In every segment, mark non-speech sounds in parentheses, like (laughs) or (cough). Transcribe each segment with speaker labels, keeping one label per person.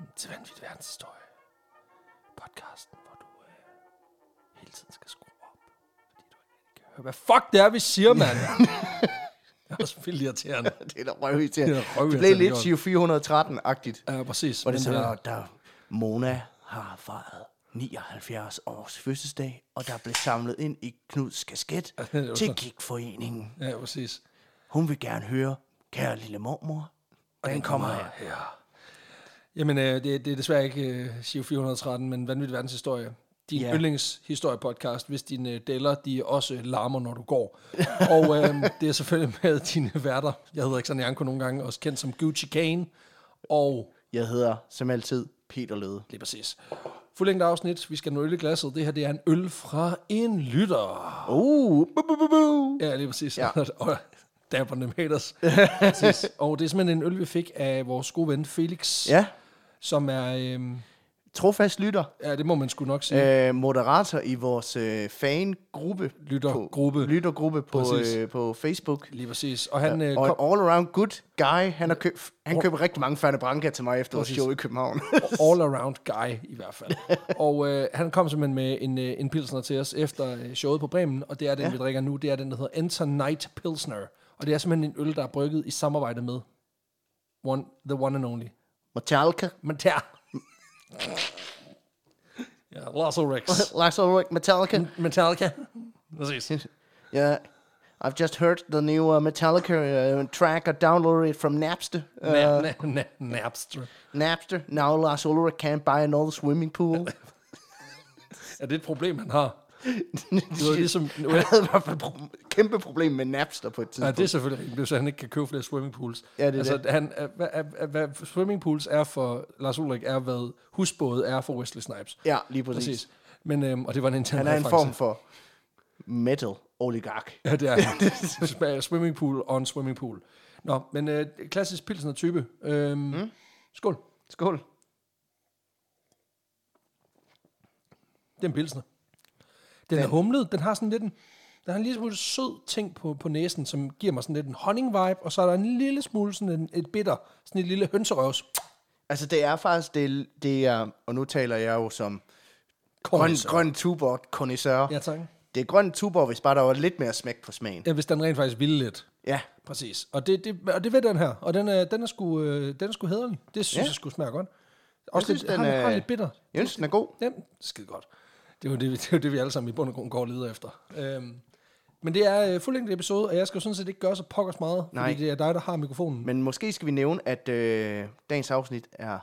Speaker 1: Afsnit Verdenshistorie. Podcasten, hvor du øh, hele tiden skal skrue op, fordi du ikke rigtig kan høre, hvad fuck det er, vi siger, mand. det er også vildt irriterende.
Speaker 2: (laughs) Det er da røvigt til.
Speaker 1: Det er da røvirriterende
Speaker 2: Det blev
Speaker 1: gjort.
Speaker 2: lidt Giro 413-agtigt.
Speaker 1: Ja, præcis.
Speaker 2: Hvor det
Speaker 1: Men,
Speaker 2: sådan,
Speaker 1: øh,
Speaker 2: og der Mona har fejret 79 års fødselsdag, og der blev samlet ind i Knuds
Speaker 1: (laughs)
Speaker 2: kasket
Speaker 1: det var
Speaker 2: til
Speaker 1: så-
Speaker 2: Gigforeningen.
Speaker 1: øh, Ja, præcis.
Speaker 2: Hun vil gerne høre, kære lille mormor, og den kommer her.
Speaker 1: Ja. Jamen, øh, det, det er desværre ikke øh, Giro 413, men Vanvittig Verdenshistorie. Din
Speaker 2: Ja.
Speaker 1: yeah. yndlingshistorie-podcast, hvis dine øh, deller, de også larmer, når du går. (laughs) og øh, det er selvfølgelig med dine værter. Jeg hedder Alexander Janko nogle gange, også kendt som Gucci Kane. Og
Speaker 2: Jeg hedder, som altid, Peter Løde.
Speaker 1: lige præcis. Fuldlængde afsnit. Vi skal nå øl i glasset. Det her, det er en øl fra en lytter.
Speaker 2: Uh, bu, bu, bu, bu.
Speaker 1: Ja, lige præcis. Ja.
Speaker 2: Ja.
Speaker 1: (laughs) og dabber dem
Speaker 2: (laughs)
Speaker 1: haters. Præcis. og det er simpelthen en øl, vi fik af vores gode ven Felix,
Speaker 2: Ja,
Speaker 1: som er... Øh,
Speaker 2: trofast lytter.
Speaker 1: Ja, det må man sgu nok sige. Øh,
Speaker 2: Øh, moderator i vores øh, fangruppe.
Speaker 1: Lyttergruppe.
Speaker 2: På, lyttergruppe på,
Speaker 1: Præcis.
Speaker 2: øh, på Facebook.
Speaker 1: Lige præcis. Og han øh,
Speaker 2: Og (laughs) en
Speaker 1: kom
Speaker 2: all-around good guy. Han, har køb, han køber rigtig mange Ferne Branca til mig efter vores show i København. (laughs)
Speaker 1: all-around guy, i hvert fald. og øh, han kom simpelthen med en, øh, en pilsner til os efter øh, showet på Bremen, og det er den, ja. vi drikker nu. Det er den, der hedder Enter Night Pilsner. Og det er simpelthen en øl, der er brygget i samarbejde med one, The One and Only.
Speaker 2: Metallica.
Speaker 1: Men
Speaker 2: (laughs)
Speaker 1: der... ja, Lars Ulrich.
Speaker 2: (laughs) Lars Ulrich,
Speaker 1: Mm.
Speaker 2: Metallica.
Speaker 1: Metallica.
Speaker 2: Øh.
Speaker 1: Præcis.
Speaker 2: Yeah. I've just heard the new uh, Metallica uh, track. I downloaded it from Napster. Uh,
Speaker 1: Na, na, na, Napster.
Speaker 2: Napster. Now Lars Ulrich can't buy another swimming
Speaker 1: (laughs)
Speaker 2: pool.
Speaker 1: Er det et problem, han har? Det
Speaker 2: (laughs)
Speaker 1: var ligesom...
Speaker 2: Jeg havde i hvert fald pro- kæmpe problem med Napster på et
Speaker 1: Ja,
Speaker 2: tidspunkt.
Speaker 1: det er selvfølgelig rigtigt, så han ikke kan købe flere swimmingpools.
Speaker 2: Ja, det er
Speaker 1: altså,
Speaker 2: det.
Speaker 1: Han, er- hvad, er- er- hvad swimmingpools er for Lars Ulrik, er hvad husbåde er for Wesley Snipes.
Speaker 2: Ja, lige præcis.
Speaker 1: Præcis. Men, øhm, og det var en intern
Speaker 2: Han er en
Speaker 1: reference.
Speaker 2: form for metal oligark.
Speaker 1: Ja, det er
Speaker 2: (laughs)
Speaker 1: han. Sm- swimmingpool on swimmingpool. Nå, men øh, klassisk pilsner-type. Øhm, mm. Skål.
Speaker 2: Skål.
Speaker 1: Det er en pilsner. Den, den er humlet. Den har sådan lidt en... Den har en lille smule sød ting på, på næsen, som giver mig sådan lidt en honning-vibe, og så er der en lille smule sådan en, et bitter, sådan et lille hønserøvs.
Speaker 2: Altså, det er faktisk, det, er- det er, og nu taler jeg jo som grøn, grøn tuber connoisseur.
Speaker 1: Altså. Ja, tak.
Speaker 2: Det er grøn tuber, hvis bare der var lidt mere smæk på smagen.
Speaker 1: Ja, hvis den rent faktisk ville lidt.
Speaker 2: Ja,
Speaker 1: Præcis. Og det, det, og det ved den her. Og den er, den er, sgu, øh, den er sgu hederlig. Det synes ja.
Speaker 2: Ja.
Speaker 1: jeg sgu smager godt. Også
Speaker 2: synes,
Speaker 1: lidt, den
Speaker 2: den
Speaker 1: har, har
Speaker 2: er-
Speaker 1: lidt bitter.
Speaker 2: Jens, den er god.
Speaker 1: Ja, skide godt. Det er jo det, (laughs) vi- det, er jo det vi alle sammen i bund og grund går og leder efter. Øhm, men det er øh, fuldlængde episode, og jeg skal jo sådan set ikke gøre så pokkers meget, Nej.
Speaker 2: Nej.
Speaker 1: fordi det er dig, der har mikrofonen.
Speaker 2: Men måske skal vi nævne, at øh, dagens afsnit er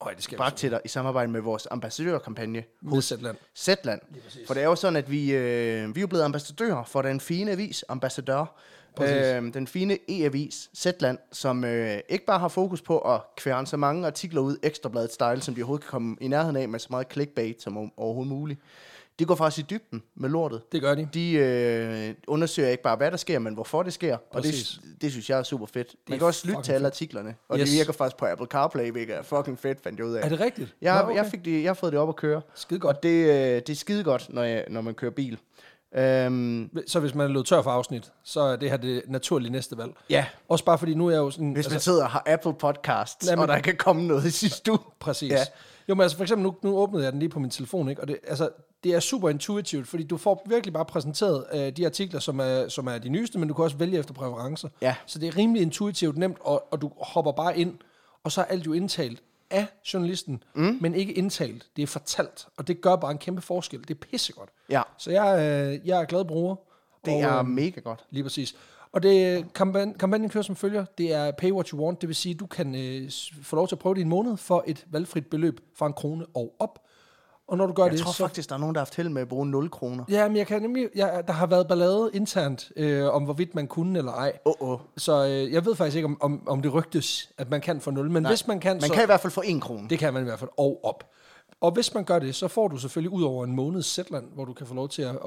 Speaker 1: Øj, det skal jeg altså.
Speaker 2: bragt til dig i samarbejde med vores ambassadørkampagne,
Speaker 1: med Sætland.
Speaker 2: Zetland. For det er jo sådan, at vi, øh, vi er jo blevet ambassadører for den fine avis, ambassadør, øh, den fine e-avis, Zetland, som øh, ikke bare har fokus på at kværne så mange artikler ud ekstrabladet style, som de overhovedet kan komme i nærheden af med så meget clickbait som o- overhovedet muligt. De går faktisk i dybden med lortet.
Speaker 1: Det gør de.
Speaker 2: De øh, undersøger ikke bare, hvad der sker, men hvorfor det sker. Og
Speaker 1: Præcis.
Speaker 2: det, det synes jeg er super fedt. Man kan også lytte
Speaker 1: fucking
Speaker 2: til alle artiklerne. Og
Speaker 1: Yes.
Speaker 2: det virker faktisk på Apple CarPlay, hvilket er fucking fedt, fandt jeg ud af.
Speaker 1: Er det rigtigt?
Speaker 2: Jeg,
Speaker 1: Nå,
Speaker 2: okay. jeg, fik det, jeg har fået det op at køre.
Speaker 1: Skide godt.
Speaker 2: Og det, øh, det er skide godt, når, jeg, når man kører bil. Øhm,
Speaker 1: Så hvis man er løbet tør for afsnit, så er det her det naturlige næste valg.
Speaker 2: ja,
Speaker 1: Også bare fordi nu er jeg jo sådan...
Speaker 2: hvis altså, man sidder og har Apple Podcasts,
Speaker 1: Jamen-
Speaker 2: og der kan komme noget i sidste uge.
Speaker 1: Præcis. Ja.
Speaker 2: Ja.
Speaker 1: Jo, men altså for eksempel, nu, nu åbnede jeg den lige på min telefon, ikke? og det, altså, det er super intuitivt, fordi du får virkelig bare præsenteret øh, de artikler, som er, som er de nyeste, men du kan også vælge efter præferencer.
Speaker 2: Ja.
Speaker 1: Så det er rimelig intuitivt nemt, og, og du hopper bare ind, og så er alt jo indtalt af journalisten, mm. men ikke indtalt. Det er fortalt, og det gør bare en kæmpe forskel. Det er pissegodt.
Speaker 2: Ja,
Speaker 1: Så jeg, øh, jeg er glad bruger.
Speaker 2: det
Speaker 1: og,
Speaker 2: er
Speaker 1: øh,
Speaker 2: mega godt.
Speaker 1: Lige præcis. Og det kampagne, kampagnen kører som følger. Det er pay what you want. Det vil sige, at du kan øh, s- få lov til at prøve det i en måned for et valgfrit beløb fra en krone og op. Og når du gør
Speaker 2: Jeg
Speaker 1: det,
Speaker 2: tror
Speaker 1: så...
Speaker 2: faktisk, der er nogen, der har haft held med at bruge 0 kroner.
Speaker 1: Ja, men jeg kan nemlig... Jeg, der har været ballade internt øh, om, hvorvidt man kunne eller ej.
Speaker 2: Åh, oh, oh.
Speaker 1: Så øh, jeg ved faktisk ikke, om, om, om det rygtes, at man kan for nul. Men Nej, hvis man kan,
Speaker 2: Man
Speaker 1: så...
Speaker 2: kan i hvert fald få 1 krone.
Speaker 1: Det kan man i hvert fald, og op. Og hvis man gør det, så får du selvfølgelig ud over en måneds Zetland, hvor du kan få lov til at, at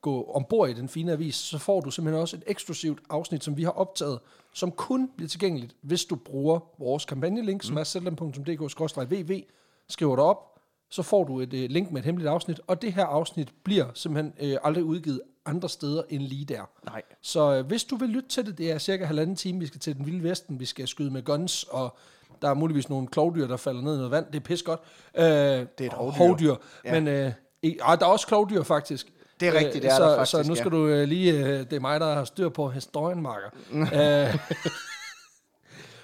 Speaker 1: gå ombord i den fine avis, så får du simpelthen også et eksklusivt afsnit, som vi har optaget, som kun bliver tilgængeligt, hvis du bruger vores kampagnelink, som er zetland.dk-vv, skriver dig op, så får du et øh, link med et hemmeligt afsnit, og det her afsnit bliver simpelthen øh, aldrig udgivet andre steder end lige der.
Speaker 2: Nej.
Speaker 1: Så øh, hvis du vil lytte til det, det er cirka halvanden time, vi skal til den vilde vesten, vi skal skyde med guns, og Der er muligvis nogle klovdyr, der falder ned i noget vand. Det er pis godt. Øh, det er
Speaker 2: et hovdyr.
Speaker 1: Ja. Men øh, i- ah, der er også klovdyr, faktisk.
Speaker 2: Det er rigtigt, det er
Speaker 1: så,
Speaker 2: der faktisk,
Speaker 1: Så nu skal
Speaker 2: ja.
Speaker 1: du øh, lige... Øh, det er mig, der har styr på historien,
Speaker 2: (laughs)
Speaker 1: Marker. øh,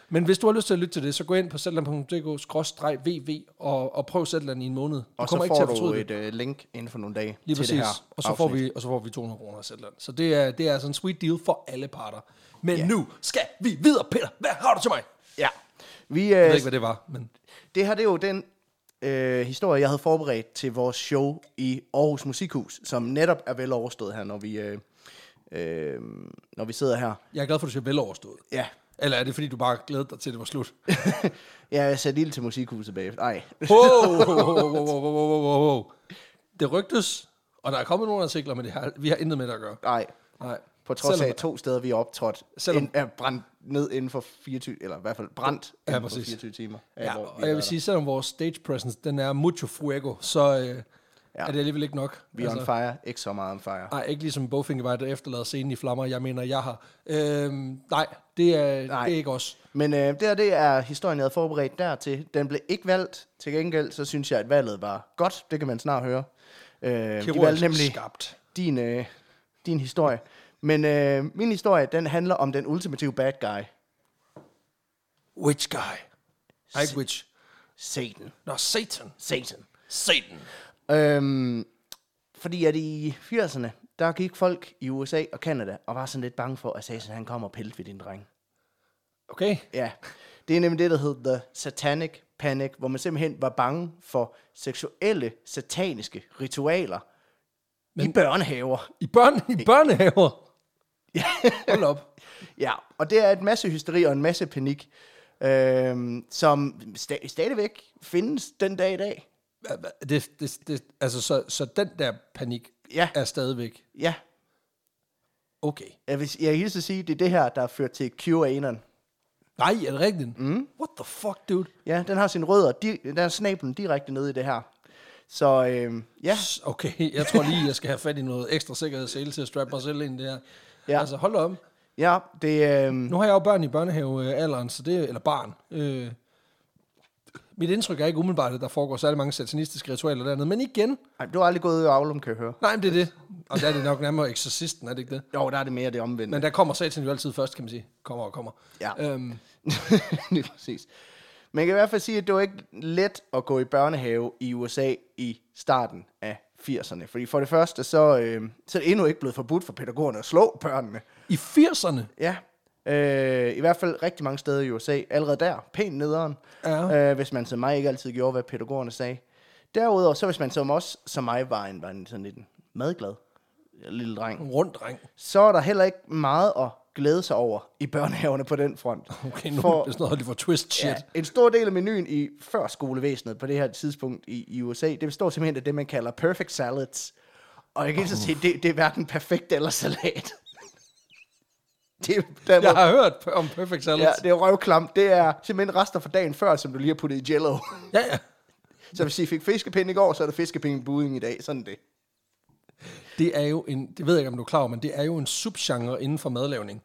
Speaker 1: men hvis du har lyst til at lytte til det, så gå ind på zetland.dk-vv og, og prøv Zetland i en måned. Du
Speaker 2: Og
Speaker 1: kommer
Speaker 2: så
Speaker 1: ikke til
Speaker 2: får
Speaker 1: at fortryde
Speaker 2: du
Speaker 1: det.
Speaker 2: et øh, link inden for nogle dage
Speaker 1: Lige
Speaker 2: til
Speaker 1: præcis.
Speaker 2: det her
Speaker 1: og, så får
Speaker 2: afsnit.
Speaker 1: vi, og så får vi 200 kroner af Zetland. Så det er, det er altså en sweet deal for alle parter. Men yeah. nu skal vi videre, Peter. Hvad har du til mig?
Speaker 2: Ja. Vi, øh,
Speaker 1: Jeg ved ikke, hvad det var, men
Speaker 2: Det her det er jo den øh, historie, jeg havde forberedt til vores show i Aarhus Musikhus, som netop er vel overstået her, når vi, øh, øh, når vi sidder her.
Speaker 1: jeg er glad for, at du siger veloverstået.
Speaker 2: Ja, (laughs)
Speaker 1: Eller er det, fordi du bare glædede dig til, at det var slut?
Speaker 2: jeg satte ild til Musikhuset bagefter. Nej,
Speaker 1: Wow, wow, wow, wow, wow, wow, wow, wow. Det rygtes, og der er kommet nogle artikler, men det har, vi har intet med det at gøre.
Speaker 2: nej.
Speaker 1: Nej.
Speaker 2: På trods
Speaker 1: Selvom-
Speaker 2: af to steder, vi er optrådt,
Speaker 1: Selvom-
Speaker 2: ind, er brændt ned inden for 24, eller i hvert fald brændt
Speaker 1: Ja,
Speaker 2: inden for
Speaker 1: præcis.
Speaker 2: 24 timer.
Speaker 1: Ja,
Speaker 2: hvor vi,
Speaker 1: og jeg vil sige, selvom vores stage presence, den er mucho fuego, så øh, ja. er det alligevel ikke nok.
Speaker 2: vi er on fire, ikke så meget on fire.
Speaker 1: Nej, ikke ligesom Bowfinger, der efterlader scenen i flammer. Jeg mener, jeg har. Øhm, nej, det er, nej,
Speaker 2: Nej.
Speaker 1: det er ikke os.
Speaker 2: Men øh, det her, det er historien, jeg havde forberedt dertil. Den blev ikke valgt. Til gengæld, så synes jeg, at valget var godt. Det kan man snart høre. Øh, de valgte
Speaker 1: Kirurgisk
Speaker 2: nemlig
Speaker 1: Skabt.
Speaker 2: din, øh, din historie. Men øh, min historie, den handler om den ultimative bad guy,
Speaker 1: Witch guy. Nej, ikke witch.
Speaker 2: Satan.
Speaker 1: Nå, Satan.
Speaker 2: Satan.
Speaker 1: Satan.
Speaker 2: Øhm, fordi at i 80'erne, der gik folk i USA og Kanada og var sådan lidt bange for, at Satan han kommer og pillede ved din dreng.
Speaker 1: Okay.
Speaker 2: Ja, det er nemlig det, der hedder The Satanic Panic, hvor man simpelthen var bange for seksuelle, sataniske ritualer Men... i børnehaver.
Speaker 1: I, børn, i børnehaver. Ja. Hold op.
Speaker 2: Ja, og det er et masse hysteri og en masse panik, øhm, som sta- stadigvæk findes den dag i dag.
Speaker 1: Hva- hva- Det, det, det, altså, så, så den der panik
Speaker 2: Ja.
Speaker 1: er stadigvæk
Speaker 2: Ja,
Speaker 1: okay.
Speaker 2: jeg vil, jeg hilser at sige, det er det her, der har ført til QAnon.
Speaker 1: Nej, er det rigtigt? Mm. What the fuck, dude?
Speaker 2: Ja, den har sine rødder, di- den har snablen direkte nede i det her. Så øhm, ja,
Speaker 1: S- Okay, jeg tror lige, jeg skal have fat i noget ekstra sikkerhedssele til at strappe mig selv ind der. Ja.
Speaker 2: Ja.
Speaker 1: Altså, hold da op.
Speaker 2: ja, det, øhm,
Speaker 1: Nu har jeg jo børn i børnehavealderen, så det, eller barn. Øh, mit indtryk er ikke umiddelbart, at der foregår særlig mange satanistiske ritualer dernede. Men igen,
Speaker 2: ej, du har aldrig gået ud af Aulum, kan jeg høre.
Speaker 1: nej, men det er det. Og der er det nok nærmere eksorcisten, er det ikke det?
Speaker 2: Jo, der er det mere det omvendte.
Speaker 1: Men der kommer satan jo altid først, kan man sige. Kommer og kommer.
Speaker 2: Ja.
Speaker 1: Øhm,
Speaker 2: (laughs) Lige præcis. Man kan i hvert fald sige, at det var ikke let at gå i børnehave i USA i starten af 80'erne. Fordi for det første, så, øh, så er det endnu ikke blevet forbudt for pædagogerne at slå børnene.
Speaker 1: I 80'erne,
Speaker 2: Ja, øh, i hvert fald rigtig mange steder i USA. Allerede der, pænt nederen.
Speaker 1: Ja.
Speaker 2: Øh, hvis man som mig ikke altid gjorde, hvad pædagogerne sagde. Derudover, så hvis man som os, som mig, var en, var en sådan lidt en madglad lille dreng,
Speaker 1: en rund dreng.
Speaker 2: så er der heller ikke meget at glæde sig over i børnehaverne på den front.
Speaker 1: Okay, nu
Speaker 2: For-
Speaker 1: er det sådan noget Oliver Twist shit. Ja.
Speaker 2: en stor del af menuen i før skolevæsenet på det her tidspunkt i, i USA, det består simpelthen af det, man kalder perfect salads. Og jeg kan så sige, det, det er hverken perfekt eller salat. (laughs) det, er- der,
Speaker 1: Jeg
Speaker 2: ja.
Speaker 1: har hørt p- om Perfect Salad.
Speaker 2: Ja, det er røvklamt. Det er simpelthen rester fra dagen før, som du lige har puttet i jello. (laughs)
Speaker 1: ja, ja.
Speaker 2: så hvis I fik fiskepinde i går, så er der fiskepinde i buding i dag. Sådan er det.
Speaker 1: Det er jo en, det ved jeg ikke, om du er klar over, men det er jo en subgenre inden for madlavning.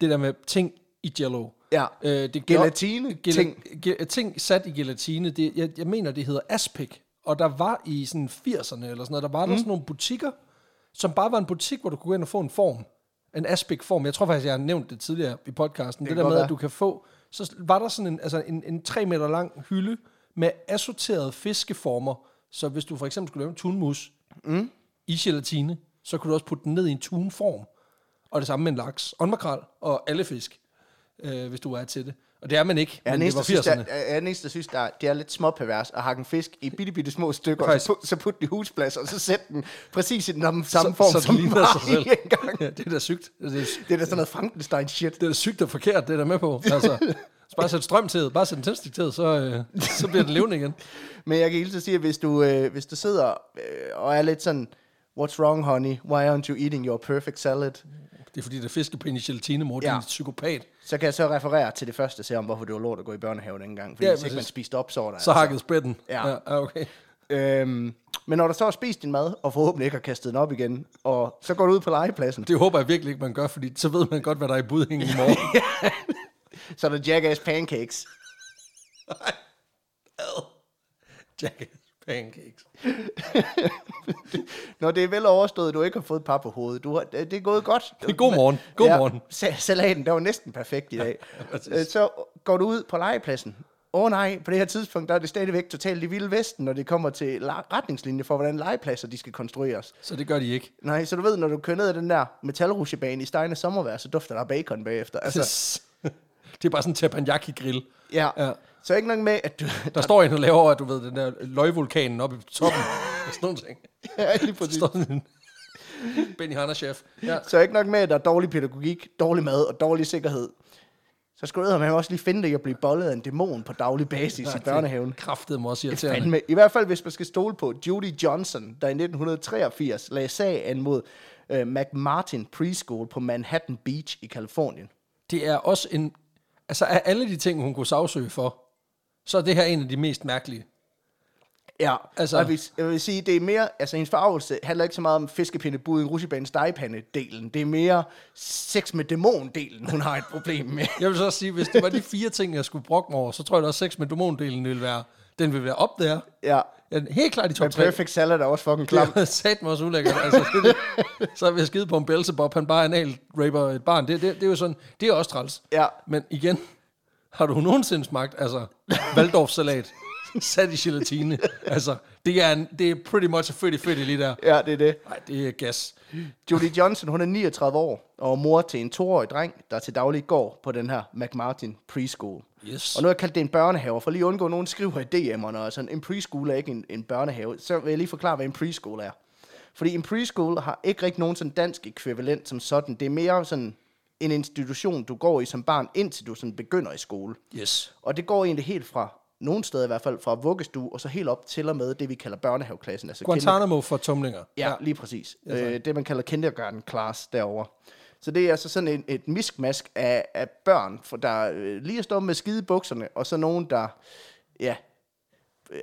Speaker 1: det der med ting i jello.
Speaker 2: Ja.
Speaker 1: Øh, det
Speaker 2: Gelatine,
Speaker 1: gel-
Speaker 2: ting.
Speaker 1: Ge- ting sat i gelatine. Det, jeg, jeg mener, det hedder aspik. Og der var i sådan 80'erne eller sådan noget, der var mm. der sådan nogle butikker, som bare var en butik, hvor du kunne gå ind og få en form. En aspik-form. Jeg tror faktisk, jeg har nævnt det tidligere i podcasten. Det, det
Speaker 2: kan
Speaker 1: der
Speaker 2: godt
Speaker 1: med, at
Speaker 2: være.
Speaker 1: du kan få... Så var der sådan en, altså en, en 3 meter lang hylde med assorterede fiskeformer. Så hvis du for eksempel skulle lave en tunmus mm. i gelatine, så kunne du også putte den ned i en tunform. Og det samme med en laks, og en makrel og alle fisk, øh, hvis du er til det. Og det er man ikke,
Speaker 2: Jeg er
Speaker 1: men
Speaker 2: den
Speaker 1: det var
Speaker 2: eneste, der synes,
Speaker 1: 80'erne.
Speaker 2: der, jeg er den eneste, der synes, der, det er lidt småpervers at hakke en fisk i bitte, bitte små stykker, og
Speaker 1: Faktisk.
Speaker 2: så, put, så putte den i husplads, og så sætte den præcis i den samme samme
Speaker 1: Så-
Speaker 2: form,
Speaker 1: så den
Speaker 2: som den
Speaker 1: ligner
Speaker 2: var
Speaker 1: sig selv.
Speaker 2: i (laughs) engang.
Speaker 1: Ja, det er da sygt. Det er,
Speaker 2: Det er da sådan noget Frankenstein-shit.
Speaker 1: det er da sygt og forkert, det er der med på. Altså, så bare sæt strøm til, bare sæt en tændstik til, så, øh, så bliver den levende igen.
Speaker 2: Men jeg kan hilse at sige, at hvis du, øh, hvis du sidder øh, og er lidt sådan, what's wrong, honey? Why aren't you eating your perfect salad?
Speaker 1: Det er fordi, der er fiskepinde i gelatine, mor, ja.
Speaker 2: Ja.
Speaker 1: er en psykopat.
Speaker 2: Så kan jeg så referere til det første, se om hvorfor det var lort at gå i børnehave dengang. Fordi
Speaker 1: Ja,
Speaker 2: ja, hvis ikke man
Speaker 1: præcis.
Speaker 2: spiste op, så var der
Speaker 1: Så hakket spætten.
Speaker 2: Ja.
Speaker 1: ja okay.
Speaker 2: Øhm, men når du så har spist din mad, og forhåbentlig ikke har kastet den op igen, og så går du ud på legepladsen,
Speaker 1: Det håber jeg virkelig ikke, man gør,
Speaker 2: (laughs)
Speaker 1: fordi så ved man godt, hvad der er i budhængen i morgen.
Speaker 2: så er der jackass pancakes.
Speaker 1: Nej. Ad. Jackass pancakes.
Speaker 2: Når det er vel overstået, du ikke har fået et par på hovedet. Du har, det er gået godt.
Speaker 1: (laughs) God morgen. God morgen.
Speaker 2: Ja, sa- salaten, der var næsten perfekt i
Speaker 1: (laughs)
Speaker 2: dag. Øh, Så går du ud på legepladsen. Åh oh, nej, på det her tidspunkt, der er det stadigvæk totalt i vilde vesten, når det kommer til la- retningslinjer for, hvordan legepladser de skal konstrueres.
Speaker 1: Så det gør de ikke.
Speaker 2: Nej, så du ved, når du kører ned ad den der metalrutsjebane i Stejne Sommervær, så dufter der af bacon bagefter. Altså,
Speaker 1: Altså. (laughs) Det er bare sådan en teppanyaki-grill.
Speaker 2: ja.
Speaker 1: Ja.
Speaker 2: ja. Så ikke nok med, at du... (laughs)
Speaker 1: Der står en og laver, du ved, den der løgvulkanen oppe i toppen. og sådan nogle ting.
Speaker 2: ja, lige præcis.
Speaker 1: Der står sådan en (laughs) Benny Hanna chef. Ja.
Speaker 2: Så ikke nok med, at der er dårlig pædagogik, dårlig mad og dårlig sikkerhed. Så skulle man også lige finde det i at blive bollet af en dæmon på daglig basis i børnehaven.
Speaker 1: Kraftede mig også irriterende.
Speaker 2: Fandme. I hvert fald, hvis man skal stole på Judy Johnson, der i 1983 lagde sag an mod øh, McMartin Preschool på Manhattan Beach i Kalifornien.
Speaker 1: Det er også en... Altså, af alle de ting, hun kunne sagsøge for, så er det her en af de mest mærkelige.
Speaker 2: Ja,
Speaker 1: Altså-
Speaker 2: altså, jeg, vil, jeg vil sige, det er mere, altså hendes forarvelse handler ikke så meget om fiskepinde, budding, russibanens degepande-delen. Det er mere sex med dæmon-delen, hun har et problem med.
Speaker 1: Jeg vil så også sige, hvis det var de fire ting, jeg skulle brokke mig over, så tror jeg, at sex med dæmondelen ville være... Den vil være op der.
Speaker 2: ja,
Speaker 1: Ja, helt klart i top
Speaker 2: men
Speaker 1: 3.
Speaker 2: Perfect Salad er også fucking klam.
Speaker 1: Det er (laughs) sat mig også ulækkert. Altså, det, det,
Speaker 2: (laughs)
Speaker 1: så vil jeg skide på en Belzebub, han bare anal raper et barn. Det, det, det, er jo sådan, det er også træls.
Speaker 2: Ja.
Speaker 1: Men igen, har du nogensinde smagt, altså, Waldorf-salat sat i gelatine? altså, det er, en, det er pretty much a fitty fitty lige der.
Speaker 2: Ja, det er det.
Speaker 1: Nej, det er gas.
Speaker 2: Judy Johnson, hun er 39 år og er mor til en toårig dreng, der til daglig går på den her McMartin Preschool.
Speaker 1: Yes.
Speaker 2: Og nu har jeg kaldt det en børnehave, for lige at undgå, at nogen skriver i DM'erne, altså en preschool er ikke en, en børnehave, så vil jeg lige forklare, hvad en preschool er. Fordi en preschool har ikke rigtig nogen sådan dansk ekvivalent som sådan. Det er mere sådan en institution, du går i som barn, indtil du sådan begynder i skole.
Speaker 1: Yes.
Speaker 2: Og det går egentlig helt fra, nogle steder i hvert fald, fra vuggestue og så helt op til og med det, vi kalder børnehaveklassen. Altså kinder-
Speaker 1: Guantanamo for tomlinger.
Speaker 2: Ja, lige præcis. øh, det, man kalder kindergarten class derovre. Så det er altså sådan et, et miskmask af, af børn, for der øh, lige står med skide i bukserne, og så nogen, der, ja, øh,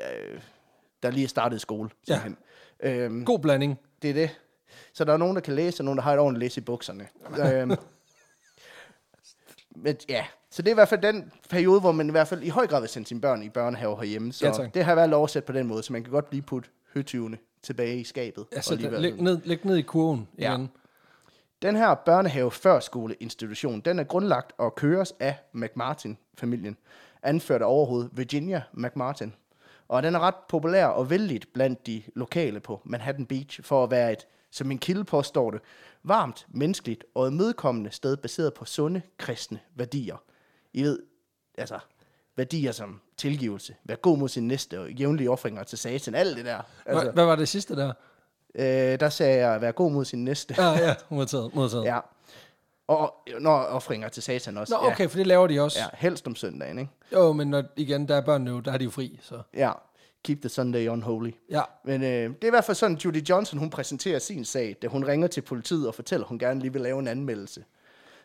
Speaker 2: der lige er startet i skole.
Speaker 1: Ja.
Speaker 2: simpelthen. Øhm,
Speaker 1: God blanding.
Speaker 2: det er det. Så der er nogen, der kan læse, og nogen, der har et ordentligt læs i bukserne.
Speaker 1: (laughs)
Speaker 2: øhm, men ja, så det er i hvert fald den periode, hvor man i hvert fald i høj grad vil sende sine børn i børnehave herhjemme. Så
Speaker 1: Ja, tak.
Speaker 2: det har været oversat på den måde, så man kan godt blive putt høtyvende tilbage i skabet.
Speaker 1: Ja,
Speaker 2: og
Speaker 1: så
Speaker 2: lige være
Speaker 1: Altså, læg,
Speaker 2: sådan-
Speaker 1: ned, læg ned i kurven
Speaker 2: Ja.
Speaker 1: igen.
Speaker 2: den her børnehave førskoleinstitution, den er grundlagt og køres af McMartin-familien, anført af overhovedet Virginia McMartin. Og den er ret populær og vældigt blandt de lokale på Manhattan Beach for at være et, som min kilde påstår det, varmt, menneskeligt og imødekommende sted baseret på sunde kristne værdier. I ved, altså værdier som tilgivelse, vær god mod sin næste og jævnlige offringer til satan, alt det der.
Speaker 1: Hva-
Speaker 2: Altså,
Speaker 1: Hvad var det sidste der?
Speaker 2: øh, der sagde jeg, vær god mod sin næste.
Speaker 1: Ja, ja, modtaget. modtaget. Ja.
Speaker 2: Ja. Og når offringer til satan også.
Speaker 1: Nå, okay, for det laver de også.
Speaker 2: Ja, ja, helst om søndagen, ikke?
Speaker 1: Jo, men når, igen, der er børn nu, der er de jo fri, så...
Speaker 2: Ja. Keep the Sunday unholy.
Speaker 1: Ja,
Speaker 2: Men øh, det er i hvert fald sådan, Judy Johnson, hun præsenterer sin sag, da hun ringer til politiet og fortæller, at hun gerne lige vil lave en anmeldelse.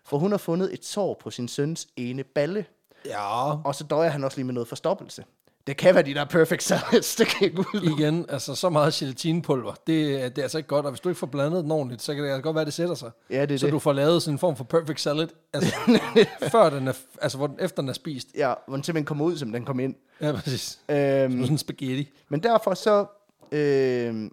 Speaker 2: For hun har fundet et sår på sin søns ene balle,
Speaker 1: ja.
Speaker 2: og så døjer han også lige med noget forstoppelse. Det kan være de der perfect (laughs) salads, det kan ikke ud.
Speaker 1: Igen, altså så meget gelatinepulver, det, er- det er altså ikke godt, og hvis du ikke får blandet den ordentligt, så kan det altså godt være, det sætter sig.
Speaker 2: Ja, det er
Speaker 1: så
Speaker 2: det.
Speaker 1: du får lavet sådan en form for perfect salad,
Speaker 2: (laughs)
Speaker 1: altså, før den er, altså hvor den, efter den er spist.
Speaker 2: Ja, hvor den simpelthen kommer ud, som den kom ind.
Speaker 1: Ja, præcis.
Speaker 2: Øhm,
Speaker 1: Som sådan en spaghetti.
Speaker 2: Men derfor så, øh,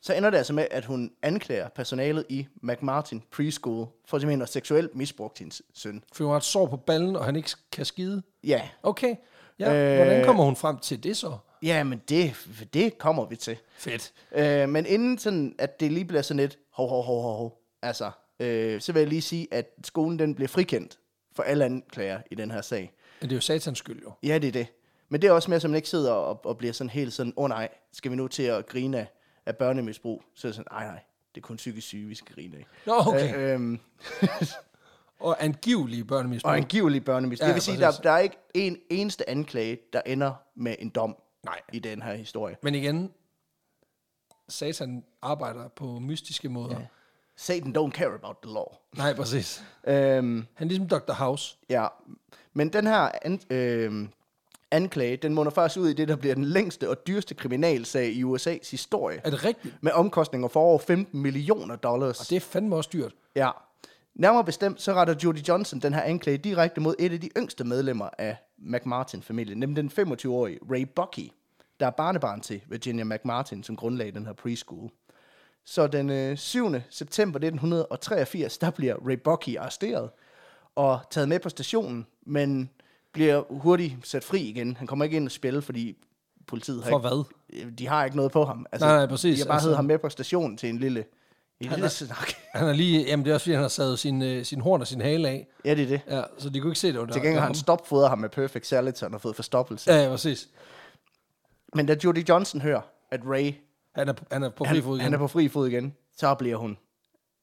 Speaker 2: så ender det altså med, at hun anklager personalet i McMartin Preschool for simpelthen at seksuelt misbrugt hendes søn.
Speaker 1: For hun har et sår på ballen, og han ikke kan skide.
Speaker 2: Ja,
Speaker 1: Okay, ja, øh, hvordan kommer hun frem til det så?
Speaker 2: ja men det, det kommer vi til.
Speaker 1: Fedt.
Speaker 2: Øh, men inden sådan, at det lige bliver sådan lidt, hov, hov, hov, hov, hov, altså, øh, så vil jeg lige sige, at skolen den bliver frikendt for alle anklager i den her sag.
Speaker 1: Men det er jo satans skyld jo.
Speaker 2: Ja, det er det. Men det er også mere, som man ikke sidder og, og bliver sådan helt sådan, åh oh, nej, skal vi nu til at grine af, af børnemisbrug? Så er det sådan, nej, nej, det er kun psykisk syge, vi skal grine af.
Speaker 1: Nå, okay. Øh,
Speaker 2: Øh, øhm, (laughs)
Speaker 1: og angivelige børnemisbrug.
Speaker 2: og angivelig børnemisbrug.
Speaker 1: Ja,
Speaker 2: Ja, det vil sige, der,
Speaker 1: præcis.
Speaker 2: der er ikke en eneste anklage, der ender med en dom
Speaker 1: Nej.
Speaker 2: i den her historie.
Speaker 1: Men igen, satan arbejder på mystiske måder. Ja.
Speaker 2: Satan don't care about the law.
Speaker 1: Nej, præcis.
Speaker 2: Øhm,
Speaker 1: Han er ligesom Dr. House.
Speaker 2: ja. Men den her an, øhm, anklage, den munder faktisk ud i det, der bliver den længste og dyreste kriminalsag i USA's historie.
Speaker 1: Er det rigtigt?
Speaker 2: Med omkostninger for over 15 millioner dollars.
Speaker 1: Det er fandme også dyrt.
Speaker 2: Ja. Nærmere bestemt, så retter Judy Johnson den her anklage direkte mod et af de yngste medlemmer af McMartin-familien, nemlig den 25-årige Ray Bucky, der er barnebarn til Virginia McMartin, som grundlagde den her preschool. Så den øh, 7. september 1983, der bliver Ray Bucky arresteret og taget med på stationen, men bliver hurtigt sat fri igen. Han kommer ikke ind og spille, fordi politiet har
Speaker 1: For
Speaker 2: ikke, Øh,
Speaker 1: hvad?
Speaker 2: de har ikke noget på ham.
Speaker 1: Nej, nej, præcis.
Speaker 2: De har bare
Speaker 1: Altså-
Speaker 2: altså, hed ham med på stationen til en lille, en
Speaker 1: Han
Speaker 2: lille
Speaker 1: er-
Speaker 2: snak.
Speaker 1: Han er lige, jamen det er også fordi, han har savet sin, øh, sin horn og sin hale af.
Speaker 2: ja, det er det.
Speaker 1: Ja, så de kunne ikke se det. Var der,
Speaker 2: Til gengæld har han stopfodret ham med Perfect Salad, så han har fået forstoppelse.
Speaker 1: Ja, ja, præcis.
Speaker 2: Men da Judy Johnson hører, at Ray
Speaker 1: Han er, han er på fri
Speaker 2: han,
Speaker 1: fod igen.
Speaker 2: han er på fri fod igen, så bliver hun,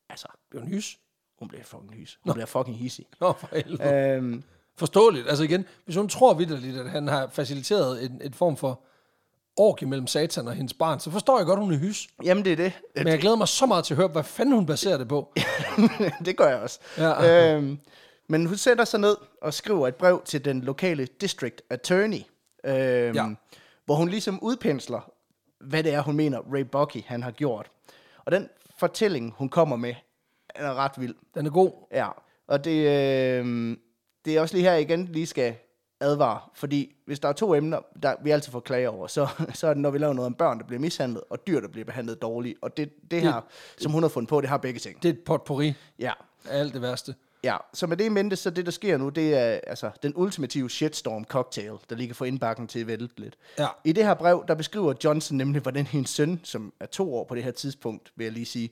Speaker 2: altså,
Speaker 1: Det er jo en hys.
Speaker 2: hun bliver fucking hys. Hun Nå. bliver fucking hissig.
Speaker 1: Nå, for helvede.
Speaker 2: Øhm,
Speaker 1: Forståeligt. Altså igen, hvis hun tror vidderligt, at han har faciliteret en, en form for orgie mellem satan og hendes barn, så forstår jeg godt, hun er hys.
Speaker 2: jamen, det er det.
Speaker 1: Men jeg glæder mig så meget til at høre, hvad fanden hun baserer det på.
Speaker 2: (laughs) det gør jeg også.
Speaker 1: Ja.
Speaker 2: Øhm, men hun sætter sig ned og skriver et brev til den lokale district attorney, øhm,
Speaker 1: Ja.
Speaker 2: ja. hvor hun ligesom udpensler, hvad det er, hun mener, Ray Bucky han har gjort. Og den fortælling, hun kommer med, den er ret vild.
Speaker 1: Den er god.
Speaker 2: Ja, og det, øh, det er også lige her jeg igen, lige skal advare, fordi hvis der er to emner, der vi altid får klager over, så, så er det, når vi laver noget om børn, der bliver mishandlet, og dyr, der bliver behandlet dårligt, og det, det her, som hun har fundet på, det har begge ting.
Speaker 1: Det er et potpourri
Speaker 2: Ja,
Speaker 1: af alt det værste.
Speaker 2: ja. Så med det i mente, så det, der sker nu, det er altså den ultimative shitstorm-cocktail, der ligger for indbakken til at vælte lidt.
Speaker 1: Ja.
Speaker 2: I det her brev, der beskriver Johnson nemlig, hvordan hendes søn, som er to år på det her tidspunkt, vil jeg lige sige,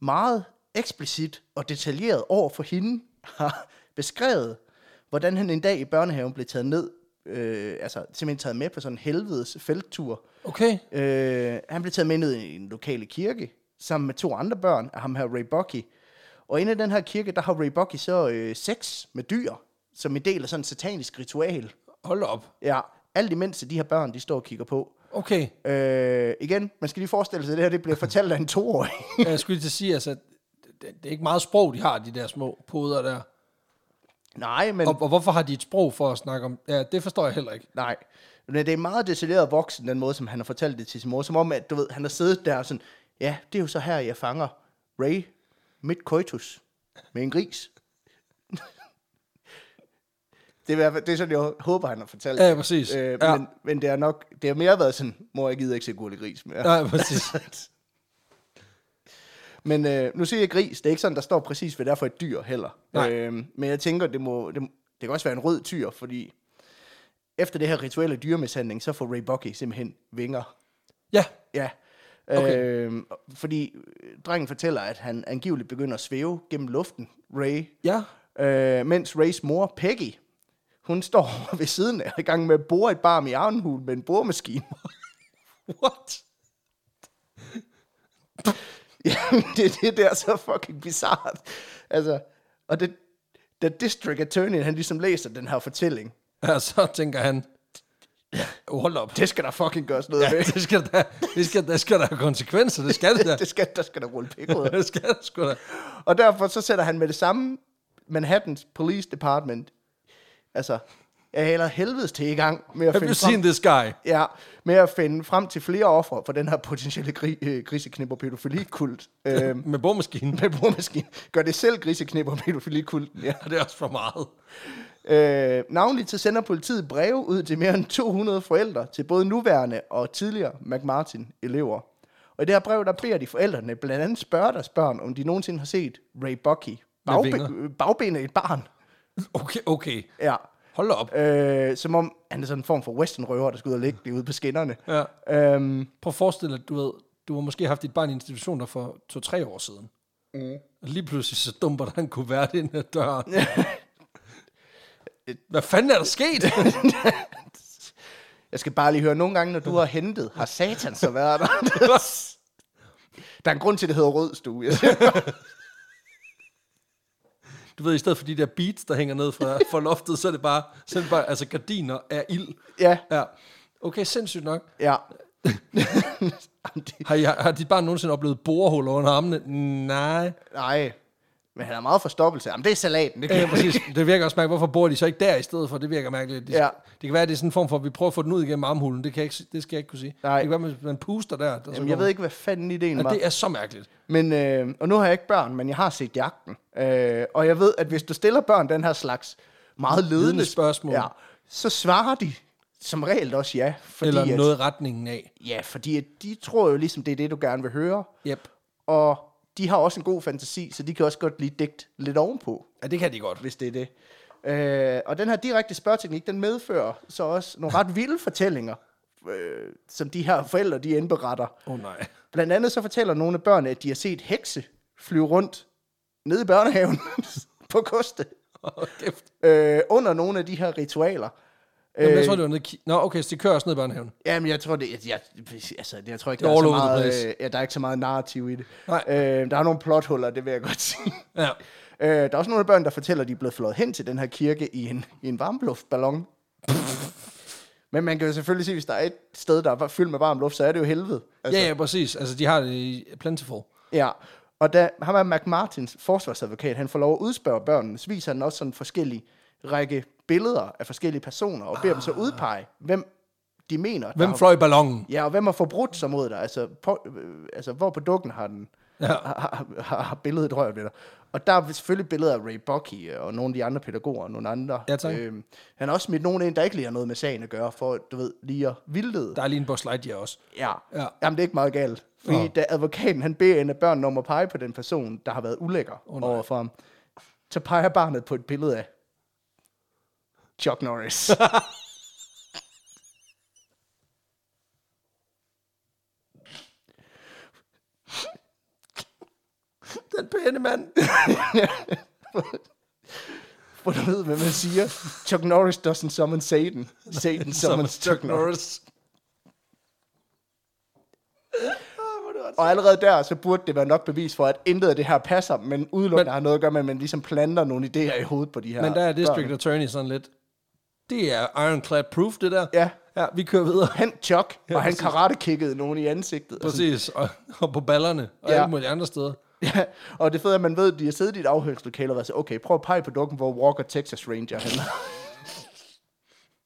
Speaker 2: meget eksplicit og detaljeret over for hende har (laughs) beskrevet, hvordan han en dag i børnehaven blev taget ned, øh, altså simpelthen taget med på sådan en helvedes felttur.
Speaker 1: Okay.
Speaker 2: Øh, han blev taget med ned i en lokale kirke, sammen med to andre børn af ham her Ray Bucky. Og inde i den her kirke, der har Ray Bucky så øh, sex med dyr, som en del af sådan et satanisk ritual.
Speaker 1: Hold da op.
Speaker 2: Ja, alt imens at de her børn, de står og kigger på.
Speaker 1: (laughs) Okay.
Speaker 2: Øh, igen, man skal lige forestille sig, at det her det bliver fortalt af en toårig. (laughs)
Speaker 1: Jeg skulle lige til at sige, altså, det, det er ikke meget sprog, de har, de der små poder der.
Speaker 2: nej, men,
Speaker 1: Og, og hvorfor har de et sprog for at snakke om? Ja, det forstår jeg heller ikke.
Speaker 2: nej. Men det er meget detaljeret voksen, den måde, som han har fortalt det til sin mor. Som om, at du ved, han har siddet der og sådan, ja, det er jo så her, jeg fanger Ray midt coitus med en gris. (laughs) det, er, i hvert fald- det er sådan, jeg håber, han har fortalt
Speaker 1: Ja,
Speaker 2: det.
Speaker 1: præcis.
Speaker 2: Øh,
Speaker 1: Ja.
Speaker 2: men, men det er nok, det har mere været sådan, mor, jeg gider ikke se gurlig gris mere.
Speaker 1: Nej, præcis.
Speaker 2: Men øh, nu siger jeg gris. Det er ikke sådan, der står præcis, hvad det er for et dyr heller.
Speaker 1: Nej.
Speaker 2: Øh, men jeg tænker, det, må, det, må- det kan også være en rød tyr, fordi efter det her rituelle dyremishandling, så får Ray Bucky simpelthen vinger.
Speaker 1: Ja,
Speaker 2: Ja.
Speaker 1: Okay.
Speaker 2: Okay. Øh, fordi øh, drengen fortæller, at han angiveligt begynder at svæve gennem luften, Ray.
Speaker 1: ja.
Speaker 2: Øh, mens Rays mor, Peggy, hun står (laughs) ved siden af i gang med at bore et barm i armhulen med en boremaskine.
Speaker 1: What?
Speaker 2: (laughs) Jamen, det, det der er så fucking bizart. Altså, og det, da District Attorney, han ligesom læser den her fortælling,
Speaker 1: Ja, så tænker han, "Oh, hold
Speaker 2: (laughs)
Speaker 1: op.
Speaker 2: det skal der fucking gøres noget
Speaker 1: (laughs)
Speaker 2: ja,
Speaker 1: Ja,
Speaker 2: ved.
Speaker 1: det skal der, det skal, der skal der have konsekvenser, det skal det
Speaker 2: (laughs)
Speaker 1: der.
Speaker 2: Det skal, der skal der rulle pik ud.
Speaker 1: Det skal der sgu da.
Speaker 2: Og derfor så sætter han med det samme Manhattans Police Department, altså, jeg haler helvedes til i gang med at,
Speaker 1: Have
Speaker 2: finde
Speaker 1: you
Speaker 2: frem,
Speaker 1: seen this guy?
Speaker 2: ja, med at finde frem til flere ofre for den her potentielle gri, øh, griseknip og pædofilikult. Øh, (laughs)
Speaker 1: Med boremaskinen.
Speaker 2: med boremaskinen. Gør det selv griseknip og pædofilikulten, ja.
Speaker 1: Ja, (laughs) det er også for meget.
Speaker 2: Øh, navnligt så sender politiet breve ud til mere end 200 forældre til både nuværende og tidligere McMartin-elever. Og i det her brev, der beder de forældrene blandt andet spørge deres børn, om de nogensinde har set Ray Bucky
Speaker 1: vinger.
Speaker 2: bagbe- bagbenet et barn.
Speaker 1: Okay, okay.
Speaker 2: Ja.
Speaker 1: Hold da op.
Speaker 2: Øh, som om han er sådan en form for westernrøver, der skal ud og ligge det ude på skinnerne.
Speaker 1: Ja.
Speaker 2: Øhm,
Speaker 1: Prøv at forestille dig, du ved, du har måske haft dit barn i institutioner for to-tre år siden. Mm. Og lige pludselig så dumper der en kuvert ind ad døren. Hvad fanden er der sket? (laughs)
Speaker 2: jeg skal bare lige høre, nogle gange, når du har hentet, har satan så
Speaker 1: (laughs)
Speaker 2: været der? der er en grund til, at det hedder rød stue. Jeg siger bare-
Speaker 1: Du ved, i stedet for de der beats, der hænger ned fra, fra loftet, så er det bare, så er det bare altså gardiner af ild.
Speaker 2: ja,
Speaker 1: Ja. Okay, sindssygt nok. (laughs)
Speaker 2: ja. Jamen, det,
Speaker 1: Har, I, har dit barn nogensinde oplevet borehuller under armene? Nej.
Speaker 2: Nej, men han er meget forstoppelse. (laughs) Jamen, det er salaten. Det kan
Speaker 1: Ja, præcis. Det virker også mærkeligt. Hvorfor bor de så ikke der i stedet for? Det virker mærkeligt. Det,
Speaker 2: Ja.
Speaker 1: det kan være, at det er sådan en form for, at vi prøver at få den ud igennem armhulen. Det, kan jeg ikke, det skal jeg ikke kunne sige.
Speaker 2: Nej.
Speaker 1: Det kan være, at man puster der. der
Speaker 2: Jamen, jeg ved ikke, hvad fanden ideen var.
Speaker 1: Det er så mærkeligt.
Speaker 2: Men, øh, og nu har jeg ikke børn, men jeg har set jagten. Øh, og jeg ved, at hvis du stiller børn den her slags meget ledende
Speaker 1: Ledende spørgsmål.
Speaker 2: Ja, så svarer de som regel også ja.
Speaker 1: Fordi Eller noget at, i retningen af.
Speaker 2: Ja, fordi at de tror jo ligesom, det er det, du gerne vil høre.
Speaker 1: Yep.
Speaker 2: Og de har også en god fantasi, så de kan også godt lige digt lidt ovenpå.
Speaker 1: Ja, det kan de godt.
Speaker 2: Hvis det er det. Øh, og den her direkte spørgeteknik, den medfører så også nogle ret vilde fortællinger, øh, som de her forældre, de indberetter.
Speaker 1: Oh, nej. (laughs)
Speaker 2: Blandt andet så fortæller nogle af børnene, at de har set hekse flyve rundt nede i børnehaven (laughs) på koste.
Speaker 1: Oh, kæft.
Speaker 2: Øh, under nogle af de her ritualer.
Speaker 1: Jamen,
Speaker 2: Øh.
Speaker 1: jeg tror, det var nede i... Nå, okay, så de kører også ned i børnehaven.
Speaker 2: Jamen, jeg tror, det, jeg, jeg, altså, jeg tror ikke,
Speaker 1: Det
Speaker 2: der
Speaker 1: er
Speaker 2: er, så
Speaker 1: all over the
Speaker 2: meget,
Speaker 1: place.
Speaker 2: øh, ja, der er ikke så meget narrativ i det.
Speaker 1: Nej.
Speaker 2: Øh, der er nogle plothuller, det vil jeg godt sige.
Speaker 1: Ja.
Speaker 2: Øh, der er også nogle af børn, der fortæller, at de er blevet flået hen til den her kirke i en, i en varmluftballon. Men man kan jo selvfølgelig sige, hvis der er et sted, der er fyldt med varm luft, så er det jo helvede.
Speaker 1: Altså. Ja, ja, præcis. Altså, de har det i plentiful.
Speaker 2: Ja, og da ham er McMartins forsvarsadvokat, han får lov at udspørge børnene, så viser han også sådan forskellige række billeder af forskellige personer, og beder ah. dem så udpege, hvem de mener. der
Speaker 1: Hvem
Speaker 2: har-
Speaker 1: fløj ballonen?
Speaker 2: Ja, og hvem har forbrudt sig mod dig? Altså, på, øh, altså hvor på dukken har den
Speaker 1: Ja.
Speaker 2: har, har, har billedet rørt ved dig? Og der er selvfølgelig billeder af Ray Bucky øh, og nogle af de andre pædagoger og nogle andre.
Speaker 1: Ja, tak.
Speaker 2: Øhm, han har også smidt nogen ind, der ikke lige har noget med sagen at gøre, for du ved, lige at vildlede.
Speaker 1: Der er lige en Buzz Lightyear også.
Speaker 2: Ja.
Speaker 1: Ja.
Speaker 2: Jamen, det er ikke meget galt. Fordi
Speaker 1: Nå.
Speaker 2: da advokaten, han beder en af børnene om at pege på den person, der har været ulækker oh, over for ham, så peger barnet på et billede af
Speaker 1: (laughs)
Speaker 2: Chuck Norris.
Speaker 1: Den pæne (laughs) mand.
Speaker 2: For du ved, hvad man siger. Chuck Norris doesn't summon Satan. Satan summons Chuck Norris. Ah, Og allerede der, så burde det være nok bevis for, at intet af det her passer, men udelukkende
Speaker 1: Men-
Speaker 2: har noget at gøre med, at man ligesom planter nogle idéer i hovedet på de her
Speaker 1: Men der er District
Speaker 2: børn.
Speaker 1: Attorney sådan lidt. Det er ironclad proof, det der.
Speaker 2: Ja.
Speaker 1: Ja, vi kører
Speaker 2: (laughs)
Speaker 1: videre.
Speaker 2: Han Chuck, ja, og han
Speaker 1: præcis.
Speaker 2: karate-kickede nogen i ansigtet. og sådan-
Speaker 1: Præcis. Og, og på ballerne. Og
Speaker 2: Ja.
Speaker 1: ja. alle mulige andre steder.
Speaker 2: (laughs) Ja, og det fede er, at man ved, at de har siddet i et afhøringslokale og været så, okay, prøv at pege på dukken, hvor Walker Texas Ranger han er.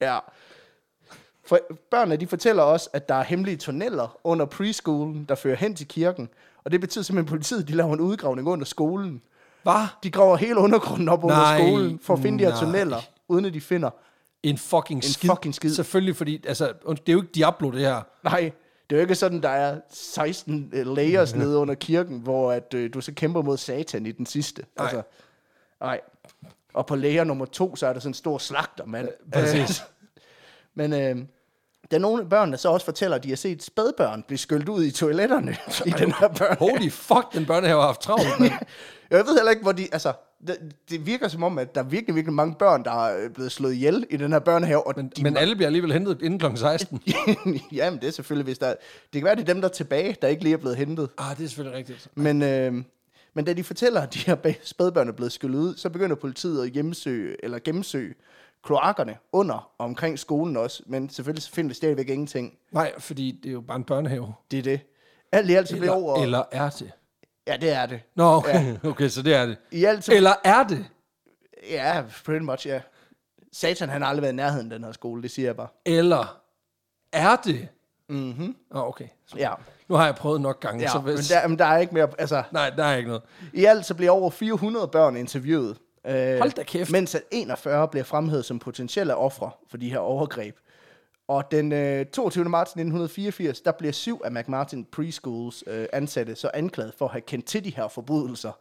Speaker 2: (laughs) ja. For børnene, de fortæller også, at der er hemmelige tunneller under preschoolen, der fører hen til kirken. Og det betyder simpelthen, at politiet de laver en udgravning under skolen.
Speaker 1: Hvad?
Speaker 2: De graver hele undergrunden op under
Speaker 1: Nej,
Speaker 2: skolen for at finde de her
Speaker 1: nej.
Speaker 2: tunneller, uden at de finder.
Speaker 1: En fucking
Speaker 2: En
Speaker 1: skid.
Speaker 2: fucking skid. Øh.
Speaker 1: Selvfølgelig, fordi altså, und- det er jo ikke Diablo, det her.
Speaker 2: Nej, det er jo ikke sådan, der er 16 layers nede under kirken, hvor at, øh, du så kæmper mod satan i den sidste. Altså,
Speaker 1: Nej.
Speaker 2: nej. Og på layer nummer to, så er der sådan en stor slagter, mand.
Speaker 1: præcis.
Speaker 2: Øh, Men øh, der er nogle børn, der så også fortæller, at de har set spædbørn blive skyldt ud i toiletterne (laughs) i den her børn.
Speaker 1: (laughs) Holy fuck, den børnehave har haft travlt, mand.
Speaker 2: Jeg ved heller ikke, hvor de... Altså, det, det virker som om, at der er virkelig, virkelig mange børn, der er øh, blevet slået ihjel i den her børnehave. Og (laughs) de
Speaker 1: Men alle bliver alligevel hentet inden kl.
Speaker 2: (laughs)
Speaker 1: 16.
Speaker 2: Jamen, det er selvfølgelig, hvis der... Det kan være, det er dem, der er tilbage, der ikke lige er blevet hentet.
Speaker 1: Ah, det er selvfølgelig rigtigt.
Speaker 2: Men, øh, men da de fortæller, at de her bag- spædbørn er blevet skyllet ud, så begynder politiet at hjemsøge, eller gennemsøge kloakkerne under og omkring skolen også. Men selvfølgelig så finder de stadigvæk ingenting.
Speaker 1: Nej, fordi det er jo bare en børnehave.
Speaker 2: Det er det. Alt i alt så bliver
Speaker 1: Eller,
Speaker 2: over...
Speaker 1: eller er det?
Speaker 2: Ja, det er det.
Speaker 1: Nå, okay, (laughs) ja. okay så det er det.
Speaker 2: I alt så...
Speaker 1: Eller er det?
Speaker 2: Ja, pretty much, ja. Satan, han har aldrig været i nærheden af den her skole, det siger jeg bare.
Speaker 1: Eller er det? Mhm. Åh, okay.
Speaker 2: Ja,
Speaker 1: Nu har jeg prøvet nok gange, ja, så
Speaker 2: ja. Men,
Speaker 1: hvis...
Speaker 2: der, men der er ikke mere... Altså,
Speaker 1: Nej, der er ikke noget.
Speaker 2: I alt så bliver over 400 børn interviewet. Øh,
Speaker 1: Hold da kæft.
Speaker 2: Mens at 41 bliver fremhævet som potentielle ofre for de her overgreb. Og den øh, 22. marts 1984, der bliver syv af McMartin Preschools øh, ansatte så anklaget for at have kendt til de her forbrydelser.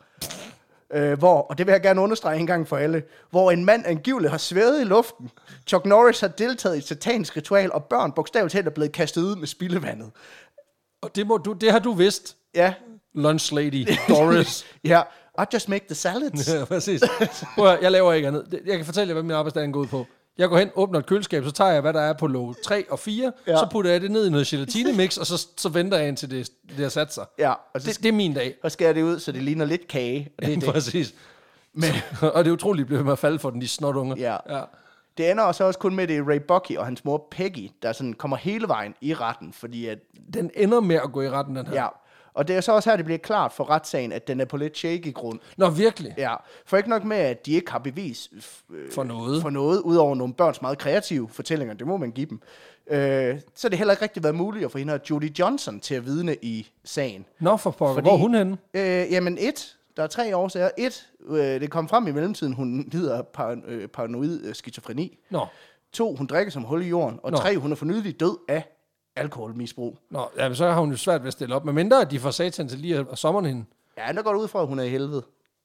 Speaker 2: Øh, hvor, og det vil jeg gerne understrege en gang for alle, hvor en mand angiveligt har svævet i luften. Chuck Norris har deltaget i et satanisk ritual, og børn bogstaveligt talt er blevet kastet ud med spildevandet.
Speaker 1: Og det, må du, det har du vidst,
Speaker 2: Ja,
Speaker 1: lunch lady
Speaker 2: (laughs)
Speaker 1: Doris.
Speaker 2: ja. I just make the
Speaker 1: (laughs)
Speaker 2: salads.
Speaker 1: ja, (laughs) præcis. Prøv at, høre, jeg laver ikke andet. Det- Jeg kan fortælle jer, hvad min arbejdsdag går ud på. Jeg går hen, åbner et køleskab, så tager jeg, hvad der er på låg 3 og 4,
Speaker 2: Ja.
Speaker 1: ja. så putter jeg det ned i noget gelatinemix, og så, så venter jeg indtil det, det har sat sig.
Speaker 2: Ja, og så
Speaker 1: Det, det er min dag.
Speaker 2: og skærer det ud, så det ligner lidt kage. Og det, er det.
Speaker 1: Præcis. (laughs) Men. og det er utroligt, at blive ved med at falde for den, de snotunger.
Speaker 2: Ja.
Speaker 1: ja.
Speaker 2: det ender så også kun med, at det er Ray Bucky og hans mor Peggy, der sådan kommer hele vejen i retten, fordi at,
Speaker 1: Den ender med at gå i retten, den her.
Speaker 2: ja. Og det er så også her, det bliver klart for retssagen, at den er på lidt shaky grund.
Speaker 1: Nå, virkelig.
Speaker 2: Ja, for ikke nok med, at de ikke har bevis øh,
Speaker 1: For noget.
Speaker 2: for noget, udover nogle børns meget kreative fortællinger, det må man give dem, øh, så har det heller ikke rigtig været muligt at få hende og Judy Johnson til at vidne i sagen.
Speaker 1: Nå, for pokker.
Speaker 2: Fordi-
Speaker 1: Hvor er hun henne?
Speaker 2: Øh, jamen et, der er tre årsager. Et, øh, det kom frem i mellemtiden, hun lider af paran- øh, paranoid øh, skizofreni.
Speaker 1: Nå.
Speaker 2: To, hun drikker som hul i jorden. Og
Speaker 1: Nå.
Speaker 2: tre, hun er for nylig død af alkoholmisbrug.
Speaker 1: Nå, ja, men så har hun jo svært ved at stille op. Men mindre, at de får satan til lige at sommeren hende.
Speaker 2: Ja, der går det ud fra, at hun er i helvede.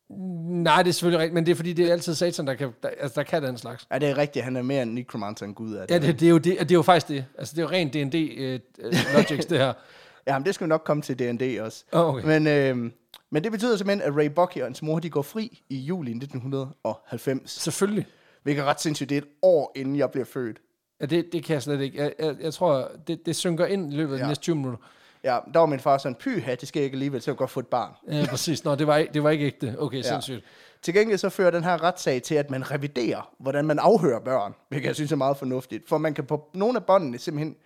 Speaker 1: Nej, det er selvfølgelig rigtigt, men det er fordi, det er altid satan, der kan, der, altså, der kan den slags.
Speaker 2: Ja, det er rigtigt. Han er mere en necromancer end Gud. Er det.
Speaker 1: Ja, det, det, er jo det, det er jo faktisk det. Altså, det er jo rent D&D-logics, øh, det her.
Speaker 2: Jamen, det skal vi nok komme til D&D også.
Speaker 1: Åh, okay.
Speaker 2: Men, øh, men det betyder simpelthen, at Ray Bucky og hans mor, de går fri i juli 1990.
Speaker 1: Selvfølgelig.
Speaker 2: Hvilket er ret sindssygt. Det er et år, inden jeg bliver født.
Speaker 1: Ja, det, det kan jeg slet ikke. Jeg, jeg, jeg tror, det, det synker ind i løbet af ja. de
Speaker 2: Ja.
Speaker 1: næste 20 minutter.
Speaker 2: Ja, der var min far sådan, pyha, det skal jeg ikke alligevel, så jeg kan godt få et barn.
Speaker 1: Ja, præcis. Nå, det var, ikke- det var ikke ægte. Okay, ja. sindssygt.
Speaker 2: Til gengæld så fører den her retssag til, at man reviderer, hvordan man afhører børn, hvilket jeg synes er meget fornuftigt. For man kan på nogle af båndene simpelthen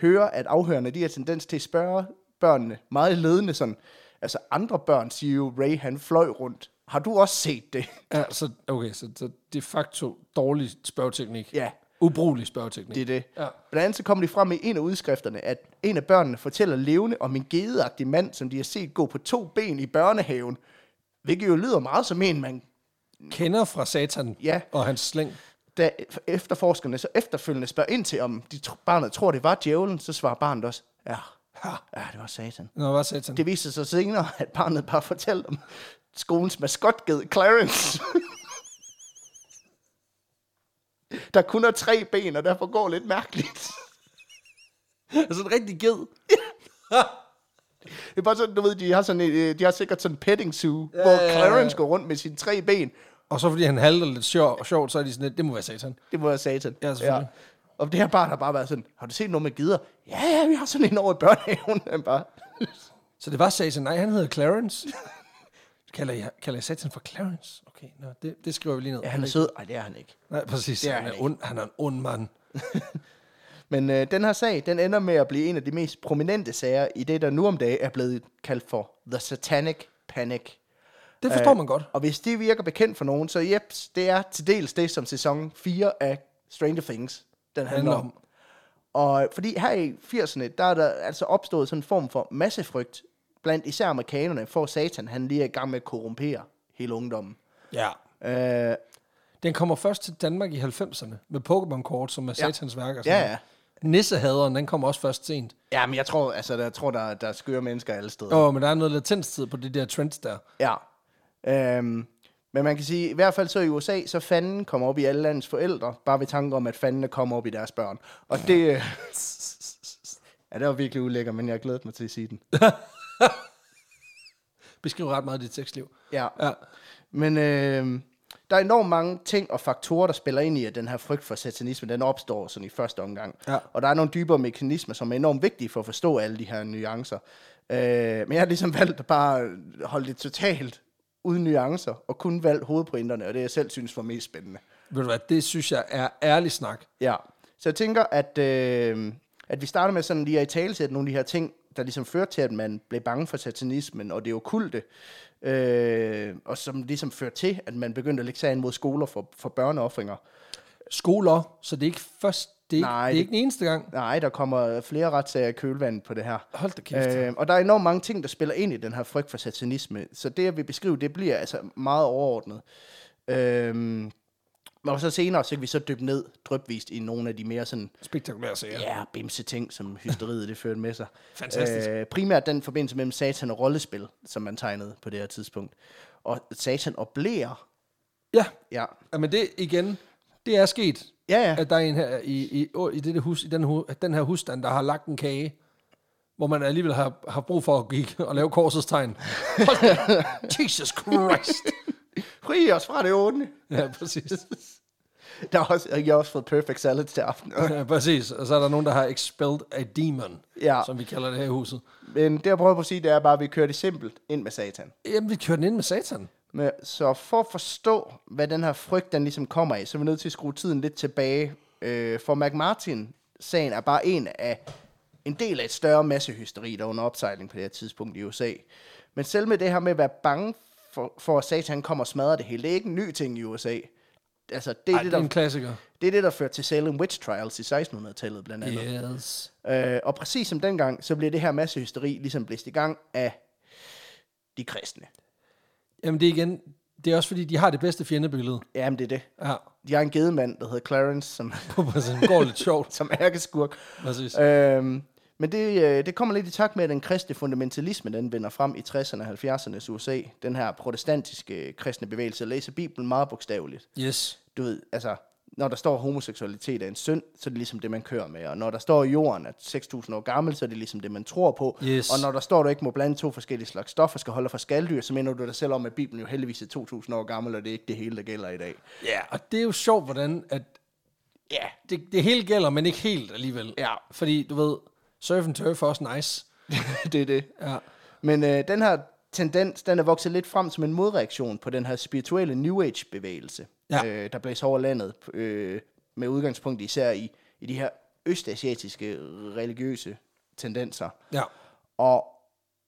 Speaker 2: høre, at afhørende de har tendens til at spørge børnene meget ledende sådan. Altså andre børn siger jo, Ray han fløj rundt. Har du også set det? (laughs)
Speaker 1: Ja, så, okay, så, så de facto dårlig spørgeteknik.
Speaker 2: Ja.
Speaker 1: Ubrugelig spørgeteknik.
Speaker 2: Det er det.
Speaker 1: Ja.
Speaker 2: Blandt andet så kommer de frem i en af udskrifterne, at en af børnene fortæller levende om en gedeagtig mand, som de har set gå på to ben i børnehaven. Hvilket jo lyder meget som en, man
Speaker 1: Kender fra satan
Speaker 2: Ja.
Speaker 1: og hans slæng.
Speaker 2: da efterforskerne så efterfølgende spørger ind til, om de tr- barnet tror, det var djævlen, så svarer barnet også, ja, ja, det var satan.
Speaker 1: Nå, hvad satan?
Speaker 2: Det viser sig senere, at barnet bare fortalte om skolens maskotged, Clarence. (laughs) der kun har tre ben, og derfor går lidt mærkeligt. (laughs)
Speaker 1: Altså en rigtig ged.
Speaker 2: (laughs) Det er bare sådan, du ved, de har, sådan, et, øh, de har sikkert sådan en petting zoo, ja, hvor
Speaker 1: ja, ja, ja.
Speaker 2: Clarence går rundt med sine tre ben.
Speaker 1: Og så fordi han halter lidt sjov, sjovt, så er de sådan lidt, det må være satan.
Speaker 2: Det må være satan.
Speaker 1: Ja, selvfølgelig.
Speaker 2: Og det her barn har bare været sådan, har du set noget med gider? Ja, ja, vi har sådan en over i børnehaven. (laughs) Han bare,
Speaker 1: Så det var satan. Nej, han hedder Clarence. (laughs) kalder, jeg, kalder jeg satan for Clarence? Okay, nå, det, det skriver vi lige ned.
Speaker 2: ja, han er sød. Nej, det er han ikke.
Speaker 1: Nej, præcis.
Speaker 2: er
Speaker 1: Han
Speaker 2: han
Speaker 1: er,
Speaker 2: ikke.
Speaker 1: ond, han er en ond mand.
Speaker 2: Men øh, den her sag, den ender med at blive en af de mest prominente sager i det, der nu om dagen er blevet kaldt for The Satanic Panic.
Speaker 1: Det forstår
Speaker 2: Øh,
Speaker 1: man godt.
Speaker 2: Og hvis det virker bekendt for nogen, så jeps, det er til dels det, som sæson 4 af Stranger Things, den handler
Speaker 1: Handler
Speaker 2: om.
Speaker 1: om.
Speaker 2: Og fordi her i 80'erne, der er der altså opstået sådan en form for massefrygt blandt især amerikanerne, for satan, han lige er i gang med at korrumpere hele ungdommen.
Speaker 1: Ja.
Speaker 2: Øh,
Speaker 1: Den kommer først til Danmark i 90'erne med Pokémon-kort, som er satans værk. Og
Speaker 2: ja,
Speaker 1: sådan noget.
Speaker 2: ja.
Speaker 1: Nissehaderen, den kommer også først sent.
Speaker 2: Ja, men jeg tror, altså, der, jeg tror, der, der er skøre mennesker alle steder.
Speaker 1: Åh, oh, men der er noget latenstid på de der trends der.
Speaker 2: Ja. Øhm, men man kan sige, i hvert fald så i USA, så fanden kommer op i alle landets forældre, bare ved tanke om, at fandene kommer op i deres børn. Og det... øh, (laughs) ja, det var virkelig ulækker, men jeg glæder mig til at sige den.
Speaker 1: Beskriver ret meget af dit sexliv.
Speaker 2: Ja.
Speaker 1: Ja.
Speaker 2: Men øh, der er enormt mange ting og faktorer, der spiller ind i, at den her frygt for satanisme, den opstår sådan i første omgang.
Speaker 1: Ja.
Speaker 2: Og der er nogle dybere mekanismer, som er enormt vigtige for at forstå alle de her nuancer. Øh, men jeg har ligesom valgt at bare holde det totalt uden nuancer, og kun valgt hovedpointerne, og det jeg selv synes var mest spændende.
Speaker 1: Ved du hvad, det synes jeg er ærlig snak.
Speaker 2: Ja, så jeg tænker, at, øh, at vi starter med sådan lige at i talesætte nogle af de her ting, der ligesom førte til, at man blev bange for satanismen og det okulte, øh, og som ligesom førte til, at man begyndte at lægge sig an mod skoler for, for børneoffringer.
Speaker 1: Skoler, så det er ikke først, det er,
Speaker 2: Nej,
Speaker 1: ikke, det er
Speaker 2: det-
Speaker 1: ikke den eneste gang.
Speaker 2: Nej, der kommer flere retssager i kølvandet på det her.
Speaker 1: Hold da kæft.
Speaker 2: Øh, og der er enormt mange ting, der spiller ind i den her frygt for satanisme. Så det, jeg vil beskrive, det bliver altså meget overordnet. Øh, og så senere, så kan vi så dykke ned drøbvist i nogle af de mere sådan
Speaker 1: Spektakulære sager.
Speaker 2: ja, bimse ting, som hysteriet det førte med sig.
Speaker 1: Fantastisk.
Speaker 2: Øh, primært den forbindelse mellem satan og rollespil, som man tegnede på det her tidspunkt. Og satan og blæer.
Speaker 1: Ja,
Speaker 2: Ja,
Speaker 1: ja men det igen, det er sket,
Speaker 2: ja, ja.
Speaker 1: at der er en her i, i, åh, i, dette hus, i den, hu, den her husstand, der har lagt en kage, hvor man alligevel har, har brug for at gik og lave korsets tegn. Hold da- Jesus Christ!
Speaker 2: Fri os fra det onde.
Speaker 1: Ja, præcis.
Speaker 2: Der er også, jeg har også fået perfect salad til aften.
Speaker 1: (laughs) Ja, præcis. Og så er der nogen, der har expelled a demon,
Speaker 2: Ja.
Speaker 1: som vi kalder det her i huset.
Speaker 2: Men det, jeg prøver på at sige, det er bare, at vi kører det simpelt ind med satan.
Speaker 1: Jamen, vi kører den ind med satan.
Speaker 2: Men, så for at forstå, hvad den her frygt, den ligesom kommer af, så er vi nødt til at skrue tiden lidt tilbage. Øh, for McMartin-sagen er bare en af en del af et større massehysteri, der er under opsejling på det her tidspunkt i USA. Men selv med det her med at være bange for, for at satan kommer og smadrer det hele, det er ikke en ny ting i USA. Altså, det er,
Speaker 1: Ej,
Speaker 2: Ej,
Speaker 1: det
Speaker 2: det,
Speaker 1: er
Speaker 2: der,
Speaker 1: en klassiker.
Speaker 2: det, er det, der førte til Salem Witch Trials i 1600-tallet, blandt andet.
Speaker 1: Yes.
Speaker 2: Øh, og præcis som dengang, så blev det her massehysteri ligesom blæst i gang af de kristne.
Speaker 1: Jamen, det er igen, Det er også fordi, de har det bedste fjendebillede.
Speaker 2: Jamen, det er det.
Speaker 1: (laughs) Ja,
Speaker 2: De har en gedemand, der hedder Clarence, som, (laughs)
Speaker 1: det går lidt sjovt.
Speaker 2: som ærkeskurk.
Speaker 1: Præcis.
Speaker 2: Øhm, men det, øh, det kommer lidt i takt med, at den kristne fundamentalisme, den vinder frem i 60'erne og 70'ernes USA. Den her protestantiske kristne bevægelse læser Bibelen meget bogstaveligt.
Speaker 1: Yes.
Speaker 2: Du ved, altså, når der står, at homoseksualitet er en synd, så er det ligesom det, man kører med. Og når der står i jorden, at 6.000 år gammel, så er det ligesom det, man tror på.
Speaker 1: Yes.
Speaker 2: Og når der står, at du ikke må blande to forskellige slags stoffer, skal holde dig fra skalddyr, så minder du dig selv om, at Bibelen jo heldigvis er 2.000 år gammel, og det er ikke det hele, der gælder i dag.
Speaker 1: Ja, og det er jo sjovt, hvordan at
Speaker 2: Ja,
Speaker 1: det, det hele gælder, men ikke helt alligevel.
Speaker 2: Ja.
Speaker 1: Fordi, du ved, surf and turf er også nice.
Speaker 2: (laughs) det er det.
Speaker 1: Ja.
Speaker 2: Men øh, den her tendens, den er vokset lidt frem som en modreaktion på den her spirituelle New Age-bevægelse,
Speaker 1: Ja.
Speaker 2: øh, der blæser over landet, øh, med udgangspunkt især i, i de her østasiatiske religiøse tendenser.
Speaker 1: Ja.
Speaker 2: Og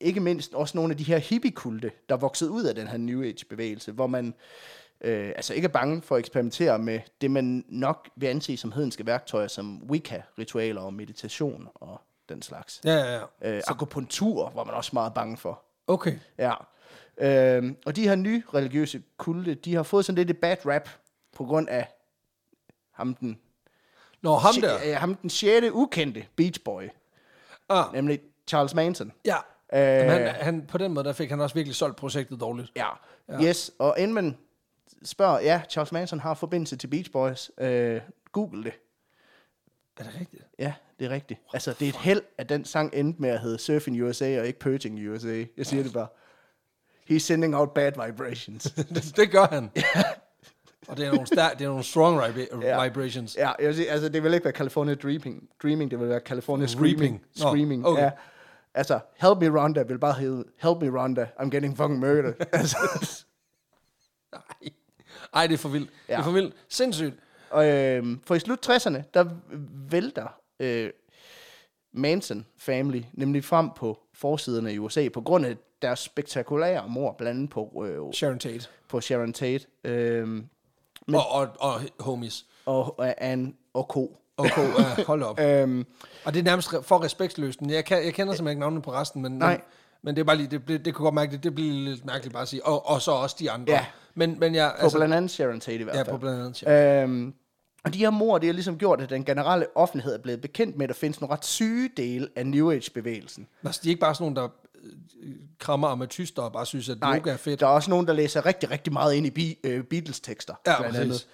Speaker 2: ikke mindst også nogle af de her hippie-kulte, der voksede ud af den her New Age-bevægelse, hvor man øh, altså ikke er bange for at eksperimentere med det, man nok vil anse som hedenske værktøjer, som Wicca-ritualer og meditation og den slags.
Speaker 1: Ja, ja, ja.
Speaker 2: Øh, akupunktur var man også meget bange for.
Speaker 1: Okay.
Speaker 2: Ja. Øhm, og de her nye religiøse kulte, de har fået sådan lidt et bad rap på grund af ham den,
Speaker 1: Nå, ham der.
Speaker 2: Sj- øh, ham den sjette ukendte Beach Boy,
Speaker 1: Ah,
Speaker 2: nemlig Charles Manson.
Speaker 1: ja.
Speaker 2: Øh,
Speaker 1: Jamen, han, han, på den måde, der fik han også virkelig solgt projektet dårligt.
Speaker 2: ja. ja. Yes, og inden man spørger, ja, Charles Manson har forbindelse til Beach Boys, øh, google det.
Speaker 1: Er det rigtigt? (laughs)
Speaker 2: Ja, det er rigtigt. Altså, det er et held, at den sang endte med at hedde Surfing USA og ikke Purging USA. Jeg siger det bare. He's sending out bad vibrations.
Speaker 1: det, det gør han. Og det er nogle, stær- det er nogle strong vibra-
Speaker 2: Ja.
Speaker 1: vibrations.
Speaker 2: Ja, jeg vil sige, altså det vil ikke være California Dreaming, dreaming det vil være California Screaming.
Speaker 1: Reaping. Nå,
Speaker 2: Screaming,
Speaker 1: okay.
Speaker 2: ja. Altså, Help Me Rhonda vil bare hedde, Help Me Rhonda, I'm getting fucking
Speaker 1: (laughs)
Speaker 2: murdered. altså,
Speaker 1: Ej. Ej, det er for vildt. Ja. Det er for vildt. Sindssygt.
Speaker 2: og, øhm, for i slut 60'erne, der vælter øh, Manson Family nemlig frem på forsiderne i USA, på grund af deres spektakulære mor, blandt andet på, øh,
Speaker 1: Sharon Tate.
Speaker 2: på Sharon Tate øhm,
Speaker 1: Men... Og, og, og homies.
Speaker 2: og, og Anne og Co.
Speaker 1: Okay, uh, hold op.
Speaker 2: Øhm,
Speaker 1: Og det er nærmest re- for respektløst. men Jeg, kan, jeg kender simpelthen ikke navnene på resten, men,
Speaker 2: Nej.
Speaker 1: men, men det er bare lige, det, blev- det kunne godt mærke, det, det bliver lidt mærkeligt bare at sige, og, og så også de andre.
Speaker 2: Ja.
Speaker 1: Men, men jeg, altså,
Speaker 2: på blandt andet Sharon Tate i hvert
Speaker 1: ja,
Speaker 2: fald.
Speaker 1: på blandt andet. Ja.
Speaker 2: Øhm, og de her mor, det har ligesom gjort, at den generelle offentlighed er blevet bekendt med, at der findes nogle ret syge dele af New Age-bevægelsen.
Speaker 1: Altså, de er ikke bare sådan nogen, der øh, krammer ametyster og bare synes, at yoga er fedt.
Speaker 2: der er også nogen, der læser rigtig, rigtig meget ind i bi- øh, Beatles-tekster.
Speaker 1: Ja,
Speaker 2: andet.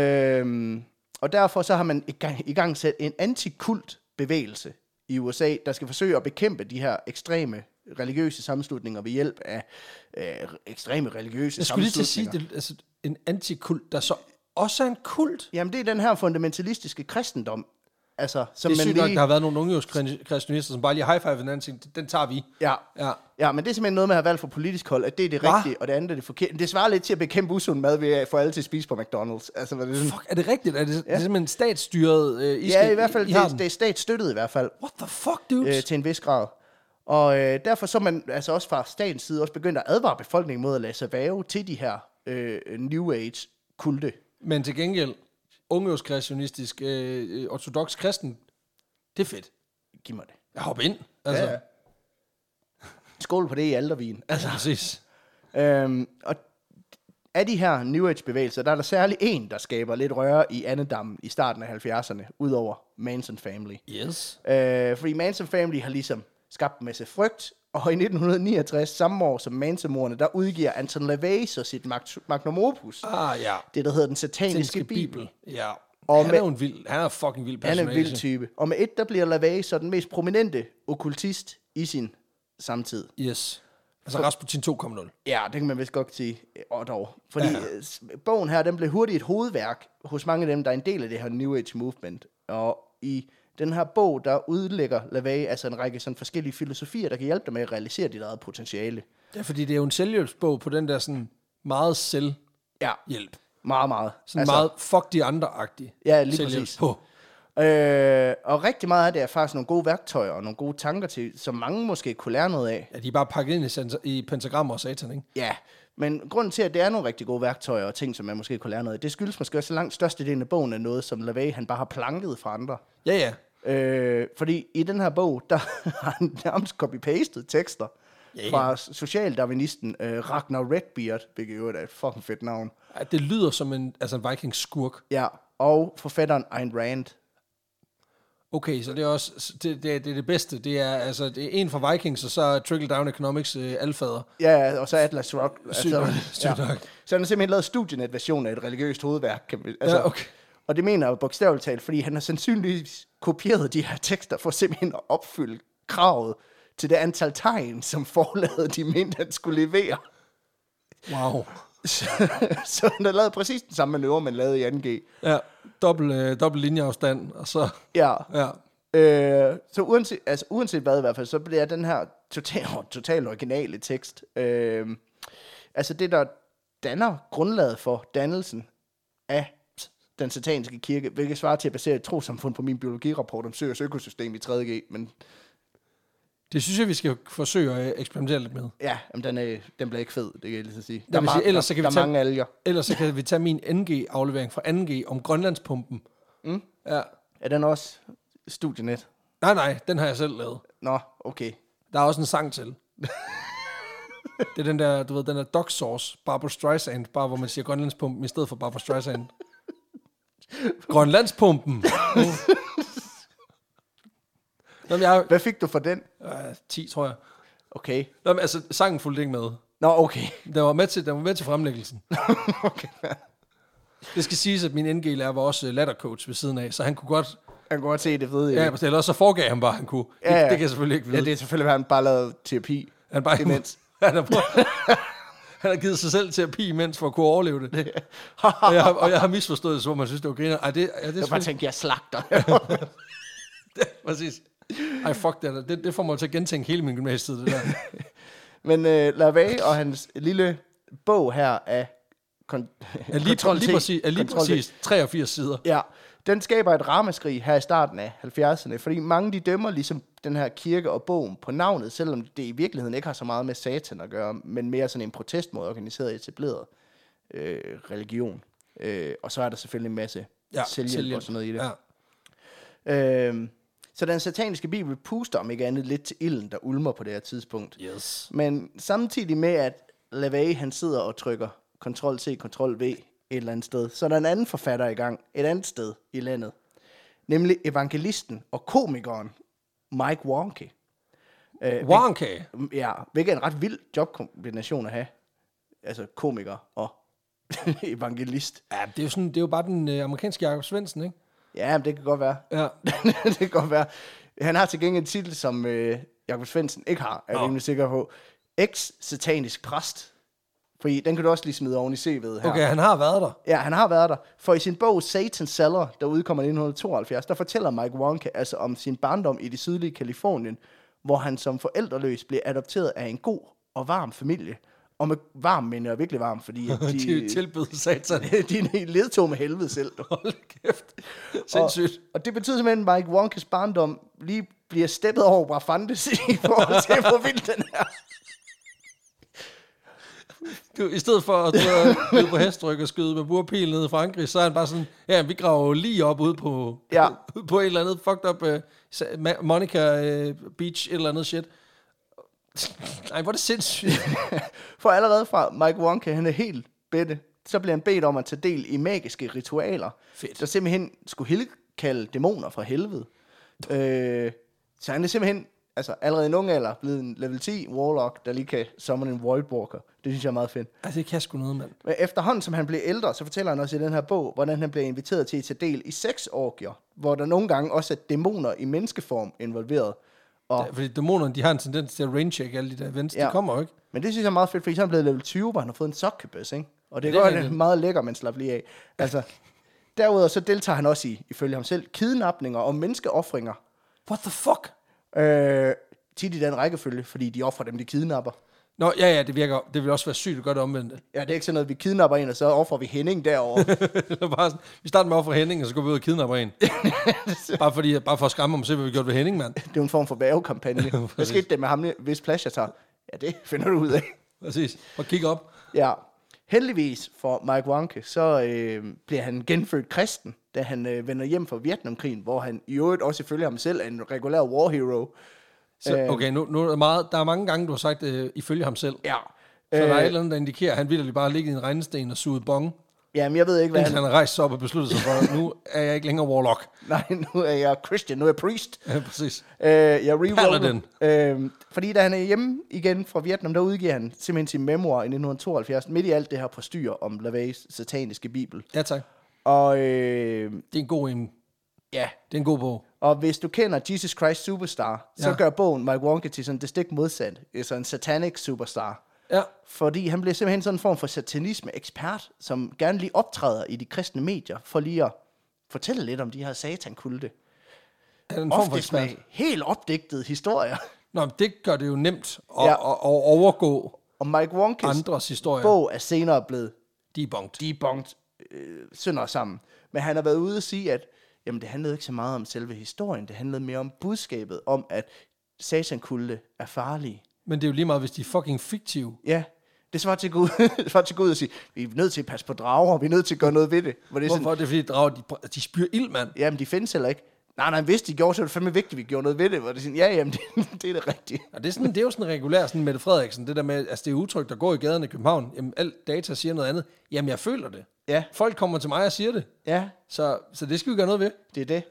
Speaker 2: Øhm, og derfor så har man i gang, i gang sat en antikult bevægelse i USA, der skal forsøge at bekæmpe de her ekstreme religiøse sammenslutninger ved hjælp af øh, ekstreme religiøse
Speaker 1: Jeg skulle lige til at sige,
Speaker 2: sammenslutninger.
Speaker 1: det er altså, en antikult, der så også er en kult.
Speaker 2: Jamen, det er den her fundamentalistiske kristendom, altså, som
Speaker 1: Det er
Speaker 2: man
Speaker 1: sygt
Speaker 2: lige...
Speaker 1: nok, der har været nogle unge hos kri- kristianister, som bare lige high five hinanden og tænkte, den tager vi.
Speaker 2: ja,
Speaker 1: Ja.
Speaker 2: Ja, men det er simpelthen noget, man har valgt fra politisk hold, at det er det
Speaker 1: Hva?
Speaker 2: rigtige, og det andet er det forkerte. Det svarer lidt til at bekæmpe usund mad ved at få alle til at spise på McDonald's. Altså, hvad er det sådan?
Speaker 1: Fuck, er det rigtigt? Er det, ja. det er simpelthen statsstyret? Øh, I
Speaker 2: Ja,
Speaker 1: skal-
Speaker 2: i hvert fald,
Speaker 1: I, I har
Speaker 2: det,
Speaker 1: den?
Speaker 2: det er statsstøttet i hvert fald,
Speaker 1: What the fuck, dudes?
Speaker 2: øh, til en vis grad. Og øh, derfor så er man altså også fra statens side også begyndt at advare befolkningen mod at lade sig væve til de her øh, New Age-kulte.
Speaker 1: Men til gengæld, ungdomskreationistisk, øh, øh, ortodox kristen, det er fedt.
Speaker 2: Giv mig det.
Speaker 1: Jeg hopper ind. Altså,
Speaker 2: Ja,
Speaker 1: ja,
Speaker 2: ja. Skål på det i aldervin.
Speaker 1: altså. Præcis.
Speaker 2: Øhm, og af de her New Age-bevægelser, der er der særlig en, der skaber lidt røre i andedammen i starten af 70'erne, udover Manson Family.
Speaker 1: Yes.
Speaker 2: Øh, fordi Manson Family har ligesom skabt en masse frygt, og i 1969, samme år som Manson-mordene, der udgiver Anton LaVey så sit mag- magnum opus.
Speaker 1: Ah, ja.
Speaker 2: Det, der hedder den sataniske
Speaker 1: Danske
Speaker 2: bibel.
Speaker 1: bibel. Ja.
Speaker 2: Og
Speaker 1: Og han
Speaker 2: med-
Speaker 1: er jo en vild, han er fucking vild
Speaker 2: Han er
Speaker 1: personage.
Speaker 2: en vild type. Og med et, der bliver LaVey så den mest prominente okkultist i sin samtid.
Speaker 1: Yes. Altså Rasputin 2.0.
Speaker 2: Ja, det kan man vist godt sige. Og dog. Fordi ja. bogen her, den blev hurtigt et hovedværk hos mange af dem, der er en del af det her New Age movement. Og i den her bog, der udlægger LaVey altså en række sådan forskellige filosofier, der kan hjælpe dig med at realisere dit eget potentiale.
Speaker 1: Ja, fordi det er jo en selvhjælpsbog på den der sådan meget selvhjælp.
Speaker 2: Ja, meget, meget.
Speaker 1: Sådan altså, meget fuck de andre-agtig
Speaker 2: Ja, lige
Speaker 1: selvhjælpsbog.
Speaker 2: Øh, og rigtig meget af det er faktisk nogle gode værktøjer og nogle gode tanker til, som mange måske kunne lære noget af.
Speaker 1: Ja, de er bare pakket ind i, sens- i pentagrammer og satan, ikke?
Speaker 2: Ja, men grunden til, at det er nogle rigtig gode værktøjer og ting, som man måske kunne lære noget af, det skyldes måske også at langt størstedelen af bogen er noget, som LaVey han bare har planket fra andre.
Speaker 1: Ja, ja.
Speaker 2: (laughs) Øh, fordi i den her bog, der har han nærmest copy-pastet tekster yeah. fra socialdarwinisten øh, Ragnar Redbeard, hvilket jo er et fucking fedt navn.
Speaker 1: Ej, Det lyder som en, altså en vikingskurk.
Speaker 2: Ja, og forfatteren Ayn Rand.
Speaker 1: Okay, så det er også det, det, er- det, er det bedste. Det er altså det er en fra Vikings, og så er Trickle Down Economics øh, alfader.
Speaker 2: Ja, og så Atlas Rock. altså,
Speaker 1: Sygt nok, sygt nok.
Speaker 2: Så han har simpelthen lavet studienetversion af et religiøst hovedværk. Kan vi, altså,
Speaker 1: Ja, okay.
Speaker 2: Og det mener jeg jo bogstaveligt talt, fordi han har sandsynligvis kopieret de her tekster for simpelthen at opfylde kravet til det antal tegn, som forlaget de mente, han skulle levere.
Speaker 1: Wow.
Speaker 2: Så, (laughs) så han har lavet præcis den samme manøvre, man lavede i 2G.
Speaker 1: Ja, dobbelt, øh, dobbelt linjeafstand, og så...
Speaker 2: Ja,
Speaker 1: Ja.
Speaker 2: Øh, så uanset, altså, uanset hvad i hvert fald, så bliver den her total, (laughs) total originale tekst, øh, altså det, der danner grundlaget for dannelsen af den sataniske kirke, hvilket svarer til at basere et trosamfund på min biologirapport om søers økosystem i 3.G, men
Speaker 1: Det synes jeg, vi skal forsøge at øh, eksperimentere lidt med.
Speaker 2: ja, jamen, den, er, den bliver ikke fed, det kan jeg lige så sige.
Speaker 1: vil sige, ellers så kan vi
Speaker 2: der, der er
Speaker 1: tage-
Speaker 2: mange alger.
Speaker 1: Ellers så kan vi tage min NG-aflevering fra 2G om Grønlandspumpen.
Speaker 2: Mm.
Speaker 1: Ja.
Speaker 2: Er den også studienet?
Speaker 1: Nej, nej, den har jeg selv lavet.
Speaker 2: Nå, okay.
Speaker 1: Der er også en sang til. det er den der, du ved, den der dog sauce, Barbara Streisand, bare hvor man siger Grønlandspumpen i stedet for Barbara Streisand. Grønlandspumpen! Nå, men jeg
Speaker 2: Hvad fik du for den?
Speaker 1: er øh, 10, tror jeg.
Speaker 2: Okay.
Speaker 1: Nå, men altså, sangen fulgte ikke med.
Speaker 2: Nå, okay.
Speaker 1: Den var med til, den var med til fremlæggelsen. Det skal siges, at min NG-lærer var også øh, lattercoach ved siden af, så han kunne godt...
Speaker 2: Jeg kan godt se det ved jeg.
Speaker 1: Ja, eller så foregav han bare, at han kunne. Ja,
Speaker 2: Ja,
Speaker 1: ja.
Speaker 2: ja.
Speaker 1: Det, det kan jeg selvfølgelig ikke vide.
Speaker 2: ja, det er selvfølgelig, at han bare lavede terapi.
Speaker 1: Han bare
Speaker 2: Demens.
Speaker 1: (laughs) Han har, prøvet, han har givet sig selv terapi imens for at kunne overleve det. og, jeg har, og jeg har misforstået det, så man synes, det var griner. Ej, det, ja, det er
Speaker 2: Jeg bare
Speaker 1: bare
Speaker 2: tænkte, jeg slagter. (laughs)
Speaker 1: præcis. Ej, fuck det. er da- Det, det får mig til at gentænke hele min gymnasietid, det der.
Speaker 2: Men uh, Lavey og hans lille bog her af kon-
Speaker 1: Er lige,
Speaker 2: Control T.
Speaker 1: lige, præcis, er lige
Speaker 2: Control T.
Speaker 1: præcis 83 sider.
Speaker 2: Ja, den skaber et ramaskrig her i starten af 70'erne, fordi mange de dømmer ligesom den her kirke og bogen på navnet, selvom det i virkeligheden ikke har så meget med satan at gøre, men mere sådan en protest mod organiseret og etableret øh, religion. Øh, og så er der selvfølgelig en masse ja, selvhjælp, og sådan noget i det.
Speaker 1: Ja.
Speaker 2: Øhm, så den sataniske bibel puster om ikke andet lidt til ilden, der ulmer på det her tidspunkt.
Speaker 1: Yes.
Speaker 2: Men samtidig med, at LaVey han sidder og trykker Ctrl-C, Ctrl-V et eller andet sted, så er der en anden forfatter i gang et andet sted i landet. Nemlig evangelisten og komikeren Mike Wonke. Øh,
Speaker 1: Wonka.
Speaker 2: hvil- ja, hvilket er en ret vild jobkombination at have. Altså komiker og (laughs) evangelist.
Speaker 1: Ja, det er jo, sådan, det er jo bare den øh, amerikanske Jakob Svendsen, ikke?
Speaker 2: Ja, men det kan godt være.
Speaker 1: Ja.
Speaker 2: (laughs) det kan godt være. Han har til gengæld en titel, som øh, Jakob Svendsen ikke har, er jeg
Speaker 1: Nå.
Speaker 2: rimelig sikker på. Ex-satanisk præst. Fordi den kan du også lige smide oven i CV'et her.
Speaker 1: Okay, han har været der.
Speaker 2: Ja, han har været der. For i sin bog Satan Seller, der udkommer i 1972, der fortæller Mike Wonka altså om sin barndom i det sydlige Kalifornien, hvor han som forældreløs blev adopteret af en god og varm familie. Og med varm, men jeg virkelig
Speaker 1: (laughs)
Speaker 2: varm, fordi at
Speaker 1: De, de
Speaker 2: de,
Speaker 1: tilbød
Speaker 2: (laughs)
Speaker 1: satan.
Speaker 2: de ledtog med helvede selv. du.
Speaker 1: Hold kæft. Sindssygt.
Speaker 2: Og det betyder simpelthen, at Mike Wonkas barndom lige bliver steppet over Brafantes i forhold til, hvor vild den er.
Speaker 1: Du, I stedet for at du
Speaker 2: (laughs)
Speaker 1: ved, flyde på hestryk og skyde med burpil ned i Frankrig, så er han bare sådan, ja, vi graver jo lige op ude på,
Speaker 2: Ja.
Speaker 1: ude (laughs) på et eller andet fucked up uh, Sa- Ma- Monica uh, Beach, et eller andet shit. (laughs) Nej, hvor er det sindssygt.
Speaker 2: For allerede fra Mike Wonka, han er helt bedte, så bliver han bedt om at tage del i magiske ritualer,
Speaker 1: Fedt.
Speaker 2: der simpelthen skulle helkalde dæmoner fra helvede. Øh, så han er simpelthen, altså allerede i en ung alder, blevet en level 10 warlock, der lige kan summon en void walker. Det synes jeg er meget fedt.
Speaker 1: altså, det kan sgu noget, mand.
Speaker 2: Men efterhånden, som han blev ældre, så fortæller han også i den her bog, hvordan han blev inviteret til at tage del i sexorgier, hvor der nogle gange også er dæmoner i menneskeform involveret. Og,
Speaker 1: Ja, fordi dæmonerne, de har en tendens til at raincheck alle de der events. Ja.
Speaker 2: Ja.
Speaker 1: De kommer jo ikke.
Speaker 2: men det synes jeg er meget fedt, fordi så er han blevet level 20, hvor han har fået en succubus, ikke? Og det,
Speaker 1: Det er
Speaker 2: det gør det
Speaker 1: rigtigt.
Speaker 2: meget lækker, men slap lige af. Altså, derudover så deltager han også i, ifølge ham selv, kidnapninger og menneskeoffringer.
Speaker 1: What the fuck?
Speaker 2: Øh, tit i den rækkefølge, fordi de offrer dem, de kidnapper.
Speaker 1: Nå, ja, ja, det virker. Det vil også være sygt at gøre det omvendt. (laughs)
Speaker 2: Ja, det er ikke sådan noget, vi kidnapper en, og så offrer vi Henning derovre.
Speaker 1: Eller bare sådan, vi starter med at ofre Henning, og så går vi ud og kidnapper
Speaker 2: (laughs)
Speaker 1: en. bare, fordi, bare for at skræmme ham og se, hvad vi gjorde ved Henning, mand.
Speaker 2: det er jo en form for værvekampagne. Hvad skete der med ham, hvis plads jeg tager? Ja, det finder du ud af.
Speaker 1: Præcis. Og kig op.
Speaker 2: Ja. Heldigvis for Mike Wonke, så øh, bliver han genfødt kristen, da han øh, vender hjem fra Vietnamkrigen, hvor han i øvrigt også ifølge ham selv er en regulær war hero.
Speaker 1: Så, okay, nu, nu er der, meget, der er mange gange, du har sagt øh, ifølge ham selv.
Speaker 2: Ja.
Speaker 1: Så der er
Speaker 2: Øh.
Speaker 1: et eller andet, der indikerer, at han vildt bare ligger i en regnesten og suget bong,
Speaker 2: Jamen, jeg ved ikke, hvad
Speaker 1: (laughs) indtil han har rejst sig op og besluttet sig for, (laughs) at nu er jeg ikke længere warlock.
Speaker 2: Nej, nu er jeg Christian, nu er jeg priest.
Speaker 1: Ja, præcis.
Speaker 2: Øh, jeg rerollede.
Speaker 1: Paladin.
Speaker 2: Øh, fordi da han er hjemme igen fra Vietnam, der udgiver han simpelthen sin memoir i 1972, midt i alt det her postyr om Lavays sataniske bibel.
Speaker 1: Ja, tak.
Speaker 2: Og øh,
Speaker 1: Det er en god en.
Speaker 2: ja,
Speaker 1: Det er en god bog.
Speaker 2: og hvis du kender Jesus Christ Superstar, ja. så
Speaker 1: Ja.
Speaker 2: gør bogen Mike Wonka til sådan det stik modsat. Altså en satanic superstar.
Speaker 1: Ja.
Speaker 2: Fordi han bliver simpelthen sådan en form for satanisme-ekspert, som gerne lige optræder i de kristne medier, for lige at fortælle lidt om de her satankulte.
Speaker 1: Han er en form for
Speaker 2: Oftest
Speaker 1: ekspert.
Speaker 2: med helt opdigtede historier.
Speaker 1: Nå, men det gør det jo nemt at, ja.
Speaker 2: Ja.
Speaker 1: at, at overgå
Speaker 2: Og Mike Wonkes
Speaker 1: andres historier. Bog.
Speaker 2: bog er senere blevet
Speaker 1: De er bongt.
Speaker 2: debunked øh, sønder og sammen. Men han har været ude og sige, at jamen, det handlede ikke så meget om selve historien, det handlede mere om budskabet, om at satankulte er farlige.
Speaker 1: Men det er jo lige meget, hvis de er fucking fiktive.
Speaker 2: Ja, det svarer til Gud, (laughs) det svarer til Gud at sige, vi er nødt til at passe på drager, vi er nødt til at gøre noget ved det. Hvor det er sådan,
Speaker 1: Hvorfor er det, fordi de drager, de, br- de spyr ild, mand?
Speaker 2: jamen de findes heller ikke. Nej, nej, hvis de gjorde, så var det fandme vigtigt, at vi gjorde noget ved det. Hvor det er sådan, ja, jamen, (laughs) det, det er det rigtige.
Speaker 1: Og det er, sådan, det er jo sådan regulær, sådan Mette Frederiksen, det der med, altså det er udtryk, der går i gaderne i København. Jamen, alt data siger noget andet. Jamen, jeg føler det.
Speaker 2: Ja.
Speaker 1: Folk kommer til mig og siger det.
Speaker 2: Ja,
Speaker 1: Så, så det skal vi gøre noget ved.
Speaker 2: det er det.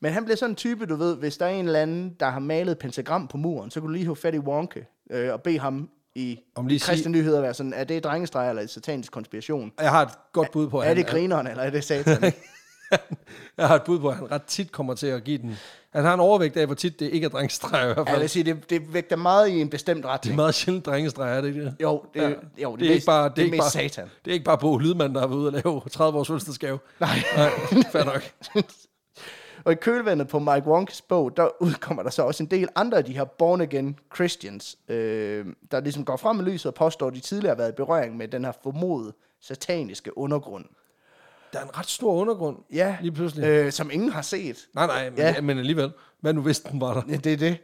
Speaker 2: Men han bliver sådan en type, du ved, hvis der er en eller anden, der har malet et pentagram på muren, så kan du lige hive fat i Wonke øh, og bede ham i
Speaker 1: Om lige at
Speaker 2: kristne nyheder være sådan, er det drengestreger eller et satanisk konspiration?
Speaker 1: Og Jeg har et godt bud på, at
Speaker 2: Er
Speaker 1: han,
Speaker 2: det grineren, eller er
Speaker 1: (laughs)
Speaker 2: det satan?
Speaker 1: jeg har et bud på, at han ret tit kommer til at give den. Han har en overvægt af, hvor tit det ikke er drengestreger i hvert
Speaker 2: jeg
Speaker 1: fald.
Speaker 2: vil sige, det, det vægter meget i en bestemt
Speaker 1: Det er
Speaker 2: retning.
Speaker 1: meget sjældent drengestreger, er det ikke det?
Speaker 2: Jo, det,
Speaker 1: Ja.
Speaker 2: ja. jo, det,
Speaker 1: det, er ikke bare, det, er ikke
Speaker 2: mest
Speaker 1: bare,
Speaker 2: satan.
Speaker 1: Det er ikke bare Bo Lydmand, der har været ude og lave 30 års fødselsdagsgave.
Speaker 2: Nej. (laughs)
Speaker 1: Nej, fair nok.
Speaker 2: Og i kølvandet på Mike Wonkes bog, der udkommer der så også en del andre af de her born again Christians, øh, der ligesom går frem i lyset og påstår, at de tidligere har været i berøring med den her formodede sataniske undergrund.
Speaker 1: Der er en ret stor undergrund.
Speaker 2: Ja,
Speaker 1: Lige pludselig.
Speaker 2: øh, som ingen har set.
Speaker 1: Nej, nej, men, ja.
Speaker 2: Ja.
Speaker 1: men alligevel. Hvad nu hvis den var der?
Speaker 2: Ja, Det er det.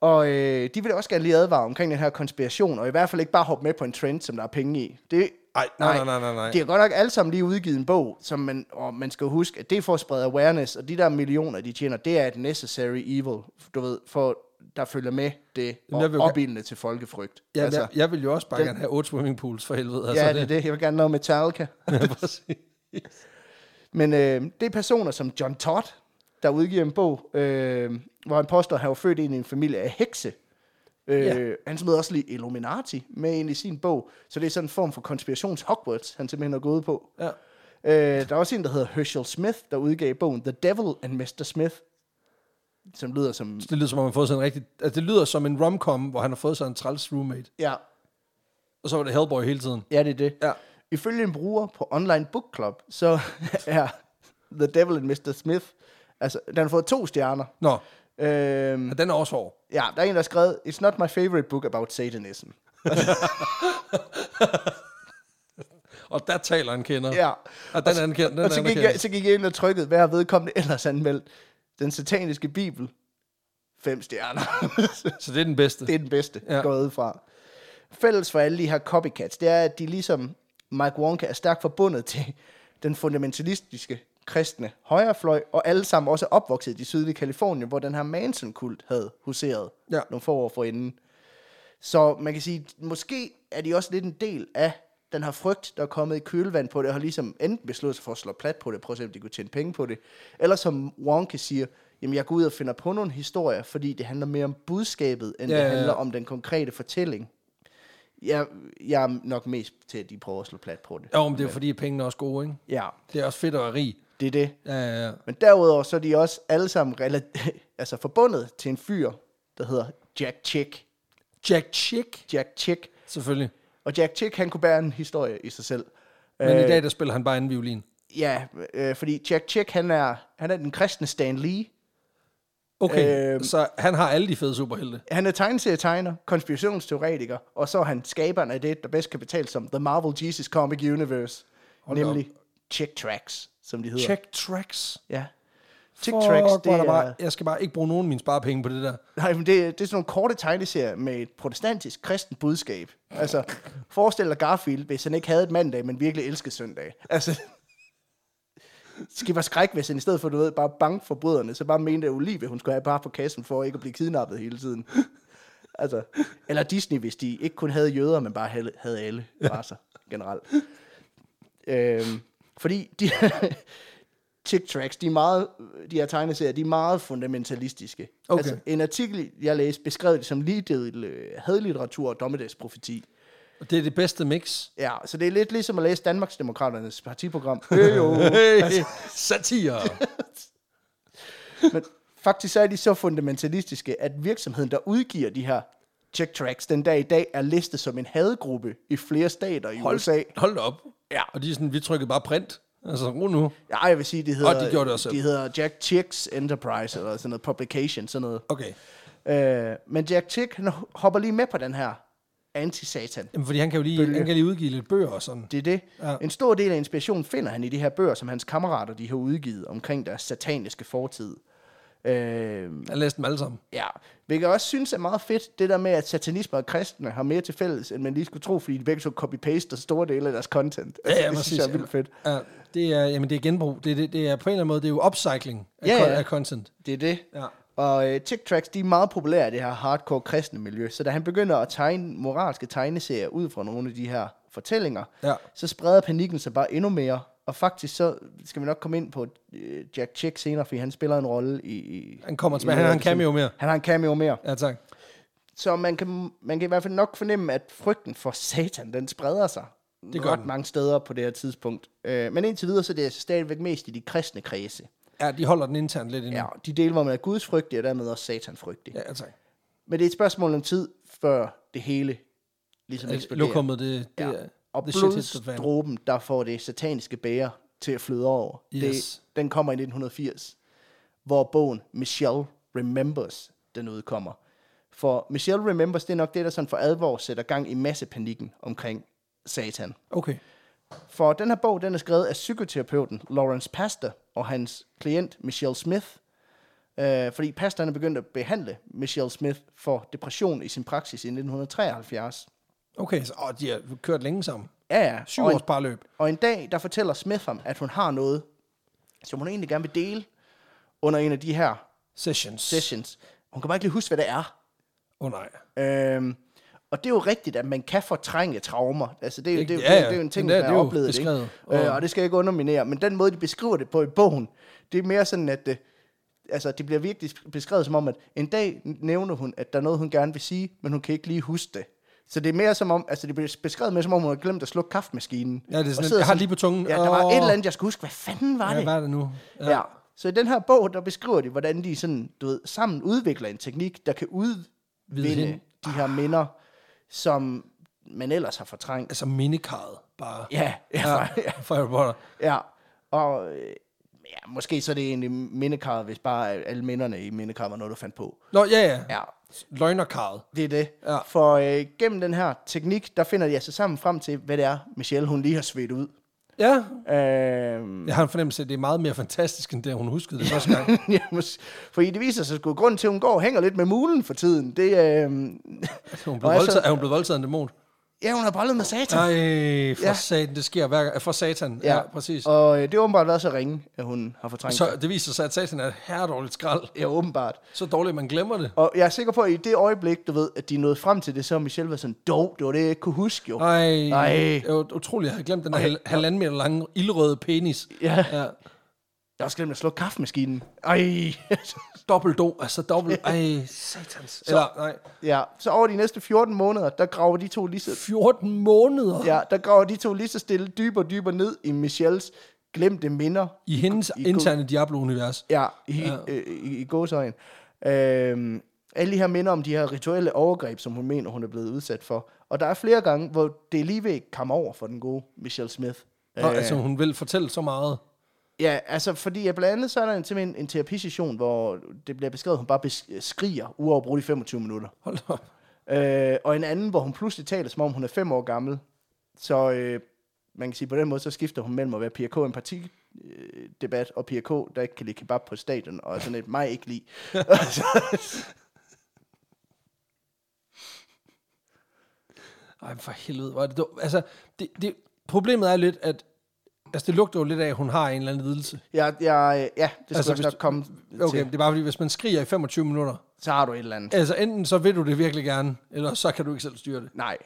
Speaker 2: Og øh, de vil også gerne lige advare omkring den her konspiration, og i hvert fald ikke bare hoppe med på en trend, som der er penge i. Det,
Speaker 1: Ej, nej, nej, nej, nej, nej.
Speaker 2: De har godt nok alle sammen lige udgivet en bog, som man, og man skal huske, at det er for at sprede awareness, og de der millioner, de tjener, det er et necessary evil, du ved, for der følger med det,
Speaker 1: Jamen, jeg vil
Speaker 2: og
Speaker 1: jo gerne-
Speaker 2: opildende til folkefrygt.
Speaker 1: Ja, altså, jeg, jeg vil jo også bare
Speaker 2: den-
Speaker 1: gerne have otte swimmingpools for helvede. altså,
Speaker 2: ja, det er det. Jeg vil gerne noget Metallica.
Speaker 1: (laughs) Ja, præcis.
Speaker 2: Men øh, det er personer som John Todd, der udgiver en bog, øh, hvor han påstår, at han var født ind i en familie af hekse. Øh,
Speaker 1: Ja.
Speaker 2: Han smed også lige Illuminati med ind i sin bog, så det er sådan en form for konspirations Hogwarts, han simpelthen er gået på.
Speaker 1: Ja.
Speaker 2: Øh, der er også en, der hedder Herschel Smith, der udgav bogen The Devil and Mr. Smith, som lyder som...
Speaker 1: Det lyder som om, han har fået sig en rigtig... Altså, det lyder som en romcom, hvor han har fået sig en træls roommate.
Speaker 2: Ja,
Speaker 1: Og så var det Hellboy hele tiden.
Speaker 2: ja det er det.
Speaker 1: Ja.
Speaker 2: Ifølge en bruger på Online Book Club, så (laughs) er The Devil and Mr. Smith... Altså, den har fået to stjerner.
Speaker 1: Nå,
Speaker 2: Øhm,
Speaker 1: og den er også hård.
Speaker 2: ja, der er en, der har skrevet, It's not my favorite book about satanism.
Speaker 1: Og der taler en kender.
Speaker 2: Ja.
Speaker 1: Og den anden kender. Den
Speaker 2: og så
Speaker 1: anden
Speaker 2: gik,
Speaker 1: kender.
Speaker 2: jeg, så gik jeg ind og trykkede, hvad har vedkommende ellers anmeldt? Den sataniske bibel. Fem stjerner. (laughs)
Speaker 1: Så det er den bedste.
Speaker 2: det er den bedste,
Speaker 1: Ja.
Speaker 2: ja. går jeg ud fra. Fælles for alle de her copycats, det er, at de ligesom Mike Wonka er stærkt forbundet til den fundamentalistiske kristne højrefløj, og alle sammen også opvokset i det sydlige Kalifornien, hvor den her Manson-kult havde huseret
Speaker 1: Ja.
Speaker 2: nogle få år forinden. Så man kan sige, måske er de også lidt en del af den her frygt, der er kommet i kølvand på det, og har ligesom enten besluttet sig for at slå plat på det, prøve at se, om de kunne tjene penge på det, eller som Wonka siger, jamen jeg går ud og finder på nogle historier, fordi det handler mere om budskabet, end
Speaker 1: Ja,
Speaker 2: ja,
Speaker 1: ja,
Speaker 2: det
Speaker 1: ja.
Speaker 2: handler om den konkrete fortælling. Jeg, jeg er nok mest til, at de prøver at slå plat på det.
Speaker 1: Jo, men det er jo fordi, at pengene er også gode, ikke?
Speaker 2: Ja,
Speaker 1: Det er også fedt at være rig.
Speaker 2: det er det.
Speaker 1: Ja, ja, ja.
Speaker 2: Men derudover så er de også alle sammen rela- (laughs) altså forbundet til en fyr, der hedder Jack Chick.
Speaker 1: Jack Chick,
Speaker 2: Jack Chick.
Speaker 1: selvfølgelig.
Speaker 2: Og Jack Chick, han kunne bære en historie i sig selv.
Speaker 1: Men øh. i dag, der spiller han bare anden violin.
Speaker 2: Ja, øh, fordi Jack Chick, han er, han er den kristne Stan Lee.
Speaker 1: Okay, øh.
Speaker 2: Øh.
Speaker 1: så han har alle de fede superhelte.
Speaker 2: Han er tegneserietegner, konspirationsteoretiker, og så er han skaberen af det, der bedst kan betales som The Marvel Jesus Comic Universe.
Speaker 1: da op.
Speaker 2: nemlig Chick Tracks, som de hedder.
Speaker 1: Check tracks.
Speaker 2: Ja. Chick
Speaker 1: Fuck,
Speaker 2: Tracks, det
Speaker 1: hvor der
Speaker 2: er...
Speaker 1: Bare, jeg skal bare ikke bruge nogen af mine sparepenge på det der.
Speaker 2: Nej, men det, det er sådan nogle korte tegneserier med et protestantisk kristen budskab. Altså, forestil dig Garfield, hvis han ikke havde et mandag, men virkelig elskede søndag. Altså, skipper skræk, hvis han i stedet for, du ved, bare bank forbryderne, så bare mente at Olivia, hun skulle have bare på kassen for ikke at blive kidnappet hele tiden. altså, eller Disney, hvis de ikke kun havde jøder, men bare havde, havde alle raser generelt. Øhm, fordi de Tick Tracks, de, er meget, de her tegneserier, de er meget fundamentalistiske.
Speaker 1: Okay.
Speaker 2: Altså, en artikel, jeg læste, beskrev det som lige del øh, hadlitteratur og dommedagsprofeti.
Speaker 1: Og det er det bedste mix.
Speaker 2: Ja, så det er lidt ligesom at læse Danmarksdemokraternes
Speaker 1: (laughs)
Speaker 2: partiprogram. Øh, jo.
Speaker 1: Hey, satire.
Speaker 2: Men faktisk så er de så fundamentalistiske, at virksomheden, der udgiver de her check tracks den dag i dag, er listet som en hadegruppe i flere stater i USA.
Speaker 1: Hold, hold da op. Ja. Og de er sådan, vi trykkede bare print. Altså, ro nu.
Speaker 2: Ja, jeg vil sige, de hedder,
Speaker 1: Og de gjorde det også selv.
Speaker 2: de hedder Jack Chicks Enterprise, eller sådan noget publication, sådan noget.
Speaker 1: Okay.
Speaker 2: Øh, men Jack Chick, han hopper lige med på den her anti-satan.
Speaker 1: Jamen, fordi han kan jo lige, han kan lige udgive lidt bøger og sådan.
Speaker 2: Det er det. Ja. En stor del af inspirationen finder han i de her bøger, som hans kammerater de har udgivet omkring deres sataniske fortid. Øh,
Speaker 1: Jeg læste dem alle sammen.
Speaker 2: Ja, hvilket jeg også synes er meget fedt, det der med, at satanisme og kristne har mere til fælles, end man lige skulle tro, fordi de begge to copy-paster store dele af deres content. Altså, (laughs) det synes jeg er vildt fedt.
Speaker 1: Ja, det er, jamen, det er genbrug. Det, er- det, det er på en eller anden måde, det er jo upcycling af,
Speaker 2: Ja,
Speaker 1: ja,
Speaker 2: ja.
Speaker 1: ja. af content.
Speaker 2: Det er det.
Speaker 1: Ja.
Speaker 2: Og øh, Tick Tracks, de er meget populære i det her hardcore kristne miljø, så da han begynder at tegne moralske tegneserier ud fra nogle af de her fortællinger,
Speaker 1: Ja.
Speaker 2: så spreder panikken sig bare endnu mere. Og faktisk så skal vi nok komme ind på øh, Jack Chick senere, fordi han spiller en rolle i... i
Speaker 1: Han kommer
Speaker 2: i
Speaker 1: tilbage. Han
Speaker 2: noget
Speaker 1: har
Speaker 2: af
Speaker 1: en
Speaker 2: det
Speaker 1: cameo
Speaker 2: tid.
Speaker 1: mere.
Speaker 2: Han har en cameo mere.
Speaker 1: Ja, tak.
Speaker 2: Så man kan, man kan i hvert fald nok fornemme, at frygten for satan, den spreder sig
Speaker 1: Det gør
Speaker 2: ret
Speaker 1: den.
Speaker 2: mange steder på det her tidspunkt. Øh, men indtil videre, så er det altså stadigvæk mest i de kristne kredse.
Speaker 1: Ja, de holder den internt lidt endnu.
Speaker 2: Ja, de dele, hvor man er Guds frygtig, og dermed også satan frygtig. Ja.
Speaker 1: ja tak.
Speaker 2: Men det er et spørgsmål om tid, før det hele ligesom eksploderer.
Speaker 1: Altså, Lokummet, det, Øh, det
Speaker 2: ja.
Speaker 1: er...
Speaker 2: Og
Speaker 1: the shit hits the fan.
Speaker 2: blodsdråben, der får det sataniske bære til at flyde over,
Speaker 1: Yes.
Speaker 2: det, den kommer i 1980, hvor bogen Michelle Remembers, den udkommer. For Michelle Remembers, det er nok det, der sådan for alvor sætter gang i massepanikken omkring satan.
Speaker 1: Okay.
Speaker 2: For den her bog, den er skrevet af psykoterapeuten Lawrence Pastor og hans klient Michelle Smith. Øh, fordi Pastor han er begyndt at behandle Michelle Smith for depression i sin praksis i 1973.
Speaker 1: Okay, så åh, de har kørt længe sammen.
Speaker 2: Ja, ja.
Speaker 1: Syv
Speaker 2: og en-
Speaker 1: års parløb.
Speaker 2: og en dag, der fortæller Smith ham, at hun har noget, som hun egentlig gerne vil dele under en af de her
Speaker 1: Sessions.
Speaker 2: sessions. Hun kan bare ikke lige huske, hvad det er.
Speaker 1: Åh oh, nej.
Speaker 2: Øhm, og det er jo rigtigt, at man kan fortrænge traumer. Altså, det, er jo, det, er jo,
Speaker 1: Ja, ja.
Speaker 2: det, er jo en ting,
Speaker 1: Men det er-
Speaker 2: man har
Speaker 1: det er jo
Speaker 2: oplevet. Ikke?
Speaker 1: beskrevet,
Speaker 2: Og... Øh, og det skal jeg ikke underminere. Men den måde, de beskriver det på i bogen, det er mere sådan, at det, altså, det bliver virkelig beskrevet som om, at en dag nævner hun, at der er noget, hun gerne vil sige, men hun kan ikke lige huske det. Så det er mere som om, altså det bliver beskrevet mere som om, hun har glemt at slukke kaffemaskinen.
Speaker 1: Ja, det er sådan
Speaker 2: Og
Speaker 1: lidt,
Speaker 2: sidder
Speaker 1: jeg har lige på tungen.
Speaker 2: Ja, der var
Speaker 1: Åh.
Speaker 2: et eller andet, jeg skulle huske. Hvad fanden var
Speaker 1: Ja,
Speaker 2: det?
Speaker 1: hvad er det nu?
Speaker 2: Ja. ja. Så i den her bog, der beskriver de, hvordan de sådan, du ved, sammen udvikler en teknik, der kan udvinde
Speaker 1: hende.
Speaker 2: de her minder, som man ellers har fortrængt.
Speaker 1: Altså mindekarret, bare.
Speaker 2: Ja, ja, ja. (laughs)
Speaker 1: fra Harry Potter.
Speaker 2: ja. Og øh, ja, måske så er det egentlig mindekarret, hvis bare alle minderne i mindekarret var noget, du fandt på.
Speaker 1: Nå, ja, ja.
Speaker 2: Ja,
Speaker 1: Løgnerkarret.
Speaker 2: det er det.
Speaker 1: Ja.
Speaker 2: For øh, gennem den her teknik, der finder de altså sammen frem til, hvad det er, Michelle, hun lige har svedt ud.
Speaker 1: Ja,
Speaker 2: Øhm,
Speaker 1: jeg har en fornemmelse af, at det er meget mere fantastisk, end det, hun huskede det første gang.
Speaker 2: (laughs) ja, mås- fordi det viser sig sgu, at grunden til, at hun går og hænger lidt med mulen for tiden, det øh, (laughs)
Speaker 1: Hun blev
Speaker 2: Og altså-
Speaker 1: voldtaget, er hun blevet voldtaget af en dæmon?
Speaker 2: ja, hun har bollet med satan.
Speaker 1: Nej, for
Speaker 2: Ja.
Speaker 1: ja. satan, det sker hver gang. For satan, ja, ja præcis.
Speaker 2: Og øh, det har åbenbart været så ringe, at hun har fortrængt så...
Speaker 1: Så det viser sig, at satan er et herredårligt skrald.
Speaker 2: Ja, åbenbart.
Speaker 1: Så dårligt, at man glemmer det.
Speaker 2: Og jeg er sikker på, at i det øjeblik, du ved, at de er nået frem til det, så har Michelle været sådan, dog, det var det, jeg ikke kunne huske jo.
Speaker 1: Nej,
Speaker 2: Ej.
Speaker 1: det var utroligt, jeg havde glemt den der hal- halvanden meter lange, ildrøde penis.
Speaker 2: Ja.
Speaker 1: ja.
Speaker 2: Jeg har også glemt at slukke kaffemaskinen. Ej.
Speaker 1: Dobbelt do, altså dobbelt. Ej, satans. Eller, nej.
Speaker 2: (laughs) ja, så over de næste 14 måneder, der graver de to lige så,
Speaker 1: 14 måneder ja.
Speaker 2: ja, der graver de to lige så stille dybere og dybere ned i Michelles glemte minder.
Speaker 1: i hendes
Speaker 2: I- i-
Speaker 1: interne Diablo-univers.
Speaker 2: Ja, i, ja. Øh, i, i gåsøjen. Øhm, alle de her minder om de her rituelle overgreb, som hun mener, hun er blevet udsat for. Og der er flere gange, hvor det lige ved ikke kom over for den gode Michelle Smith.
Speaker 1: Nå, altså, hun vil fortælle så meget.
Speaker 2: Ja, altså fordi at blandt andet så er der en, simpelthen en terapisession, hvor det bliver beskrevet, at hun bare bes- skriger uafbrudt i 25 minutter.
Speaker 1: Hold da op.
Speaker 2: Øh, og en anden, hvor hun pludselig taler, som om hun er 5 år gammel. Så øh, man kan sige, på den måde, så skifter hun mellem at være PRK en parti øh, debat, og PRK, der ikke kan lide kebab på stadion, og sådan et mig ikke lide.
Speaker 1: Ej, for helvede, hvor er det dumt. Altså, det, det, problemet er lidt, at, Altså, det lugter jo lidt af, at hun har en eller anden lidelse.
Speaker 2: Ja, ja, ja det skal
Speaker 1: Altså,
Speaker 2: altså, jeg
Speaker 1: hvis
Speaker 2: nok
Speaker 1: du-
Speaker 2: komme
Speaker 1: Okay,
Speaker 2: til.
Speaker 1: det er bare fordi, hvis man skriger i 25 minutter,
Speaker 2: Så har du et eller andet.
Speaker 1: altså enten så vil du det virkelig gerne, eller så kan du ikke selv styre det.
Speaker 2: Nej.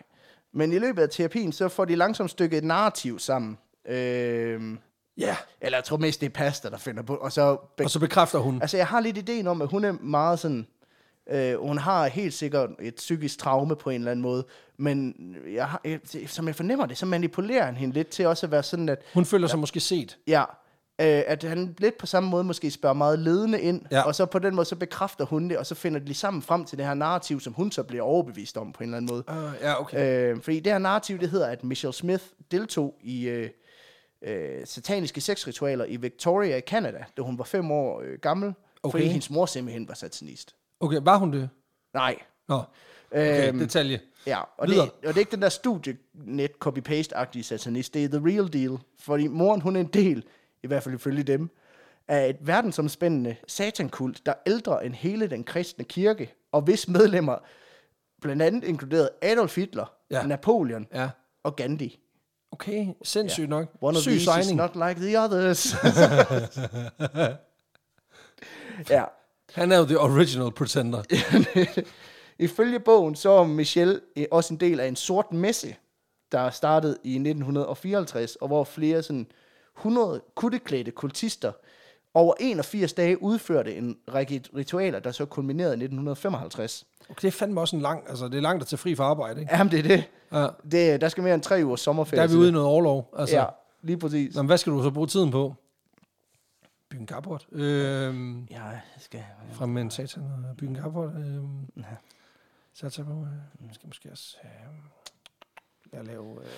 Speaker 2: Men i løbet af terapien, så får de langsomt stykket et narrativ sammen. Øh,
Speaker 1: Ja,
Speaker 2: eller jeg tror mest, det er pasta, der finder på. Og så be-
Speaker 1: og så bekræfter hun.
Speaker 2: Altså, jeg har lidt ideen om, at hun er meget sådan... Øh, hun har helt sikkert et psykisk traume på en eller anden måde, men jeg har, jeg, som jeg fornemmer det, så manipulerer han hende lidt til også at være sådan, at,
Speaker 1: Hun føler sig måske set.
Speaker 2: ja, øh, at han lidt på samme måde måske spørger meget ledende ind,
Speaker 1: Ja.
Speaker 2: ja. og så på den måde, så bekræfter hun det, og så finder de lige sammen frem til det her narrativ, som hun så bliver overbevist om på en eller anden måde.
Speaker 1: Uh, ja, okay.
Speaker 2: Øh, fordi det her narrativ, det hedder, at Michelle Smith deltog i øh, øh, sataniske sexritualer i Victoria i Canada, da hun var fem år øh, gammel, okay. fordi
Speaker 1: Okay.
Speaker 2: hendes mor simpelthen var satanist.
Speaker 1: Øh, Okay, var hun det?
Speaker 2: Nej.
Speaker 1: Nå, okay, øhm, detalje.
Speaker 2: Ja, og det,
Speaker 1: videre.
Speaker 2: og det er ikke den der studienet copy-paste-agtige satanist, det er the real deal. Fordi moren, hun er en del, i hvert fald ifølge dem, af et verdensomspændende satankult, der er ældre end hele den kristne kirke, og hvis medlemmer blandt andet inkluderede Adolf Hitler,
Speaker 1: Ja.
Speaker 2: ja. Napoleon
Speaker 1: Ja.
Speaker 2: og Gandhi.
Speaker 1: Okay, sindssygt nok.
Speaker 2: One of
Speaker 1: Syg
Speaker 2: these is
Speaker 1: signing.
Speaker 2: not like the
Speaker 1: (laughs)
Speaker 2: others. (laughs) ja.
Speaker 1: Han er jo the original pretender.
Speaker 2: (laughs) Ifølge bogen, så er Michelle eh, også en del af en sort messe, der startede i 1954, og hvor flere sådan 100 kutteklædte kultister over 81 dage udførte en række ritualer, der så kulminerede i 1955.
Speaker 1: Okay, det er fandme også en lang, altså det er langt at tage fri fra arbejde, ikke?
Speaker 2: Jamen, det er det.
Speaker 1: Ja.
Speaker 2: det der skal mere end tre ugers sommerferie.
Speaker 1: Der er vi
Speaker 2: til
Speaker 1: ude i
Speaker 2: det.
Speaker 1: noget overlov. Altså,
Speaker 2: Ja,
Speaker 1: ja.
Speaker 2: lige præcis.
Speaker 1: Nå, men hvad skal du så bruge tiden på? Bygge en carport. Øhm,
Speaker 2: Ja, jeg skal... øh,
Speaker 1: fra med satan og bygge en carport. Øhm, ja. Så jeg tager på, øh, skal måske også... Øh, jeg lave øh,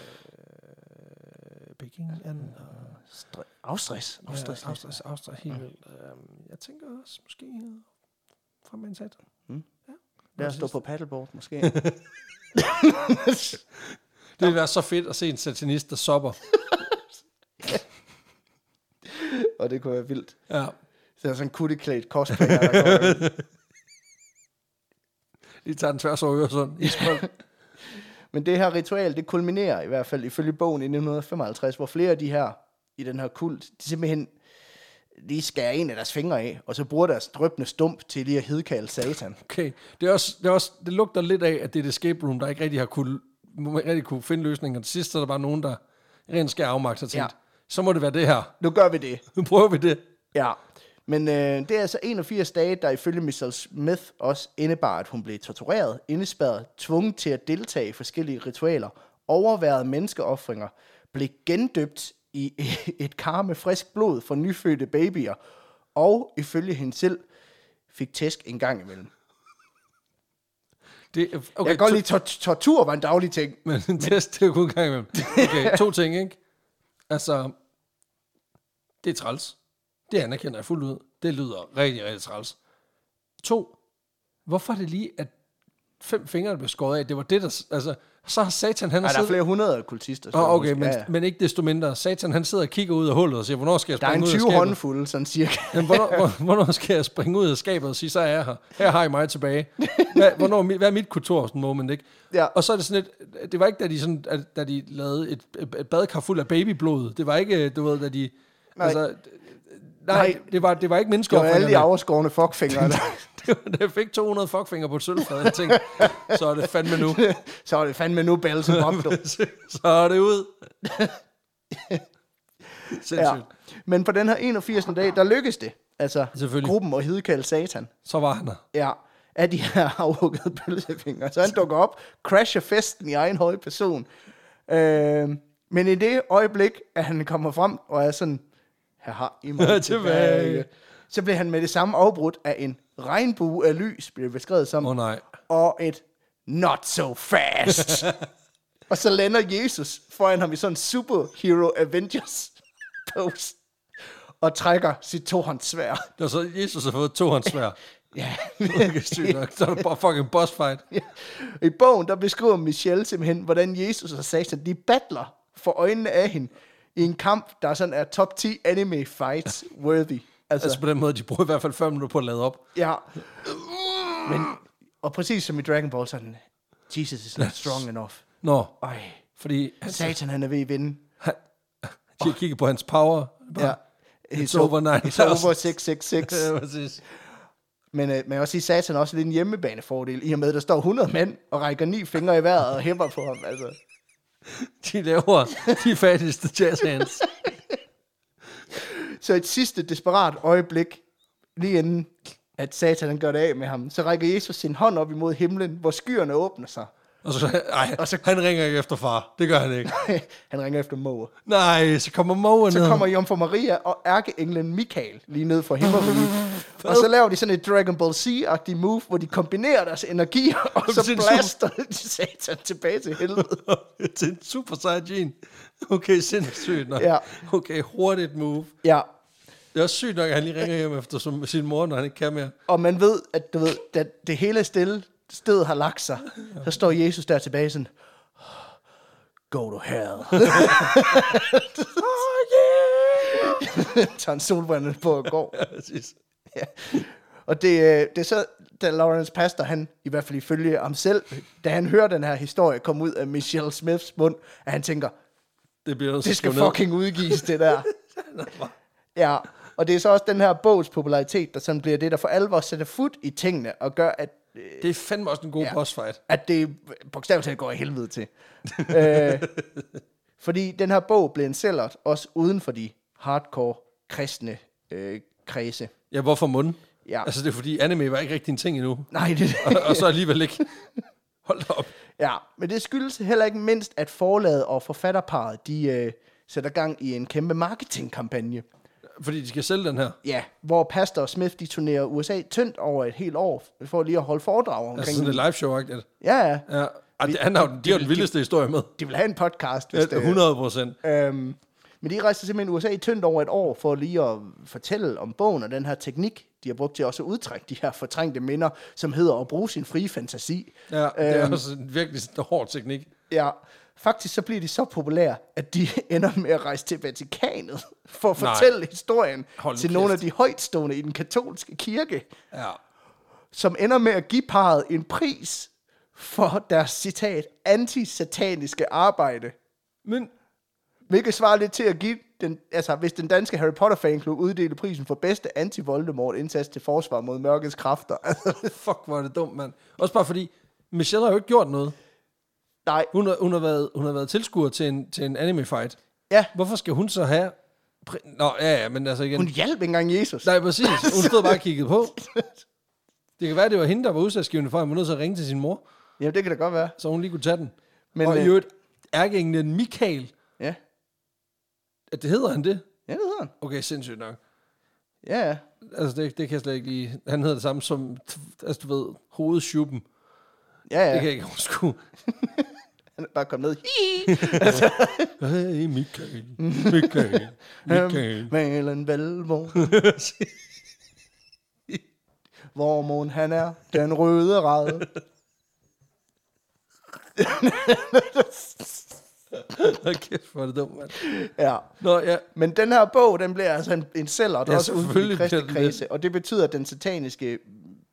Speaker 1: Peking and, og
Speaker 2: Stre- afstress. Afstress.
Speaker 1: Ja, afstress, afstress, helt vildt. Øhm, jeg tænker også måske øh, fra med satan.
Speaker 2: Lad os stå på paddleboard, måske.
Speaker 1: Det ville være så fedt at se en satanist, der sopper.
Speaker 2: (laughs) og det kunne være vildt.
Speaker 1: Ja.
Speaker 2: Så er sådan en kutteklædt cosplayer, der
Speaker 1: (laughs)
Speaker 2: går ind.
Speaker 1: Lige tager den tværs over Øresund. Iskold.
Speaker 2: Men det her ritual, det kulminerer i hvert fald ifølge bogen i 1955, hvor flere af de her i den her kult, de simpelthen lige skærer en af deres fingre af, og så bruger deres drøbende stump til lige at hedkalde satan.
Speaker 1: Okay. Det, er også, det, er også, det lugter lidt af, at det er et escape room, der ikke rigtig har kunne, må ikke rigtig kunne finde løsninger. Til sidst er der bare nogen, der rent skal afmagt og tænkt, ja.
Speaker 2: Ja.
Speaker 1: så må det være det her. (laughs)
Speaker 2: Nu gør vi det.
Speaker 1: Nu prøver vi det.
Speaker 2: Ja. Men øh, det er altså 81 dage, der ifølge Michelle Smith også indebar, at hun blev tortureret, indespærret, tvunget til at deltage i forskellige ritualer, overværede menneskeoffringer, blev gendøbt i (laughs) et kar med frisk blod fra nyfødte babyer, og ifølge hende selv fik tæsk en gang imellem. Okay,
Speaker 1: det er- okay,
Speaker 2: jeg kan godt
Speaker 1: to-
Speaker 2: lide, tor- tortur var en daglig ting.
Speaker 1: Men en test, det er jo kun en gang imellem. Okay, to ting, ikke? Altså, det er træls. Det anerkender jeg fuldt ud. Det lyder rigtig, rigtig træls. To, hvorfor er det lige, at fem fingre der blev skåret af? Det var det, der... s- Altså, så har satan, han har
Speaker 2: Nej, der er
Speaker 1: siddet...
Speaker 2: flere hundrede kultister. skal
Speaker 1: Nå,
Speaker 2: jeg
Speaker 1: Ah, okay,
Speaker 2: huske.
Speaker 1: men,
Speaker 2: Ja, ja.
Speaker 1: men ikke desto mindre. Satan, han sidder og kigger ud af hullet og siger, hvornår skal jeg
Speaker 2: Der er en
Speaker 1: springe ud af
Speaker 2: 20
Speaker 1: skabet?
Speaker 2: (laughs) håndfulde, sådan cirka.
Speaker 1: Jamen, hvornår, hvor- hvornår skal jeg springe ud af skabet og sige, så er jeg her. Her har I mig
Speaker 2: (laughs)
Speaker 1: tilbage. Hvad, hvornår, er mi- hvad er mit kultur sådan moment, ikke?
Speaker 2: Ja.
Speaker 1: Og så er det sådan lidt, det var ikke, da de, sådan, at, da de lavede et, et badkar fuld af babyblod. Det var ikke, du ved, da de... Nej. Altså, d- nej,
Speaker 2: Nej.
Speaker 1: Det, var, det var ikke
Speaker 2: Det var alle de
Speaker 1: menneskeoffringerne.
Speaker 2: overskårne fuckfingre. (laughs) der-
Speaker 1: Det var, (laughs) jeg fik 200 fuckfinger på et sølvfad. Jeg tænkte, så er det fandme
Speaker 2: (laughs)
Speaker 1: nu.
Speaker 2: Så er det fandme nu bælsen op, du.
Speaker 1: så er det ud.
Speaker 2: (laughs)
Speaker 1: Sindssygt.
Speaker 2: Ja.
Speaker 1: Ja.
Speaker 2: Men på den her 81. dag, der lykkedes det. Altså,
Speaker 1: Selvfølgelig.
Speaker 2: gruppen og hedkalde satan.
Speaker 1: Så var han der.
Speaker 2: Ja, af de her (laughs) afhuggede pølsefingre. Så han dukker op, crasher festen i egen høje person. Øh, men i det øjeblik, at han kommer frem og er sådan, her har I mig
Speaker 1: (laughs) Tilbage."
Speaker 2: tilbage. Så bliver han med det samme afbrudt af en regnbue af lys, bliver det beskrevet som,
Speaker 1: Åh oh, nej.
Speaker 2: og et not so fast. og så lander Jesus foran ham i sådan en superhero Avengers pose og trækker sit tohåndssvær.
Speaker 1: Det var så, Jesus har fået to hans
Speaker 2: (laughs)
Speaker 1: svær.
Speaker 2: Ja.
Speaker 1: Okay, sygt nok. Så er det bare fucking boss fight.
Speaker 2: (laughs) I bogen, der beskriver Michelle simpelthen, hvordan Jesus og Satan, de battler for øjnene af hende i en kamp, der sådan er top 10 anime fights worthy. Altså,
Speaker 1: Altså på den måde, de bruger i hvert fald 5 minutter på at lade op.
Speaker 2: ja. Men, og præcis som i Dragon Ball, sådan, Jesus is not strong enough.
Speaker 1: Nå,
Speaker 2: Ej,
Speaker 1: fordi han,
Speaker 2: Satan han er ved at vinde.
Speaker 1: han, Jeg kigger på hans power. Bare,
Speaker 2: Ja.
Speaker 1: ja. It's over 9000.
Speaker 2: It's over 666.
Speaker 1: (laughs) ja, præcis.
Speaker 2: Men øh, man kan også sige, Satan har også lidt en hjemmebanefordel, i og med, at der står 100 mænd og rækker ni fingre i vejret og hæpper på ham. Altså.
Speaker 1: De laver de fattigste jazz hands.
Speaker 2: Så et sidste desperat øjeblik, lige inden at Satan han gør det af med ham, så rækker Jesus sin hånd op imod himlen, hvor skyerne åbner sig. (laughs)
Speaker 1: Og så, ej,
Speaker 2: Og så-
Speaker 1: han ringer ikke efter far. Det gør han ikke.
Speaker 2: han ringer efter Moe.
Speaker 1: Nej, så kommer Moen
Speaker 2: Så
Speaker 1: ned. (laughs)
Speaker 2: kommer Jomfru Maria og ærkeenglen Michael lige ned fra himmelriget. og så laver de sådan et Dragon Ball Z-agtigt move, hvor de kombinerer deres energi, og så
Speaker 1: Sindssygt.
Speaker 2: blaster de Satan tilbage til helvede.
Speaker 1: til en super Saiyan. Okay, sindssygt nok.
Speaker 2: Ja.
Speaker 1: Okay, hurtigt move.
Speaker 2: Ja,
Speaker 1: Det er også sygt nok, at han lige ringer hjem efter som, sin mor, når han ikke kan mere.
Speaker 2: og man ved, at du ved, da det hele stille sted har lagt sig, så står Jesus der tilbage sådan, go to hell. (laughs) oh, yeah! Tager en solbrænde på og går.
Speaker 1: (laughs) Ja, præcis.
Speaker 2: (laughs) Ja. Og det, øh, det er så, da Lawrence Pastor, han, i hvert fald ifølge ham selv, da han hører den her historie komme ud af Michelle Smiths mund, at han tænker,
Speaker 1: Det bliver nødt til
Speaker 2: det skal
Speaker 1: at skrive ned. (laughs)
Speaker 2: fucking udgives, det der. ja, og det er så også den her bogs popularitet, der sådan bliver det, der for alvor sætter fod i tingene, og gør, at, øh,
Speaker 1: Det er fandme også en god
Speaker 2: Ja.
Speaker 1: ja. boss fight.
Speaker 2: at det bogstaveligt talt går i helvede
Speaker 1: (laughs)
Speaker 2: til. øh, fordi den her bog blev en sellert, også uden for de hardcore kristne øh, kredse.
Speaker 1: Ja, hvorfor munden?
Speaker 2: Ja.
Speaker 1: Altså, det er fordi anime var ikke rigtig en ting
Speaker 2: (laughs)
Speaker 1: endnu.
Speaker 2: Nej, det
Speaker 1: (laughs) Og, og så alligevel ikke. Hold da op.
Speaker 2: Ja, men det skyldes heller ikke mindst, at forlaget og forfatterparet, de øh, sætter gang i en kæmpe marketingkampagne.
Speaker 1: Fordi de skal sælge den her. Altså,
Speaker 2: Ja, hvor Pastor og Smith, de turnerer USA tyndt over et helt år, for lige at holde foredrag omkring...
Speaker 1: Altså sådan et live show agtigt
Speaker 2: ja, ja.
Speaker 1: Ja. Og det, han har, jo- de har jo den vildeste historie med.
Speaker 2: De vil have en podcast, hvis det...
Speaker 1: Ja, 100 procent.
Speaker 2: Øhm, men de rejser simpelthen USA tyndt over et år for lige at fortælle om bogen og den her teknik, de har brugt til også at udtrække de her fortrængte minder, som hedder at bruge sin frie fantasi. Øhm,
Speaker 1: Ja, det er også en virkelig sådan en hård teknik.
Speaker 2: Ja, faktisk så bliver de så populære, at de (laughs) ender med at rejse til Vatikanet for at
Speaker 1: Nej.
Speaker 2: fortælle historien
Speaker 1: Hold nu
Speaker 2: til
Speaker 1: kæft.
Speaker 2: nogle af de højtstående i den katolske kirke,
Speaker 1: Ja.
Speaker 2: som ender med at give parret en pris for deres, citat, antisataniske arbejde.
Speaker 1: Men
Speaker 2: Hvilket svarer lidt til at give den, altså hvis den danske Harry Potter fanklub uddelte prisen for bedste anti-Voldemort indsats til forsvar mod mørkets kræfter. (laughs)
Speaker 1: fuck, hvor er det dumt, mand. Også bare fordi, Michelle har jo ikke gjort noget.
Speaker 2: Nej,
Speaker 1: Hun har, hun har, været, hun har været tilskuer til en, til en anime fight.
Speaker 2: ja,
Speaker 1: Hvorfor skal hun så have... pri- Nå, ja, ja, men altså igen...
Speaker 2: hun hjalp ikke engang Jesus.
Speaker 1: Nej, præcis. Hun stod
Speaker 2: (laughs)
Speaker 1: bare og kiggede på. Det kan være, det var hende, der var udsatsgivende for, at hun var nødt til at ringe til sin mor,
Speaker 2: Jamen det kan da godt være.
Speaker 1: så hun lige kunne tage den. Men,
Speaker 2: Men,
Speaker 1: og i
Speaker 2: øh,
Speaker 1: øvrigt, ærkeenglen Michael,
Speaker 2: Ja,
Speaker 1: at det hedder han det?
Speaker 2: ja det hedder han.
Speaker 1: Okay, sindssygt nok.
Speaker 2: Ja, ja.
Speaker 1: Altså, det, det kan jeg slet ikke lige... Han hedder det samme som, altså du ved, hovedschuppen. Ja.
Speaker 2: Ja, ja.
Speaker 1: Det kan jeg ikke overskue.
Speaker 2: Han er bare kommet ned.
Speaker 1: Hey, Michael.
Speaker 2: (laughs)
Speaker 1: Michael.
Speaker 2: Øhm.
Speaker 1: Michael.
Speaker 2: Malen (laughs) Valmo. Vormund, han er den røde
Speaker 1: (laughs)
Speaker 2: rad.
Speaker 1: Hold kæft, hvor er det dumt, mand.
Speaker 2: Ja.
Speaker 1: Nå, ja.
Speaker 2: Men den her bog, den bliver altså en, en sælger, der
Speaker 1: Ja,
Speaker 2: også ude for de
Speaker 1: selvfølgelig
Speaker 2: kristne
Speaker 1: bliver den det.
Speaker 2: kredse. Og det betyder, at den sataniske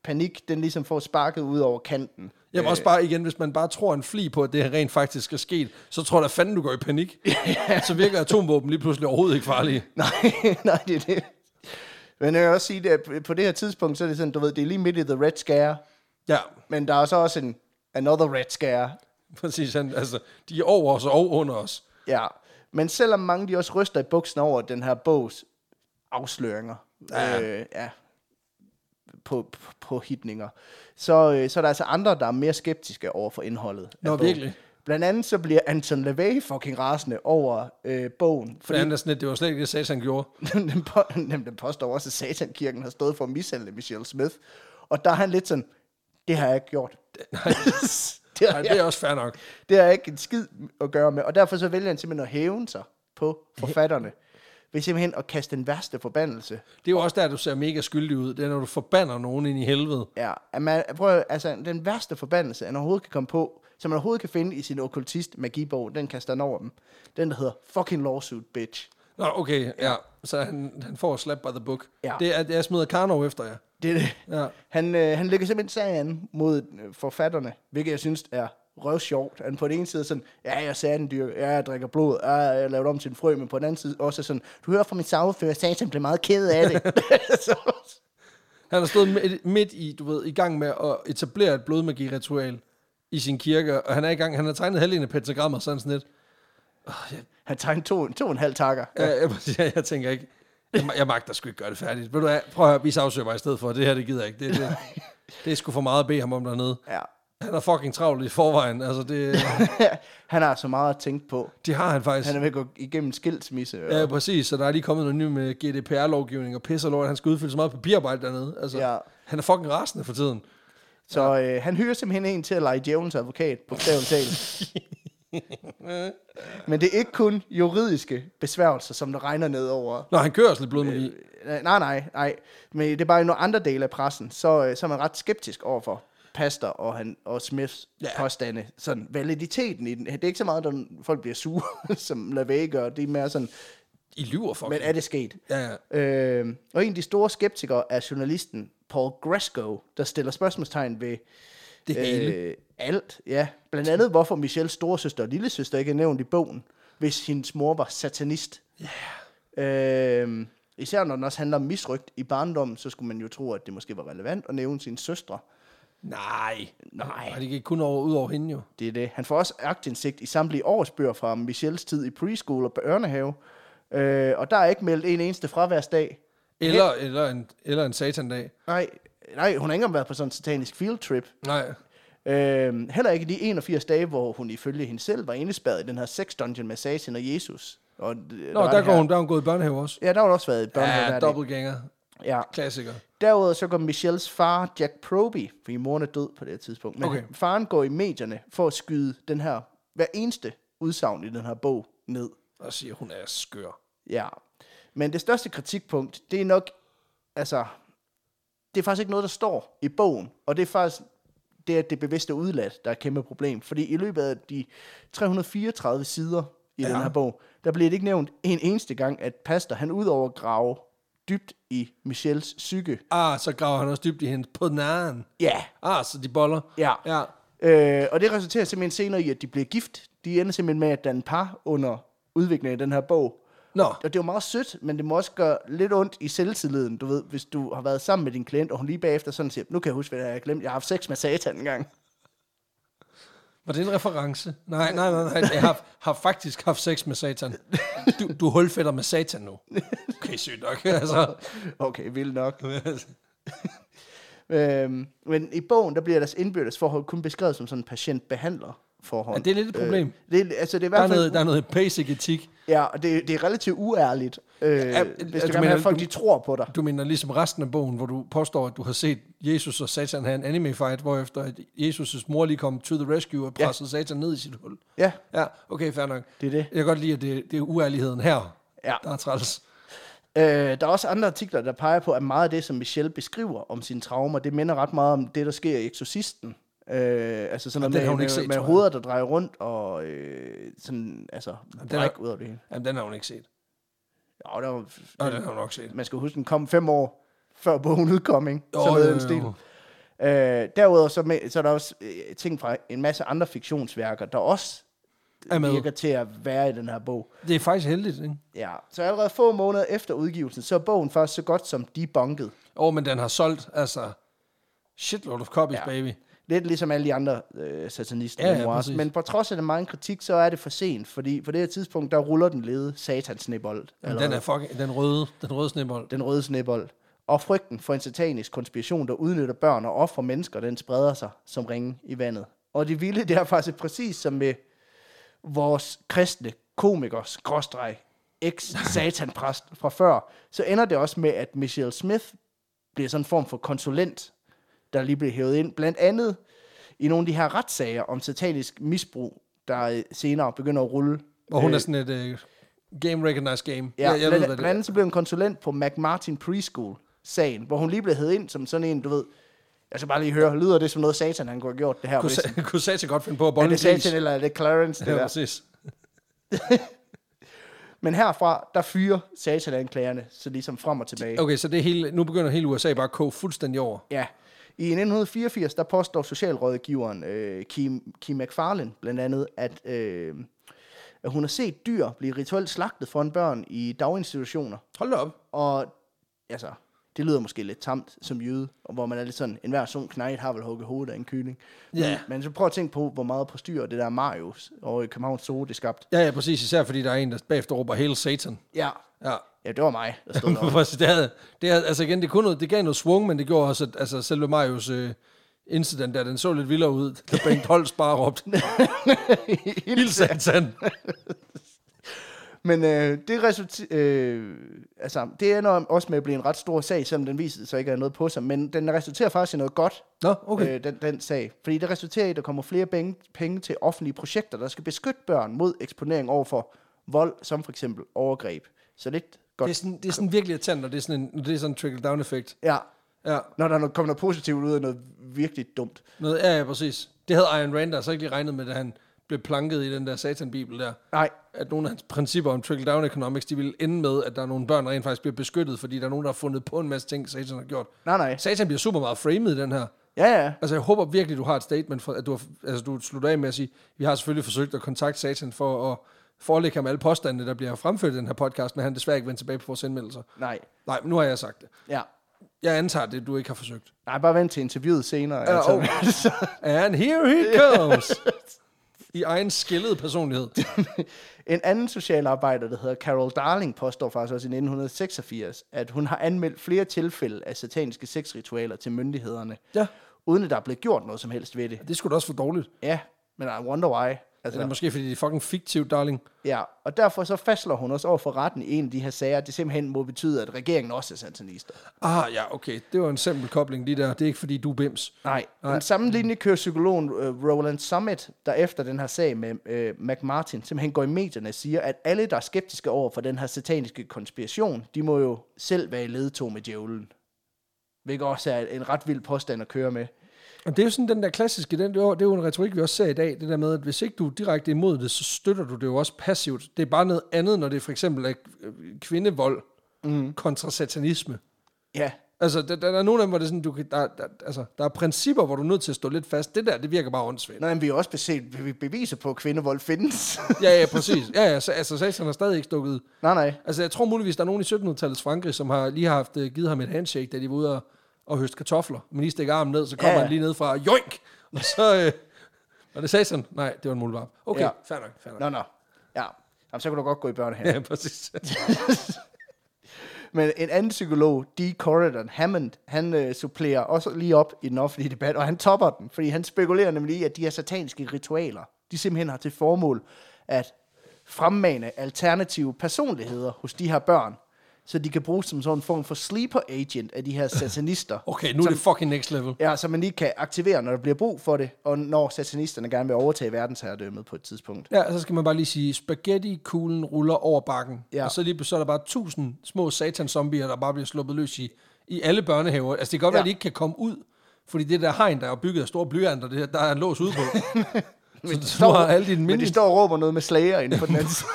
Speaker 2: panik, den ligesom får sparket ud over kanten. Øh,
Speaker 1: Jeg må også bare igen, hvis man bare tror en fli på, at det her rent faktisk er sket, så tror der fanden, du går i panik.
Speaker 2: (laughs)
Speaker 1: Så virker atomvåben lige pludselig overhovedet ikke farlige.
Speaker 2: (laughs) Nej, nej, det er det. Men jeg vil også sige, at på det her tidspunkt, så er det sådan, du ved, det er lige midt i The Red Scare,
Speaker 1: Ja, (laughs)
Speaker 2: men der er så også en Another Red Scare.
Speaker 1: præcis. Han, altså, de er over os og under os.
Speaker 2: Ja. Men selvom mange de også ryster i buksen over den her bogs afsløringer, ja. Øh, ja, på, på, på hitninger, så, øh, så er der altså andre, der er mere skeptiske over for indholdet. af
Speaker 1: Nå,
Speaker 2: bogen.
Speaker 1: virkelig?
Speaker 2: Blandt andet så bliver Anton LaVey fucking rasende over øh, bogen,
Speaker 1: For det andet er sådan, lidt, det var slet ikke det, Satan gjorde.
Speaker 2: (laughs) den, på, den, den påstår også, at satankirken har stået for at mishandle Michelle Smith. Og der er han lidt sådan, det har jeg ikke gjort.
Speaker 1: Nej,
Speaker 2: (laughs) Det har,
Speaker 1: nej det
Speaker 2: jeg,
Speaker 1: er også fair nok.
Speaker 2: det har jeg ikke en skid at gøre med. Og derfor så vælger han simpelthen at hæve sig på forfatterne. (laughs) Ved simpelthen at kaste den værste forbandelse.
Speaker 1: Det er jo også der, du ser mega skyldig ud. Det er, når du forbander nogen ind i helvede.
Speaker 2: Ja, at man, prøv at, altså, den værste forbandelse, han overhovedet kan komme på, som man overhovedet kan finde i sin okkultist magibog, den kaster han over dem. Den, der hedder fucking lawsuit, bitch.
Speaker 1: Nå, okay, ja. Så han, han får slap by the book.
Speaker 2: Ja.
Speaker 1: Det er, at jeg smider Karnov efter jer.
Speaker 2: Det er det.
Speaker 1: Ja.
Speaker 2: Han, øh, han lægger simpelthen sagen mod øh, forfatterne, hvilket jeg synes er røv sjovt. Han på den ene side er sådan, ja, jeg sagde den dyr, ja, jeg drikker blod, ja, jeg laver det om til en frø, men på den anden side også er sådan, du hører fra min sagfører, Satan blev meget ked
Speaker 1: (laughs)
Speaker 2: af det. (laughs) så,
Speaker 1: Han har stået midt, midt i, du ved, i gang med at etablere et blodmagi-ritual i sin kirke, og han er i gang, han har tegnet halvdelen af pentagrammer, sådan sådan lidt.
Speaker 2: han tegnede to, to og en halv takker.
Speaker 1: Ja, Øh, jeg, jeg, jeg tænker ikke, jeg, ma- jeg magter sgu ikke gøre det færdigt. Ved du hvad, prøv at høre, vi sagsøger mig i stedet for, det her, det gider jeg ikke.
Speaker 2: (laughs)
Speaker 1: Det, det, det er sgu for meget at bede ham om dernede.
Speaker 2: Ja. (laughs)
Speaker 1: Han er fucking travl i forvejen, altså det,
Speaker 2: han har så meget at tænke på.
Speaker 1: det har han faktisk.
Speaker 2: Han er ved at gå igennem skilsmisse. Og,
Speaker 1: Ja, præcis. Så der er lige kommet noget nyt med GDPR-lovgivning og pisser lort. Han skal udfylde så meget papirarbejde dernede. Altså,
Speaker 2: Ja.
Speaker 1: Han er fucking rasende for tiden.
Speaker 2: Så øh, han hyrer simpelthen en til at lege djævelens advokat, på talt. Men det er ikke kun juridiske besværgelser, som der regner ned over.
Speaker 1: Nå, han kører også lidt blodmagi. Øh,
Speaker 2: Øh, Nej, nej, nej. Men det er bare i nogle andre dele af pressen, så, øh, så er man ret skeptisk overfor Pastor og, han, og Smiths
Speaker 1: Ja.
Speaker 2: ja. påstande. Sådan validiteten i den. Det er ikke så meget, at folk bliver sure, (laughs) som LaVey gør. Det er mere sådan,
Speaker 1: I lyver fucking.
Speaker 2: men er det sket?
Speaker 1: Ja, ja.
Speaker 2: Øh, og en af de store skeptikere er journalisten Paul Gresko, der stiller spørgsmålstegn ved
Speaker 1: Det hele.
Speaker 2: øh, alt. Ja. Blandt andet, hvorfor Michelles storesøster og lillesøster ikke er nævnt i bogen, hvis hendes mor var satanist. Yeah. Øh, især når den også handler om misrygt i barndommen, så skulle man jo tro, at det måske var relevant at nævne sine søstre.
Speaker 1: Nej.
Speaker 2: Nej.
Speaker 1: Og det gik kun over, ud over hende jo.
Speaker 2: Det er det. Han får også agtindsigt i samtlige årsbøger fra Michelles tid i preschool og børnehave. Øh, og der er ikke meldt en eneste fraværsdag.
Speaker 1: Eller, eller, en, eller en satandag.
Speaker 2: Nej, nej, hun har ikke engang været på sådan en satanisk field trip.
Speaker 1: Nej.
Speaker 2: Øhm, heller ikke de 81 dage, hvor hun ifølge hende selv var indespærret i den her sex dungeon med Satan og Jesus. Og, øh, Nå,
Speaker 1: Nå, der, går hun, der er hun gået i børnehave også.
Speaker 2: Ja, der har hun også været i børnehave
Speaker 1: Ja,
Speaker 2: hver
Speaker 1: ja
Speaker 2: dag.
Speaker 1: dobbeltgænger.
Speaker 2: Ja.
Speaker 1: Klassiker.
Speaker 2: Derudover så går Michelles far, Jack Proby, fordi moren er død på det her tidspunkt, men
Speaker 1: Okay.
Speaker 2: okay. faren går i medierne for at skyde den her, hver eneste udsagn i den her bog ned.
Speaker 1: Og siger, hun er skør.
Speaker 2: Ja. Men det største kritikpunkt, det er nok, altså, det er faktisk ikke noget, der står i bogen, og det er faktisk det, at det bevidste er udladt, der er et kæmpe problem. Fordi i løbet af de 334 sider i ja. den her bog, der bliver det ikke nævnt en eneste gang, at Pastor, han udover at grave dybt i Michels psyke.
Speaker 1: Ah, så graver han også dybt i hende på den anden.
Speaker 2: Ja,
Speaker 1: Ah, så de boller.
Speaker 2: ja.
Speaker 1: Ja.
Speaker 2: Øh, og det resulterer simpelthen senere i, at de bliver gift. De ender simpelthen med at danne par under udviklingen af den her bog.
Speaker 1: Nå,
Speaker 2: Og det er jo meget sødt, men det må også gøre lidt ondt i selvtilliden, du ved, hvis du har været sammen med din klient, og hun lige bagefter sådan siger, nu kan jeg huske, hvad jeg har glemt, jeg har haft sex med satan engang. (laughs)
Speaker 1: var det en reference? Nej, nej, nej, nej. Jeg har, har faktisk haft sex med satan. Du, du hulfætter med satan nu. Okay, sygt
Speaker 2: (laughs)
Speaker 1: nok. Altså.
Speaker 2: Okay, vildt
Speaker 1: (laughs)
Speaker 2: nok. Øhm, men i bogen, der bliver deres indbyrdes forhold kun beskrevet som sådan patient-behandler forhold.
Speaker 1: Ja, det er lidt et problem.
Speaker 2: Øh, det, er- altså, det er i
Speaker 1: Der er,
Speaker 2: hvert fald,
Speaker 1: noget, der er noget basic etik.
Speaker 2: ja, og det, det er relativt uærligt, øh, ja, hvis
Speaker 1: altså,
Speaker 2: du
Speaker 1: du
Speaker 2: gerne vil
Speaker 1: mener,
Speaker 2: have, at folk
Speaker 1: du-
Speaker 2: de tror på dig.
Speaker 1: Du mener ligesom resten af bogen, hvor du påstår, at du har set Jesus og Satan have en anime fight, hvor efter at Jesus' mor lige kom to the rescue og pressede ja. Satan ned i sit hul.
Speaker 2: Ja,
Speaker 1: Ja, okay, fair nok.
Speaker 2: det er det.
Speaker 1: Jeg kan godt lide, at det, det er uærligheden her,
Speaker 2: Ja.
Speaker 1: der er træls.
Speaker 2: Øh, der er også andre artikler, der peger på, at meget af det, som Michelle beskriver om sine traumer, det minder ret meget om det, der sker i Exorcisten. Øh, altså sådan
Speaker 1: Og den
Speaker 2: noget
Speaker 1: har
Speaker 2: med,
Speaker 1: hun
Speaker 2: med,
Speaker 1: ikke set,
Speaker 2: med
Speaker 1: tror jeg.
Speaker 2: hoveder, der drejer rundt, og øh, sådan, altså,
Speaker 1: den
Speaker 2: bræk
Speaker 1: er-
Speaker 2: ud af det hele.
Speaker 1: Jamen, den har hun ikke set.
Speaker 2: Jo, der var, altså,
Speaker 1: Nå, den har hun nok set.
Speaker 2: man skal huske, den kom fem år før bogen udkom, ikke?
Speaker 1: Jo,
Speaker 2: Sådan noget i
Speaker 1: jo,
Speaker 2: den stil.
Speaker 1: jo.
Speaker 2: Øh, derudover så, med, så er der også øh, ting fra en masse andre fiktionsværker, der også
Speaker 1: Er med.
Speaker 2: virker til at være i den her bog.
Speaker 1: Det er faktisk heldigt, ikke?
Speaker 2: Ja, så allerede få måneder efter udgivelsen, så er bogen faktisk så godt som debunket.
Speaker 1: Åh, oh, men den har solgt, altså, shitload of copies, ja. baby.
Speaker 2: Lidt ligesom alle de andre øh, satanister.
Speaker 1: Ja, ja,
Speaker 2: Ja, ja,
Speaker 1: præcis.
Speaker 2: men på trods af den meget kritik, så er det for sent, fordi på det her tidspunkt, der ruller den lede satans snebold.
Speaker 1: Jamen, den er fucking, den røde, den røde snebold.
Speaker 2: den røde snebold. Og frygten for en satanisk konspiration, der udnytter børn og offer mennesker, den spreder sig som ringe i vandet. Og det vilde, det er faktisk præcis som med vores kristne komiker, skråstreg, ex-satanpræst fra før, så ender det også med, at Michelle Smith bliver sådan en form for konsulent, der lige bliver hævet ind, blandt andet i nogle af de her retssager om satanisk misbrug, der øh, senere begynder at rulle.
Speaker 1: Og hun er sådan et uh, game recognized game.
Speaker 2: Ja,
Speaker 1: jeg, jeg ved, hvad det
Speaker 2: blandt andet så blev hun konsulent på McMartin Preschool-sagen, hvor hun lige blev hævet ind som sådan en, du ved, jeg skal bare lige høre, lyder det som noget satan, han kunne have gjort det her?
Speaker 1: Kunne,
Speaker 2: hvis-
Speaker 1: sa- (laughs) kunne Satan godt finde på at
Speaker 2: er
Speaker 1: bolle en
Speaker 2: det
Speaker 1: gris?
Speaker 2: satan, eller er det Clarence? Det
Speaker 1: Ja,
Speaker 2: der?
Speaker 1: præcis.
Speaker 2: Men herfra, der fyrer satan-anklagerne, så ligesom frem og tilbage.
Speaker 1: Okay, så det hele, nu begynder hele USA bare at koge fuldstændig over.
Speaker 2: Ja. I 1984, der påstår socialrådgiveren øh, Kim, Kim McFarlane blandt andet, at, øh, at hun har set dyr blive rituelt slagtet foran børn i daginstitutioner.
Speaker 1: Hold da op.
Speaker 2: Og altså, det lyder måske lidt tamt som jøde, og hvor man er lidt sådan, enhver sund knægt har vel hugget hovedet af en kylling.
Speaker 1: Ja.
Speaker 2: Men så prøv at tænke på, hvor meget på styr det der Marius og Københavns Zoo, det skabte.
Speaker 1: Ja, ja, præcis. Især fordi der er en, der bagefter råber hele satan.
Speaker 2: Ja.
Speaker 1: Ja.
Speaker 2: Ja, det var mig, der stod
Speaker 1: (laughs)
Speaker 2: deroppe.
Speaker 1: Præcis, Altså, det, havde, det havde, altså igen, det, kunne noget, det gav noget swung, men det gjorde også, at altså, selve Marius øh, incident der, den så lidt vildere ud, da
Speaker 2: (laughs)
Speaker 1: Bengt Holst bare råbte, "Hild satan!
Speaker 2: Men øh, det resultat, øh, altså, det ender også med at blive en ret stor sag, selvom den viser sig ikke er noget på sig. Men den resulterer faktisk i noget godt,
Speaker 1: Nå, okay.
Speaker 2: øh, den, den sag. Fordi det resulterer i, at der kommer flere penge, penge til offentlige projekter, der skal beskytte børn mod eksponering over for vold, som for eksempel overgreb. Så lidt
Speaker 1: Det er,
Speaker 2: godt.
Speaker 1: sådan, det er sådan virkelig irritant, og det er sådan en, det er sådan en trickle-down-effekt.
Speaker 2: Ja,
Speaker 1: Ja,
Speaker 2: når der er noget- kommer noget positivt ud af noget virkelig dumt.
Speaker 1: noget, ja, ja, præcis. Det havde Iron Rand altså ikke lige regnet med, da han blev planket i den der satanbibel der.
Speaker 2: Nej,
Speaker 1: At nogle af hans principper om trickle-down economics, de ville ende med, at der er nogle børn, der rent faktisk bliver beskyttet, fordi der er nogen, der har fundet på en masse ting, Satan har gjort.
Speaker 2: nej, nej.
Speaker 1: Satan bliver super meget framed i den her.
Speaker 2: Ja, ja.
Speaker 1: Altså, jeg håber virkelig, du har et statement, for, at du, har, altså, du slutter af med at sige, vi har selvfølgelig forsøgt at kontakte Satan for at forelægge ham alle påstandene, der bliver fremført i den her podcast, men han desværre ikke vendt tilbage på vores indmeldelser.
Speaker 2: Nej,
Speaker 1: Nej, men nu har jeg sagt det.
Speaker 2: ja.
Speaker 1: Jeg antager det, du ikke har forsøgt.
Speaker 2: Nej, bare vent til interviewet senere.
Speaker 1: Ja,
Speaker 2: altså.
Speaker 1: oh.
Speaker 2: (laughs)
Speaker 1: And here he comes! I egen skillede personlighed.
Speaker 2: En anden socialarbejder, der hedder Carol Darling, påstår faktisk også i 1986, at hun har anmeldt flere tilfælde af sataniske sexritualer til myndighederne,
Speaker 1: Ja,
Speaker 2: uden at der er blevet gjort noget som helst ved det.
Speaker 1: det skulle da også for dårligt.
Speaker 2: Ja, men I wonder why.
Speaker 1: Eller
Speaker 2: Altså,
Speaker 1: måske fordi det er fucking fiktivt, darling.
Speaker 2: ja, og derfor så fastslår hun også over for retten i en af de her sager, at det simpelthen må betyde, at regeringen også er satanister.
Speaker 1: Ah, ja, okay. Det var en simpel kobling lige der. Det er ikke fordi, du er bims.
Speaker 2: Nej, den samme linje kører psykologen øh, Roland Summit, der efter den her sag med øh, McMartin, simpelthen går i medierne og siger, at alle, der er skeptiske over for den her sataniske konspiration, de må jo selv være i ledtog med djævlen. Hvilket også er en ret vild påstand at køre med.
Speaker 1: Og det er jo sådan den der klassiske, den, det er jo- det er jo en retorik, vi også ser i dag, det der med, at hvis ikke du er direkte imod det, så støtter du det jo også passivt. Det er bare noget andet, når det for eksempel er øh, kvindevold mm. kontra satanisme.
Speaker 2: Ja,
Speaker 1: Altså, der, der, der er nogle af dem, hvor det er sådan, du kan, der, der, altså, der er principper, hvor du er nødt til at stå lidt fast. Det der, det virker bare åndssvagt.
Speaker 2: nej, men vi har også beset, vi- vi beviser på, at kvindevold findes. (laughs)
Speaker 1: Ja, ja, præcis. Ja, ja, så, altså, satan har stadig ikke stukket.
Speaker 2: nej, nej.
Speaker 1: Altså, jeg tror muligvis, der er nogen i 1700-tallets Frankrig, som har lige har haft øh, givet ham et handshake, da de var ude og, og høste kartofler. Men lige stikker armen ned, så kommer
Speaker 2: Ja.
Speaker 1: ja. han lige ned fra, joink! Og så... Øh, var det satan? Nej, det var en mulvarp. Okay,
Speaker 2: Ja.
Speaker 1: ja. fair nok, fair nok.
Speaker 2: Nå, nå. Ja, Jamen, så kan du godt gå i børnehaven.
Speaker 1: Ja, præcis.
Speaker 2: Men en anden psykolog, D. Corridon Hammond, han øh, supplerer også lige op i den offentlige debat, og han topper den, fordi han spekulerer nemlig i, at de her sataniske ritualer, de simpelthen har til formål at fremmane alternative personligheder hos de her børn, så de kan bruges som sådan en form for sleeper agent af de
Speaker 1: (coughs)
Speaker 2: her satanister.
Speaker 1: Okay, nu er det fucking next level.
Speaker 2: Ja, så man lige kan aktivere, når der bliver brug for det, og når satanisterne gerne vil overtage verdensherredømmet på et tidspunkt.
Speaker 1: Ja, så skal man bare lige sige, spaghetti-kuglen ruller over bakken.
Speaker 2: Ja.
Speaker 1: Ja. Og så lige så er der bare tusind små satan-zombier, der bare bliver sluppet løs i, i alle børnehaver. Altså, det kan godt ja. være,
Speaker 2: Ja.
Speaker 1: at de ikke kan komme ud, fordi det der hegn, der er bygget af store blyanter, det, der er en lås ude på.
Speaker 2: (laughs)
Speaker 1: så du har alle dine
Speaker 2: Men de
Speaker 1: mini
Speaker 2: står og råber noget med slager inde på
Speaker 1: (laughs)
Speaker 2: den anden side.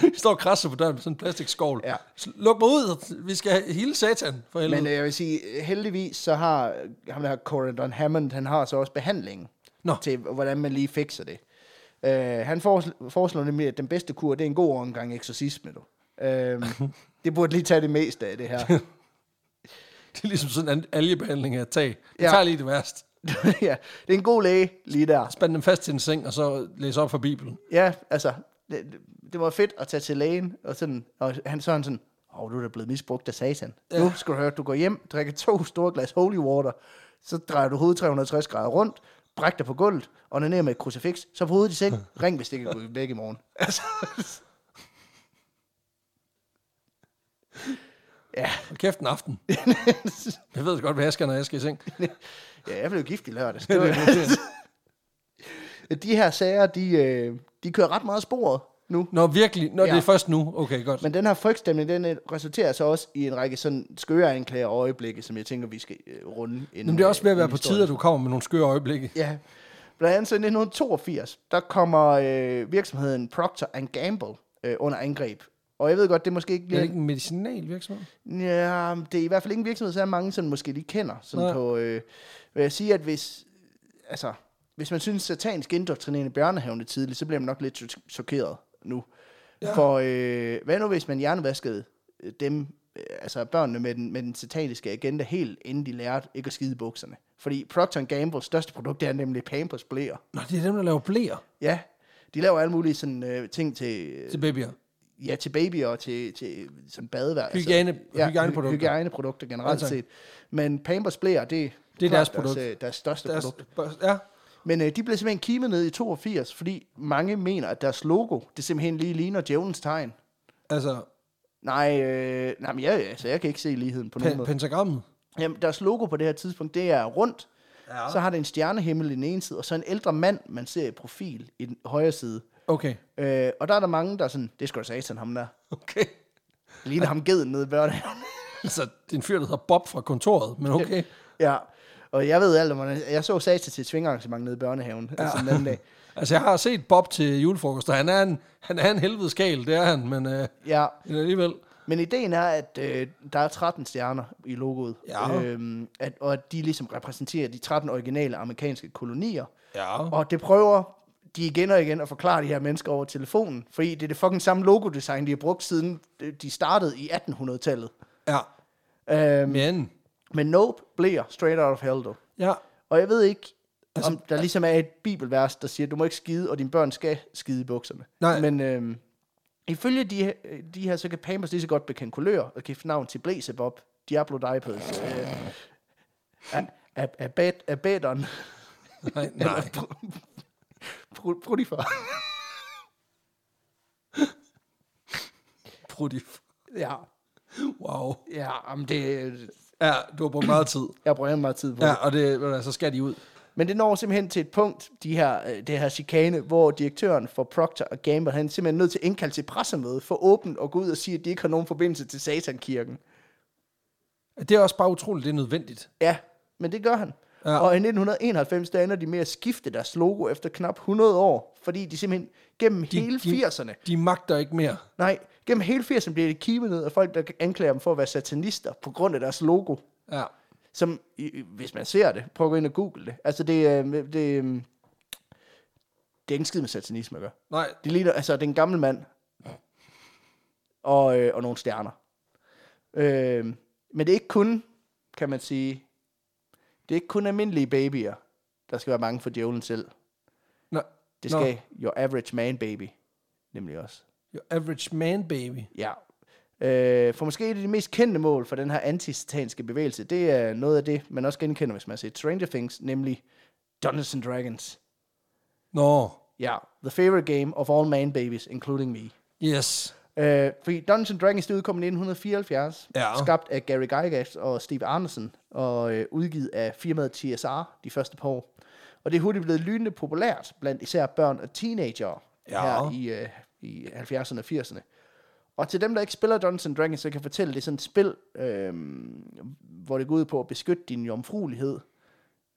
Speaker 1: Vi står og krasser på døren med sådan en plastikskål.
Speaker 2: Ja.
Speaker 1: S- Luk mig ud, vi skal hele satan for helvede.
Speaker 2: Men
Speaker 1: Men,
Speaker 2: øh, jeg vil sige, heldigvis så har øh, ham der Corridon Hammond, han har så også behandling
Speaker 1: Nå.
Speaker 2: til, hvordan man lige fikser det. Øh, han foresl- foreslår nemlig, at den bedste kur, det er en god omgang eksorcisme. Du. (laughs) Øh, det burde lige tage det meste af det (laughs) her.
Speaker 1: det er ligesom sådan en algebehandling af tag. Det
Speaker 2: Ja.
Speaker 1: ja. tager lige det værst.
Speaker 2: ja, det er en god læge lige der.
Speaker 1: Spænd dem fast til en seng, og så læs op fra Bibelen.
Speaker 2: Ja, altså, det, det- det var fedt at tage til lægen, og, sådan, og han, så er han sådan, åh, oh, du er da blevet misbrugt af satan. Ja. Nu skal du høre, du går hjem, drikker to store glas holy water, så drejer du hovedet 360 grader rundt, bræk dig på gulvet, og ned med et crucifix, så på hovedet i seng, (laughs) ring hvis det ikke er væk i morgen. (laughs)
Speaker 1: (laughs)
Speaker 2: Altså, ja,
Speaker 1: Og kæft en aften. jeg ved godt, hvad jeg skal, når jeg skal i seng.
Speaker 2: (laughs) ja, jeg blev gift i lørdag. Det var, (laughs) de her sager, de, øh, de kører ret meget af sporet nu.
Speaker 1: Nå, virkelig? Nå, ja. det
Speaker 2: Ja.
Speaker 1: er først nu. Okay, godt. Men,
Speaker 2: Men den her frygtstemning, den øh, resulterer så også i en række sådan skøre anklager og øjeblikke, som jeg tænker, vi skal øh, runde. Inden,
Speaker 1: Men det er også ved at
Speaker 2: øh,
Speaker 1: være
Speaker 2: inden
Speaker 1: på
Speaker 2: historien.
Speaker 1: tide, at du kommer med nogle skøre øjeblikke.
Speaker 2: Ja. Blandt andet så i 1982, der kommer øh, virksomheden Procter Gamble øh, under angreb Og jeg ved godt, det er måske ikke...
Speaker 1: Er det ikke en medicinalvirksomhed?
Speaker 2: Ja, det er i hvert fald ikke en virksomhed, så er mange, som måske lige kender. Sådan
Speaker 1: Nej.
Speaker 2: på, øh, vil jeg sige, at hvis, altså, hvis man synes, satanisk indoktrinering i børnehaven er tidligt, så bliver man nok lidt cho- chokeret nu. Ja. For øh, hvad nu, hvis man hjernevaskede øh, dem, øh, altså børnene med den, med den sataniske agenda helt, inden de lærte ikke at skide i bukserne? Fordi Procter Gamble's største produkt det er nemlig Pampers blæer.
Speaker 1: Nå, det er dem, der laver blæer
Speaker 2: Ja, de laver alle mulige sådan, øh, ting til,
Speaker 1: til babyer.
Speaker 2: ja, til babyer og til, til sådan badevær.
Speaker 1: Hygiejne- hygiejneprodukter.
Speaker 2: hy- hygiejneprodukter generelt
Speaker 1: Ja, tak.
Speaker 2: set. Men Pampers blæer, det,
Speaker 1: Det er
Speaker 2: klart
Speaker 1: deres produkt.
Speaker 2: Deres, øh, deres største
Speaker 1: Deres,
Speaker 2: deres... produkt.
Speaker 1: ja,
Speaker 2: Men øh, de blev simpelthen kimet ned i 82, fordi mange mener, at deres logo, det simpelthen lige ligner djævelens tegn.
Speaker 1: altså
Speaker 2: Nej, øh, nej men jeg, altså, jeg kan ikke se ligheden på nogen
Speaker 1: pe-
Speaker 2: måde.
Speaker 1: pentagrammet.
Speaker 2: Jamen, deres logo på det her tidspunkt, det er rundt. Ja. Så har det en stjernehimmel i den ene side, og så en ældre mand, man ser i profil i den højre side.
Speaker 1: Okay.
Speaker 2: Øh, og der er der mange, der er sådan, det er sgu da satan, ham der.
Speaker 1: Okay. (laughs)
Speaker 2: Ligner ham geden nede i børnehaven.
Speaker 1: Altså, det er en fyr, der hedder Bob fra kontoret, men okay.
Speaker 2: ja, og jeg ved alt om, hvordan- jeg så satan til et svingarrangement nede i børnehaven ja. altså den anden dag.
Speaker 1: Altså, jeg har set Bob til julefrokost, og han er en, han er en helvedes kæl, det er han, men øh,
Speaker 2: Ja,
Speaker 1: men alligevel.
Speaker 2: men ideen er, at øh, der er 13 stjerner i logoet.
Speaker 1: Ja.
Speaker 2: Øhm, at, og at de ligesom repræsenterer de 13 originale amerikanske kolonier.
Speaker 1: Ja.
Speaker 2: Og det prøver de igen og igen at forklare de her mennesker over telefonen, fordi det er det fucking samme logodesign, de har brugt siden øh, de startede i 1800-tallet.
Speaker 1: Ja,
Speaker 2: Øhm,
Speaker 1: men...
Speaker 2: men Nope bliver straight out of hell, dog.
Speaker 1: Ja,
Speaker 2: Og jeg ved ikke, altså, om der ligesom er et bibelvers, der siger, du må ikke skide, og dine børn skal skide i bukserne.
Speaker 1: Nej.
Speaker 2: Men øhm, ifølge de, her- de her, så kan Pampers lige så godt bekende kulør og give navn til Blæsebob, Diablo Diapers, øh, Abaddon,
Speaker 1: nej, nej.
Speaker 2: Prudifar.
Speaker 1: Prudif.
Speaker 2: ja,
Speaker 1: Wow.
Speaker 2: ja, om det,
Speaker 1: Ja, du har brugt meget tid.
Speaker 2: jeg bruger meget tid på
Speaker 1: Ja,
Speaker 2: det.
Speaker 1: og det, men altså, så skal de ud.
Speaker 2: Men det når simpelthen til et punkt, de her, øh, det her chikane, hvor direktøren for Procter og Gamble, han er simpelthen nødt til at indkalde til pressemøde for åbent og gå ud og sige, at de ikke har nogen forbindelse til satankirken.
Speaker 1: Det er også bare utroligt, det er nødvendigt.
Speaker 2: Ja, men det gør han.
Speaker 1: Ja.
Speaker 2: Ja. Og i 1991, der ender de med at skifte deres logo efter knap 100 år, fordi de simpelthen gennem de, hele
Speaker 1: de-
Speaker 2: 80'erne,
Speaker 1: De magter ikke mere.
Speaker 2: nej, gennem hele 80'erne bliver det kimet ned af folk, der anklager dem for at være satanister på grund af deres logo.
Speaker 1: Ja.
Speaker 2: Som, i- i- hvis man ser det, prøv at gå ind og google det. Altså, det, er, øh, det, øh, det er ikke en skid med satanisme at gøre.
Speaker 1: Nej,
Speaker 2: Det ligner, altså, det er en gammel mand. Og, øh, og nogle stjerner. Øh, men det er ikke kun, kan man sige, det er ikke kun almindelige babyer, der skal være mange for djævlen selv.
Speaker 1: nej.
Speaker 2: Det
Speaker 1: Nå.
Speaker 2: skal your average man baby, nemlig også.
Speaker 1: Your average man, baby.
Speaker 2: Ja. Øh, for måske et af de mest kendte mål for den her antisatanske bevægelse, det er noget af det, man også genkender, hvis man har set Stranger Things, nemlig Dungeons and Dragons.
Speaker 1: Nå,
Speaker 2: Ja, the favorite game of all man babies, including me.
Speaker 1: yes.
Speaker 2: Øh, fordi Dungeons and Dragons, det udkom i 1974,
Speaker 1: Ja.
Speaker 2: skabt af Gary Gygax og Steve Andersen, og øh, udgivet af firmaet TSR de første par år. Og det er hurtigt blevet lynende populært blandt især børn og teenagere
Speaker 1: Ja.
Speaker 2: her i, øh, i 70'erne og 80'erne. Og til dem, der ikke spiller Dungeons and Dragons, så kan jeg fortælle, at det er sådan et spil, øh, hvor det går ud på at beskytte din jomfruelighed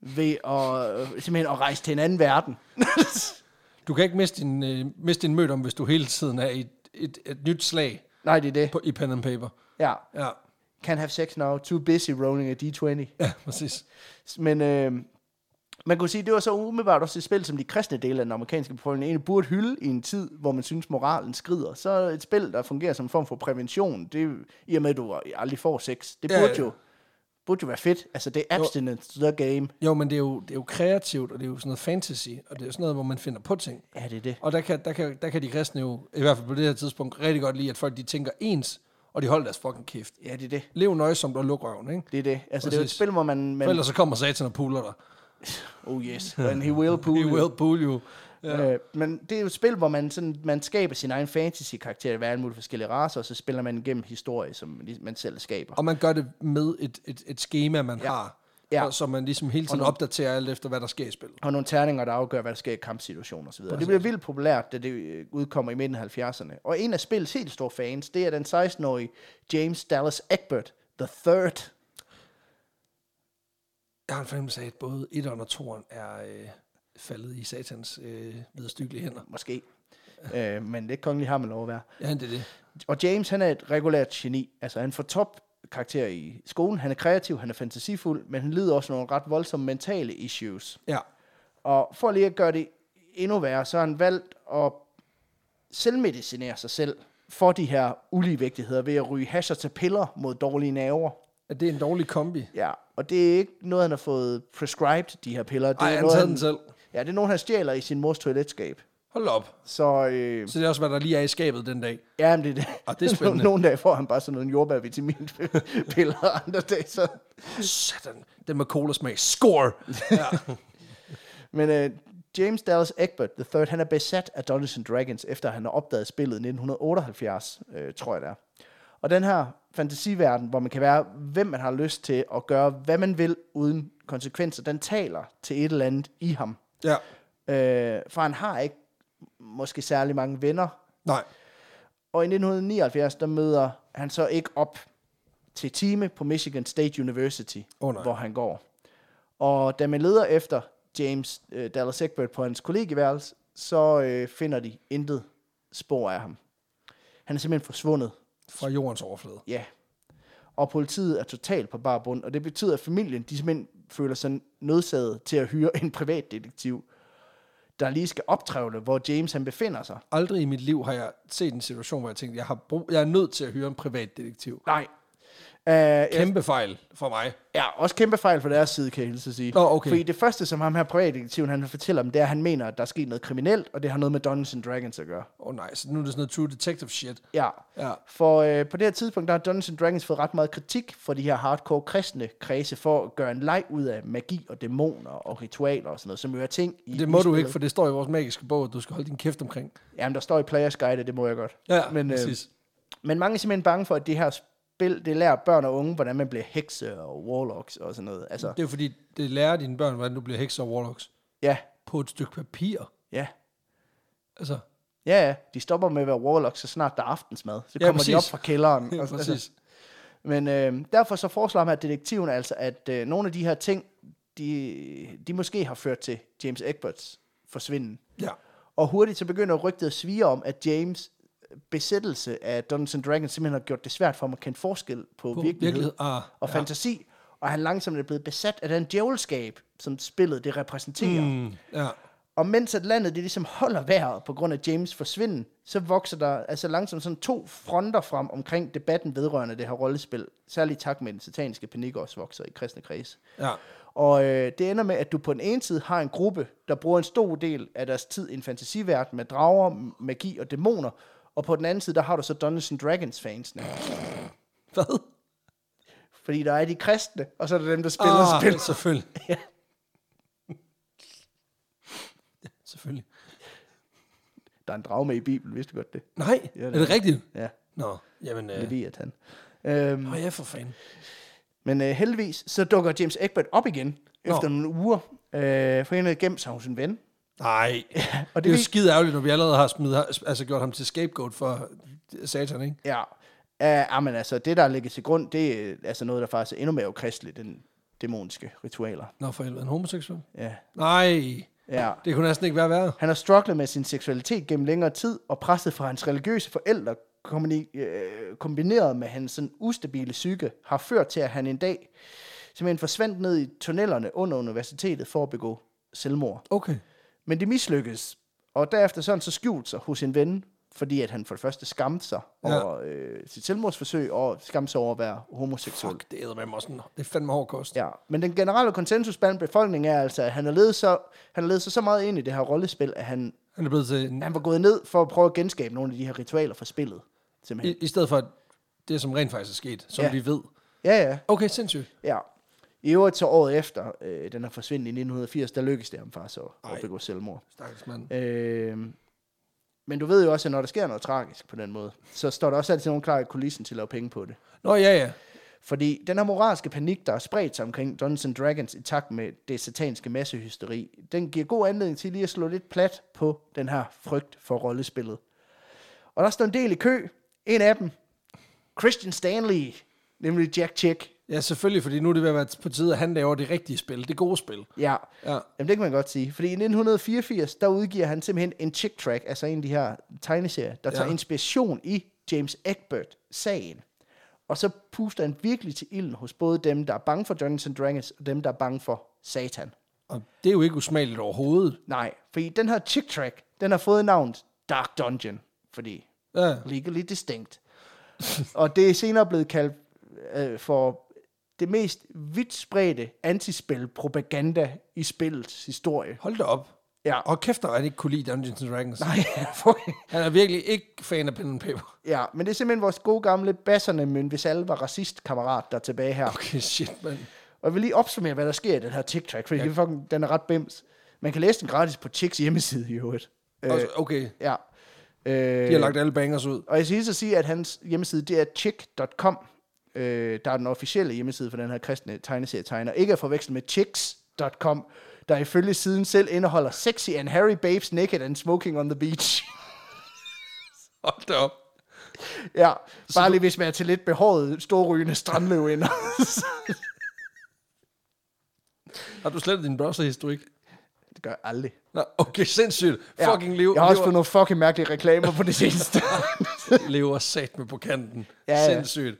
Speaker 2: ved at, øh, simpelthen at rejse til en anden verden. (laughs)
Speaker 1: Du kan ikke miste din, øh, miste din mødom, hvis du hele tiden er i et, et, et nyt slag
Speaker 2: Nej, det er det.
Speaker 1: på, i pen and paper.
Speaker 2: Ja.
Speaker 1: Ja,
Speaker 2: Can't have sex now. Too busy rolling a d20.
Speaker 1: ja præcis.
Speaker 2: Men øh, man kunne sige, det var så umiddelbart også et spil, som de kristne dele af den amerikanske befolkning egentlig burde hylde i en tid, hvor man synes, moralen skrider. Så et spil, der fungerer som en form for prævention, det, i og med, at du aldrig får sex, det
Speaker 1: Ja,
Speaker 2: burde,
Speaker 1: ja.
Speaker 2: Jo, burde jo være fedt. Altså, det er abstinence to the game.
Speaker 1: Jo, men det er jo, det er jo kreativt, og det er jo sådan noget fantasy, og det er jo sådan noget, hvor man finder på ting.
Speaker 2: Ja, det er det.
Speaker 1: Og der kan, der, kan, der kan de kristne jo, i hvert fald på det her tidspunkt, rigtig godt lide, at folk de tænker ens, og de holder deres fucking kæft.
Speaker 2: Ja, det er det.
Speaker 1: Lev nøjsomt og luk røven, ikke?
Speaker 2: Det er det. Altså, det er jo et
Speaker 1: Præcis.
Speaker 2: spil, hvor man...
Speaker 1: For
Speaker 2: man
Speaker 1: ellers så kommer satan og puler dig.
Speaker 2: oh
Speaker 1: (laughs)
Speaker 2: yes, and he will pool
Speaker 1: He
Speaker 2: you.
Speaker 1: will pull you.
Speaker 2: Ja. Øh, men det er jo et spil, hvor man, sådan, man skaber sin egen fantasy-karakter af alle mulige forskellige racer, og så spiller man igennem historie, som man lig- man selv skaber.
Speaker 1: Og man gør det med et, et, et schema, man ja. har.
Speaker 2: Ja.
Speaker 1: Og, så man ligesom hele tiden opdaterer alt efter, hvad der sker i spillet.
Speaker 2: og nogle terninger, der afgør, hvad der sker i kampsituationer osv. Og Altså, det blev vildt populært, da det øh, udkommer i midten af 70'erne. Og en af spillets helt store fans, det er den 16-årige James Dallas Egbert, The Third.
Speaker 1: Jeg har en fornemmelse af, at både
Speaker 2: (laughs)
Speaker 1: 1'eren og 2'eren er øh, faldet i satans øh, vedstykkelige hænder.
Speaker 2: Måske. øh, men det kongelige har man lov at være.
Speaker 1: Ja, det er det.
Speaker 2: Og James, han er et regulært geni. Altså, han får top karakter i skolen. Han er kreativ, han er fantasifuld, men han lider også af nogle ret voldsomme mentale issues.
Speaker 1: Ja.
Speaker 2: Og for lige at gøre det endnu værre, så har han valgt at selvmedicinere sig selv for de her uligevægtigheder ved at ryge hash og tage piller mod dårlige nerver.
Speaker 1: Er det en dårlig kombi?
Speaker 2: Ja, og det er ikke noget, han har fået prescribed, de her piller. Det
Speaker 1: Nej,
Speaker 2: er
Speaker 1: han
Speaker 2: noget,
Speaker 1: tager den selv.
Speaker 2: Ja, det er nogen, han stjæler i sin mors toiletskab.
Speaker 1: Hold da op.
Speaker 2: Så øh,
Speaker 1: Så det er også, hvad der lige er i skabet den dag.
Speaker 2: ja, (laughs) men det er det.
Speaker 1: Og det er spændende.
Speaker 2: Nogle dage får han bare sådan nogle jordbærvitaminpiller, (laughs) og andre dage så...
Speaker 1: Satan. Den med cola-smag. Score! (laughs) Ja.
Speaker 2: Men øh, James Dallas Egbert III, han er besat af Dungeons and Dragons, efter han har opdaget spillet i 1978, øh, tror jeg det er. Og den her fantasiverden, hvor man kan være, hvem man har lyst til, og gøre, hvad man vil, uden konsekvenser, den taler til et eller andet i ham.
Speaker 1: ja.
Speaker 2: Øh, for han har ikke måske særlig mange venner.
Speaker 1: Nej.
Speaker 2: Og i 1979, der møder han så ikke op til time på Michigan State University,
Speaker 1: Åh, nej.
Speaker 2: hvor han går. Og da man leder efter James øh, Dallas Egbert på hans kollegeværelse, så øh, finder de intet spor af ham. Han er simpelthen forsvundet.
Speaker 1: Fra jordens overflade.
Speaker 2: Ja. Og politiet er totalt på bar bund, og det betyder, at familien de simpelthen føler sig nødsaget til at hyre en privatdetektiv, der lige skal optrævle, hvor James han befinder sig.
Speaker 1: Aldrig i mit liv har jeg set en situation, hvor jeg tænkte, jeg, har brug, jeg er nødt til at hyre en privatdetektiv.
Speaker 2: Nej. Uh,
Speaker 1: Kæmpe fejl for mig.
Speaker 2: Ja, også kæmpe fejl fra deres side, kan jeg hilse at sige.
Speaker 1: Nå, okay.
Speaker 2: Fordi det første, som ham her privatdetektiven, han fortæller om, det er, at han mener, at der er sket noget kriminelt, og det har noget med Dungeons and Dragons at gøre.
Speaker 1: Åh oh, nej, så nu er det sådan noget true detective shit.
Speaker 2: Ja.
Speaker 1: Ja.
Speaker 2: For øh, på det her tidspunkt, der har Dungeons and Dragons fået ret meget kritik for de her hardcore kristne kredse for at gøre en leg ud af magi og dæmoner og ritualer og sådan noget, som jo er ting i
Speaker 1: Det må du
Speaker 2: spillet.
Speaker 1: ikke, for det står i vores magiske bog, at du skal holde din kæft omkring.
Speaker 2: Jamen, der står i Players Guide, at det må jeg godt.
Speaker 1: Ja,
Speaker 2: Men,
Speaker 1: men,
Speaker 2: øh,
Speaker 1: præcis.
Speaker 2: Men mange er simpelthen bange for, at det her spil, det lærer børn og unge, hvordan man bliver hekse og warlocks og sådan noget. Altså,
Speaker 1: Det er jo fordi, det lærer dine børn, hvordan du bliver hekser og warlocks.
Speaker 2: ja,
Speaker 1: På et stykke papir.
Speaker 2: ja.
Speaker 1: Altså,
Speaker 2: Ja, ja. De stopper med at være warlocks, så snart der er aftensmad. Så
Speaker 1: Ja,
Speaker 2: kommer de op
Speaker 1: præcis.
Speaker 2: fra kælderen.
Speaker 1: (laughs) ja,
Speaker 2: Altså,
Speaker 1: præcis.
Speaker 2: Men øh, derfor så foreslår man, at detektiven altså, at øh, nogle af de her ting, de, de måske har ført til James Egberts forsvinden.
Speaker 1: Ja.
Speaker 2: Og hurtigt så begynder rygtet at svige om, at James besættelse af Dungeons and Dragons simpelthen har gjort det svært for ham at kende forskel på,
Speaker 1: På
Speaker 2: virkelighed,
Speaker 1: virkelighed. Ah,
Speaker 2: og fantasi. Og han langsomt er blevet besat af den djævelskab, som spillet det repræsenterer.
Speaker 1: Mm, ja.
Speaker 2: Og mens at landet det ligesom holder vejret på grund af James forsvinden, så vokser der altså langsomt sådan to fronter frem omkring debatten vedrørende det her rollespil. Særligt tak med den sataniske panik også vokser i kristne kreds.
Speaker 1: Ja.
Speaker 2: Og øh, det ender med, at du på den ene side har en gruppe, der bruger en stor del af deres tid i en fantasiverden med drager, m- magi og dæmoner. Og på den anden side, der har du så Dungeons and Dragons fansene.
Speaker 1: Hvad?
Speaker 2: Fordi der er de kristne, og så er der dem, der spiller
Speaker 1: ah,
Speaker 2: spil.
Speaker 1: selvfølgelig.
Speaker 2: (laughs) Ja.
Speaker 1: Ja, selvfølgelig.
Speaker 2: Der er en drage med i Bibelen, vidste du godt det?
Speaker 1: Nej,
Speaker 2: Ja,
Speaker 1: er det rigtigt?
Speaker 2: Ja,
Speaker 1: Nå, jamen... Øh,
Speaker 2: Leviathan. Øhm,
Speaker 1: Nå ja, for fanden.
Speaker 2: Men øh, heldigvis, så dukker James Egbert op igen
Speaker 1: Nå.
Speaker 2: efter nogle uger, øh, for han havde gemt sig hos en ven.
Speaker 1: Nej,
Speaker 2: Og
Speaker 1: det er
Speaker 2: det,
Speaker 1: jo
Speaker 2: vi,
Speaker 1: skide ærgerligt, når vi allerede har smidt, altså gjort ham til scapegoat for øh, satan, ikke?
Speaker 2: ja, uh, ah, men altså, det der ligger til grund, det er altså noget, der faktisk er endnu mere ukristeligt end dæmoniske ritualer.
Speaker 1: Nå, for helvede, en homoseksuel?
Speaker 2: Ja.
Speaker 1: Nej,
Speaker 2: ja.
Speaker 1: det kunne næsten ikke være værre.
Speaker 2: Han har strugglet med sin seksualitet gennem længere tid, og presset fra hans religiøse forældre, kombini- øh, kombineret med hans sådan ustabile psyke, har ført til, at han en dag simpelthen forsvandt ned i tunnelerne under universitetet for at begå selvmord.
Speaker 1: Okay.
Speaker 2: Men det mislykkedes, og derefter så han så skjult sig hos en ven, fordi at han for det første skamte sig
Speaker 1: Ja.
Speaker 2: over øh, sit selvmordsforsøg, og skamte sig over at være homoseksuel.
Speaker 1: Fuck, det æder med mig også sådan. Det er fandme hård kost.
Speaker 2: Ja, men den generelle konsensus blandt befolkningen er altså, at han har ledet så, han har ledet sig så meget ind i det her rollespil, at han,
Speaker 1: Han er blevet til... en-
Speaker 2: han var gået ned for at prøve at genskabe nogle af de her ritualer fra spillet.
Speaker 1: I,
Speaker 2: Simpelthen.
Speaker 1: I stedet for det, som rent faktisk er sket, som
Speaker 2: Ja.
Speaker 1: vi ved.
Speaker 2: Ja, ja,
Speaker 1: Okay, sindssygt.
Speaker 2: ja. I øvrigt så året efter, øh, den her forsvinden i 1980, der lykkedes det ham faktisk at, at
Speaker 1: Ej.
Speaker 2: begå selvmord.
Speaker 1: Stakkels mand.
Speaker 2: Øh, men du ved jo også, at når der sker noget tragisk på den måde, så står der også altid nogen klar i kulissen til at lave penge på det.
Speaker 1: Nå, ja, ja.
Speaker 2: Fordi den her moralske panik, der er spredt sig omkring Dungeons and Dragons i takt med det sataniske massehysteri, den giver god anledning til lige at slå lidt plat på den her frygt for rollespillet. Og der står en del i kø. En af dem, Christian Stanley, nemlig Jack Chick,
Speaker 1: Ja, selvfølgelig, fordi nu er det ved at være på tide, at han laver det rigtige spil, det gode spil.
Speaker 2: Ja,
Speaker 1: Ja.
Speaker 2: Jamen, det kan man godt sige. Fordi i 1984, der udgiver han simpelthen en chick track, altså en af de her tegneserier,
Speaker 1: Ja.
Speaker 2: der ja. tager inspiration i James Egbert-sagen. Og så puster han virkelig til ilden hos både dem, der er bange for Dungeons and Dragons, og dem, der er bange for Satan.
Speaker 1: Og det er jo ikke usmageligt overhovedet.
Speaker 2: Nej, fordi den her chick track, den har fået navnet Dark Dungeon, fordi
Speaker 1: Ja.
Speaker 2: legally distinct. og det er senere blevet kaldt øh, for det mest vidt spredte antispil-propaganda i spillets historie.
Speaker 1: Hold da op.
Speaker 2: Ja.
Speaker 1: Og (laughs) kæft, der han ikke kunne lide Dungeons and Dragons. Nej.
Speaker 2: Nej, fucking.
Speaker 1: Han er virkelig ikke fan af pen and paper. (laughs)
Speaker 2: Ja, men det er simpelthen vores gode gamle basserne, men hvis alle var racist-kammerat, der er tilbage her.
Speaker 1: Okay, shit, mand.
Speaker 2: Og jeg vil lige opsummere, hvad der sker i den her TikTok, fordi ja. det er fucking, den er ret bims. Man kan læse den gratis på Chicks hjemmeside i øvrigt. Øh,
Speaker 1: Øh, okay,
Speaker 2: ja. Øh,
Speaker 1: de har lagt alle bangers ud.
Speaker 2: Og jeg skal lige sige, at hans hjemmeside, det er chick.com. Øh, der er den officielle hjemmeside for den her kristne tegneserietegner. Ikke at forveksle med chicks.com, der ifølge siden selv indeholder sexy and hairy babes naked and smoking on the beach.
Speaker 1: Hold da op.
Speaker 2: Ja, bare lige hvis man er til lidt behåret, storrygende strandløvinder.
Speaker 1: Har du slet din browserhistorik?
Speaker 2: (laughs) det gør jeg aldrig.
Speaker 1: Nå, okay, sindssygt.
Speaker 2: Ja,
Speaker 1: Fucking lever,
Speaker 2: Jeg har også fået
Speaker 1: lever,
Speaker 2: nogle fucking mærkelige reklamer på det seneste. (laughs)
Speaker 1: (laughs) lever sat med på kanten.
Speaker 2: Ja, ja.
Speaker 1: Sindssygt.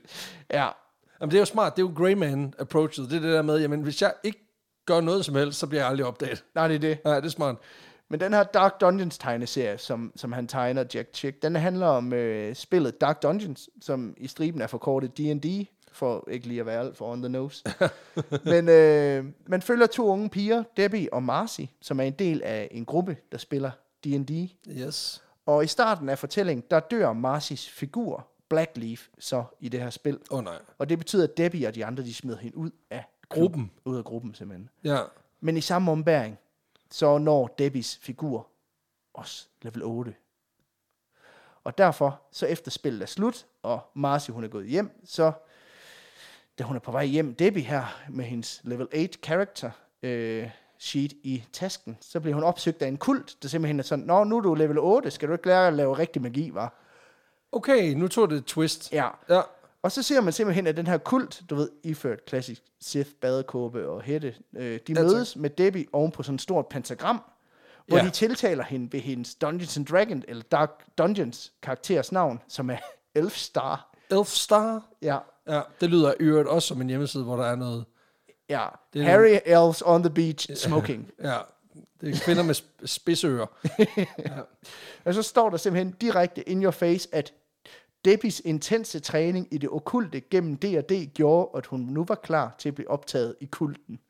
Speaker 2: ja,
Speaker 1: Jamen, det er jo smart. Det er jo Grey Man approachet. Det er det der med, jamen, hvis jeg ikke gør noget som helst, så bliver jeg aldrig opdaget.
Speaker 2: nej, det er det.
Speaker 1: Nej, det er smart.
Speaker 2: Men den her Dark Dungeons tegneserie, som, som han tegner, Jack Chick, den handler om øh, spillet Dark Dungeons, som i striben er forkortet D&D, for ikke lige at være alt for on the nose. men øh, man følger to unge piger, Debbie og Marcy, som er en del af en gruppe, der spiller D&D.
Speaker 1: Yes.
Speaker 2: Og i starten af fortællingen, der dør Marcys figur, Blackleaf, så i det her spil.
Speaker 1: Åh oh, nej.
Speaker 2: Og det betyder, at Debbie og de andre, de smed hende ud af
Speaker 1: Gruppen.
Speaker 2: klubben, Ud af gruppen, simpelthen.
Speaker 1: Ja.
Speaker 2: Men i samme ombæring, så når Debbies figur også level 8. Og derfor, så efter spillet er slut, og Marcy hun er gået hjem, så da hun er på vej hjem, Debbie her med hendes level 8 character øh, sheet i tasken, så bliver hun opsøgt af en kult, der simpelthen er sådan, Nå, nu er du level 8, skal du ikke lære at lave rigtig magi, var?
Speaker 1: Okay, nu tog det et twist.
Speaker 2: Ja.
Speaker 1: Ja.
Speaker 2: Og så ser man simpelthen, at den her kult, du ved, iført klassisk Sith, badekåbe og hætte, øh, de
Speaker 1: tak.
Speaker 2: mødes med Debbie oven på sådan et stort pentagram, hvor
Speaker 1: Ja.
Speaker 2: ja. de tiltaler hende ved hendes Dungeons and Dragons, eller Dark Dungeons karakters navn, som er (laughs) Elfstar.
Speaker 1: Elfstar.
Speaker 2: Ja,
Speaker 1: Ja, det lyder i øvrigt også som en hjemmeside, hvor der er noget...
Speaker 2: ja.
Speaker 1: Det er
Speaker 2: Harry Elves on the beach smoking.
Speaker 1: Ja, det er kvinder med sp-
Speaker 2: (laughs)
Speaker 1: spidsører.
Speaker 2: Og så står der simpelthen direkte in your face, at Debbies intense træning i det okulte gennem D&D gjorde, at hun nu var klar til at blive optaget i kulten.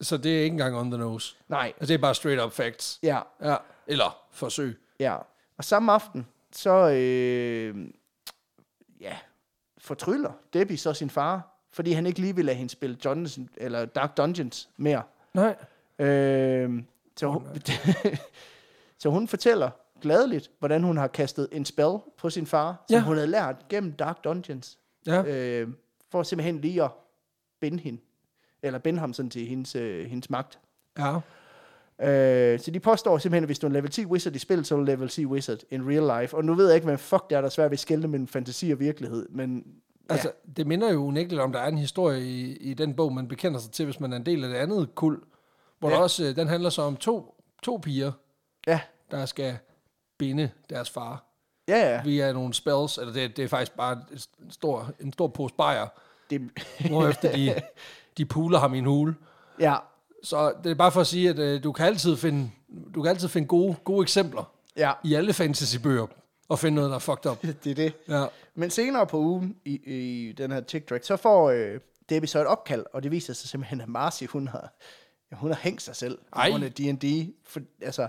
Speaker 1: Så det er ikke engang on the nose.
Speaker 2: Nej,
Speaker 1: Altså, det er bare straight up facts.
Speaker 2: ja,
Speaker 1: Ja. Eller forsøg.
Speaker 2: Ja, og samme aften, så øh, ja, fortryller Debbie så sin far, fordi han ikke lige vil lade hende spille Johnson, eller Dark Dungeons mere.
Speaker 1: Nej.
Speaker 2: Øh, så, hun, (laughs) så hun fortæller gladeligt, hvordan hun har kastet en spell på sin far, som
Speaker 1: Ja.
Speaker 2: ja. hun havde lært gennem Dark Dungeons,
Speaker 1: Ja.
Speaker 2: øh, for simpelthen lige at binde hende, eller binde ham sådan til hendes, øh, hendes magt.
Speaker 1: Ja.
Speaker 2: Øh, så de påstår simpelthen, at hvis du er en level 10 wizard i spil, så er du level 10 wizard in real life. Og nu ved jeg ikke, hvad fuck det er, der er svært ved at skelne mellem fantasi og virkelighed. Men
Speaker 1: Altså, ja. det minder jo unægteligt om, der er en historie i, i den bog, man bekender sig til, hvis man er en del af det andet kul, hvor ja.
Speaker 2: Ja.
Speaker 1: der også, øh, den handler så om to, to piger,
Speaker 2: ja,
Speaker 1: der skal binde deres far
Speaker 2: ja, ja.
Speaker 1: via nogle spells, eller det, det er faktisk bare et- en stor, en stor pose bajer,
Speaker 2: Det, (laughs)
Speaker 1: hvorefter de, de puler ham i en hule.
Speaker 2: ja,
Speaker 1: Så det er bare for at sige, at øh, du kan altid finde, du kan altid finde gode, gode eksempler
Speaker 2: ja,
Speaker 1: i alle fantasybøger, og finde noget, der er fucked
Speaker 2: (laughs)
Speaker 1: up.
Speaker 2: det er det.
Speaker 1: Ja.
Speaker 2: Men senere på ugen i, i den her TikTok, så får øh, Debbie så et opkald, og det viser sig simpelthen, at Marcy, hun har, ja, hun har hængt sig selv
Speaker 1: Ej.
Speaker 2: på grund af D&D. For, altså,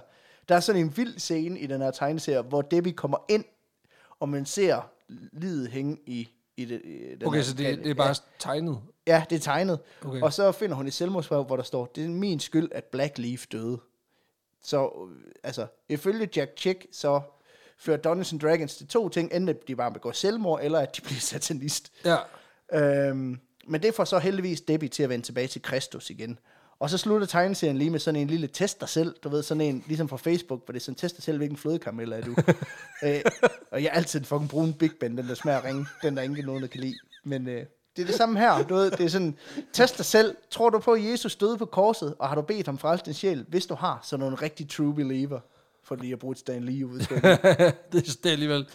Speaker 2: der er sådan en vild scene i den her tegneserie, hvor Debbie kommer ind, og man ser livet hænge i, i, det, i den
Speaker 1: Okay,
Speaker 2: her
Speaker 1: så det,
Speaker 2: lokale-
Speaker 1: det er bare tegnet.
Speaker 2: Ja, det er tegnet.
Speaker 1: Okay.
Speaker 2: Okay. Og så finder hun et selvmordsbrev, hvor der står, det er min skyld, at Black Leaf døde. Så, øh, altså, ifølge Jack Chick, så fører Dungeons and Dragons til to ting. Enten at de bare begår selvmord, eller at de bliver (laughs) satanist.
Speaker 1: Ja.
Speaker 2: Øhm, men det får så heldigvis Debbie til at vende tilbage til Kristus igen. Og så slutter tegneserien lige med sådan en lille test dig selv. Du ved, sådan en, ligesom fra Facebook, hvor det er sådan, test dig selv, hvilken flødekaramel er du. øh, og jeg har altid fucking brun Big Ben, den der smager af ringe. Den der ingen nogen, der kan lide. Men øh, Det er det samme her. Du ved, det er sådan, test dig selv. Tror du på, at Jesus døde på korset, og har du bedt ham frelse din sjæl? Hvis du har, så er du en rigtig true believer. For lige at bruge et Stan Lee
Speaker 1: (laughs)
Speaker 2: udtryk.
Speaker 1: det, er, det er alligevel...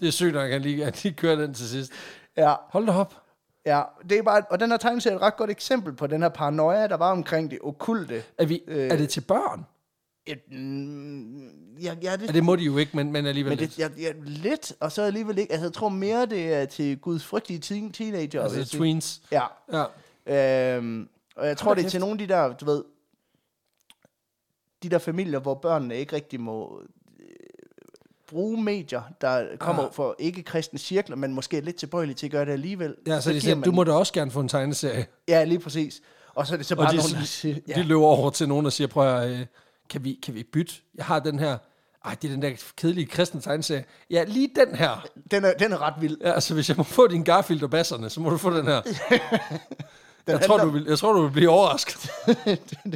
Speaker 1: Det er sygt nok, at han lige, at de kører den til sidst.
Speaker 2: ja,
Speaker 1: Hold da op.
Speaker 2: ja. Det er bare, og den her tegneserie er et ret godt eksempel på den her paranoia, der var omkring det okulte.
Speaker 1: Er, vi, øh, er det til børn?
Speaker 2: Et, mm, ja, ja, det,
Speaker 1: Ja, det må de jo ikke, men, men alligevel
Speaker 2: men
Speaker 1: lidt.
Speaker 2: det, ja, ja, lidt, og så alligevel ikke. Altså, jeg tror mere, det er til guds frygtige teen,
Speaker 1: Altså,
Speaker 2: teenager. vil jeg
Speaker 1: det er
Speaker 2: sige.
Speaker 1: tweens.
Speaker 2: Ja.
Speaker 1: Ja.
Speaker 2: Øhm, og jeg
Speaker 1: da
Speaker 2: tror, det er
Speaker 1: kæft.
Speaker 2: til nogle af de der, du ved, de der familier, hvor børnene ikke rigtig må øh, bruge medier, der kommer
Speaker 1: Ah.
Speaker 2: ah. for ikke-kristne cirkler, men måske er lidt tilbøjelige til at gøre det alligevel.
Speaker 1: Ja, så, de
Speaker 2: giver
Speaker 1: siger, du må da også gerne få en tegneserie.
Speaker 2: Ja, lige præcis. Og så er det så
Speaker 1: Og
Speaker 2: bare
Speaker 1: de,
Speaker 2: nogen, der
Speaker 1: siger,
Speaker 2: siger,
Speaker 1: de
Speaker 2: ja,
Speaker 1: løber over til nogen og siger, prøv at, høre, øh, kan vi, kan vi bytte? Jeg har den her, ej, det er den der kedelige kristne tegneserie. Ja, lige den her.
Speaker 2: den, er, den er ret vild.
Speaker 1: Ja, altså, hvis jeg må få din Garfield og basserne, så må du få den her.
Speaker 2: (laughs) Den
Speaker 1: Jeg tror,
Speaker 2: handler-
Speaker 1: du vil, jeg tror, du vil blive overrasket.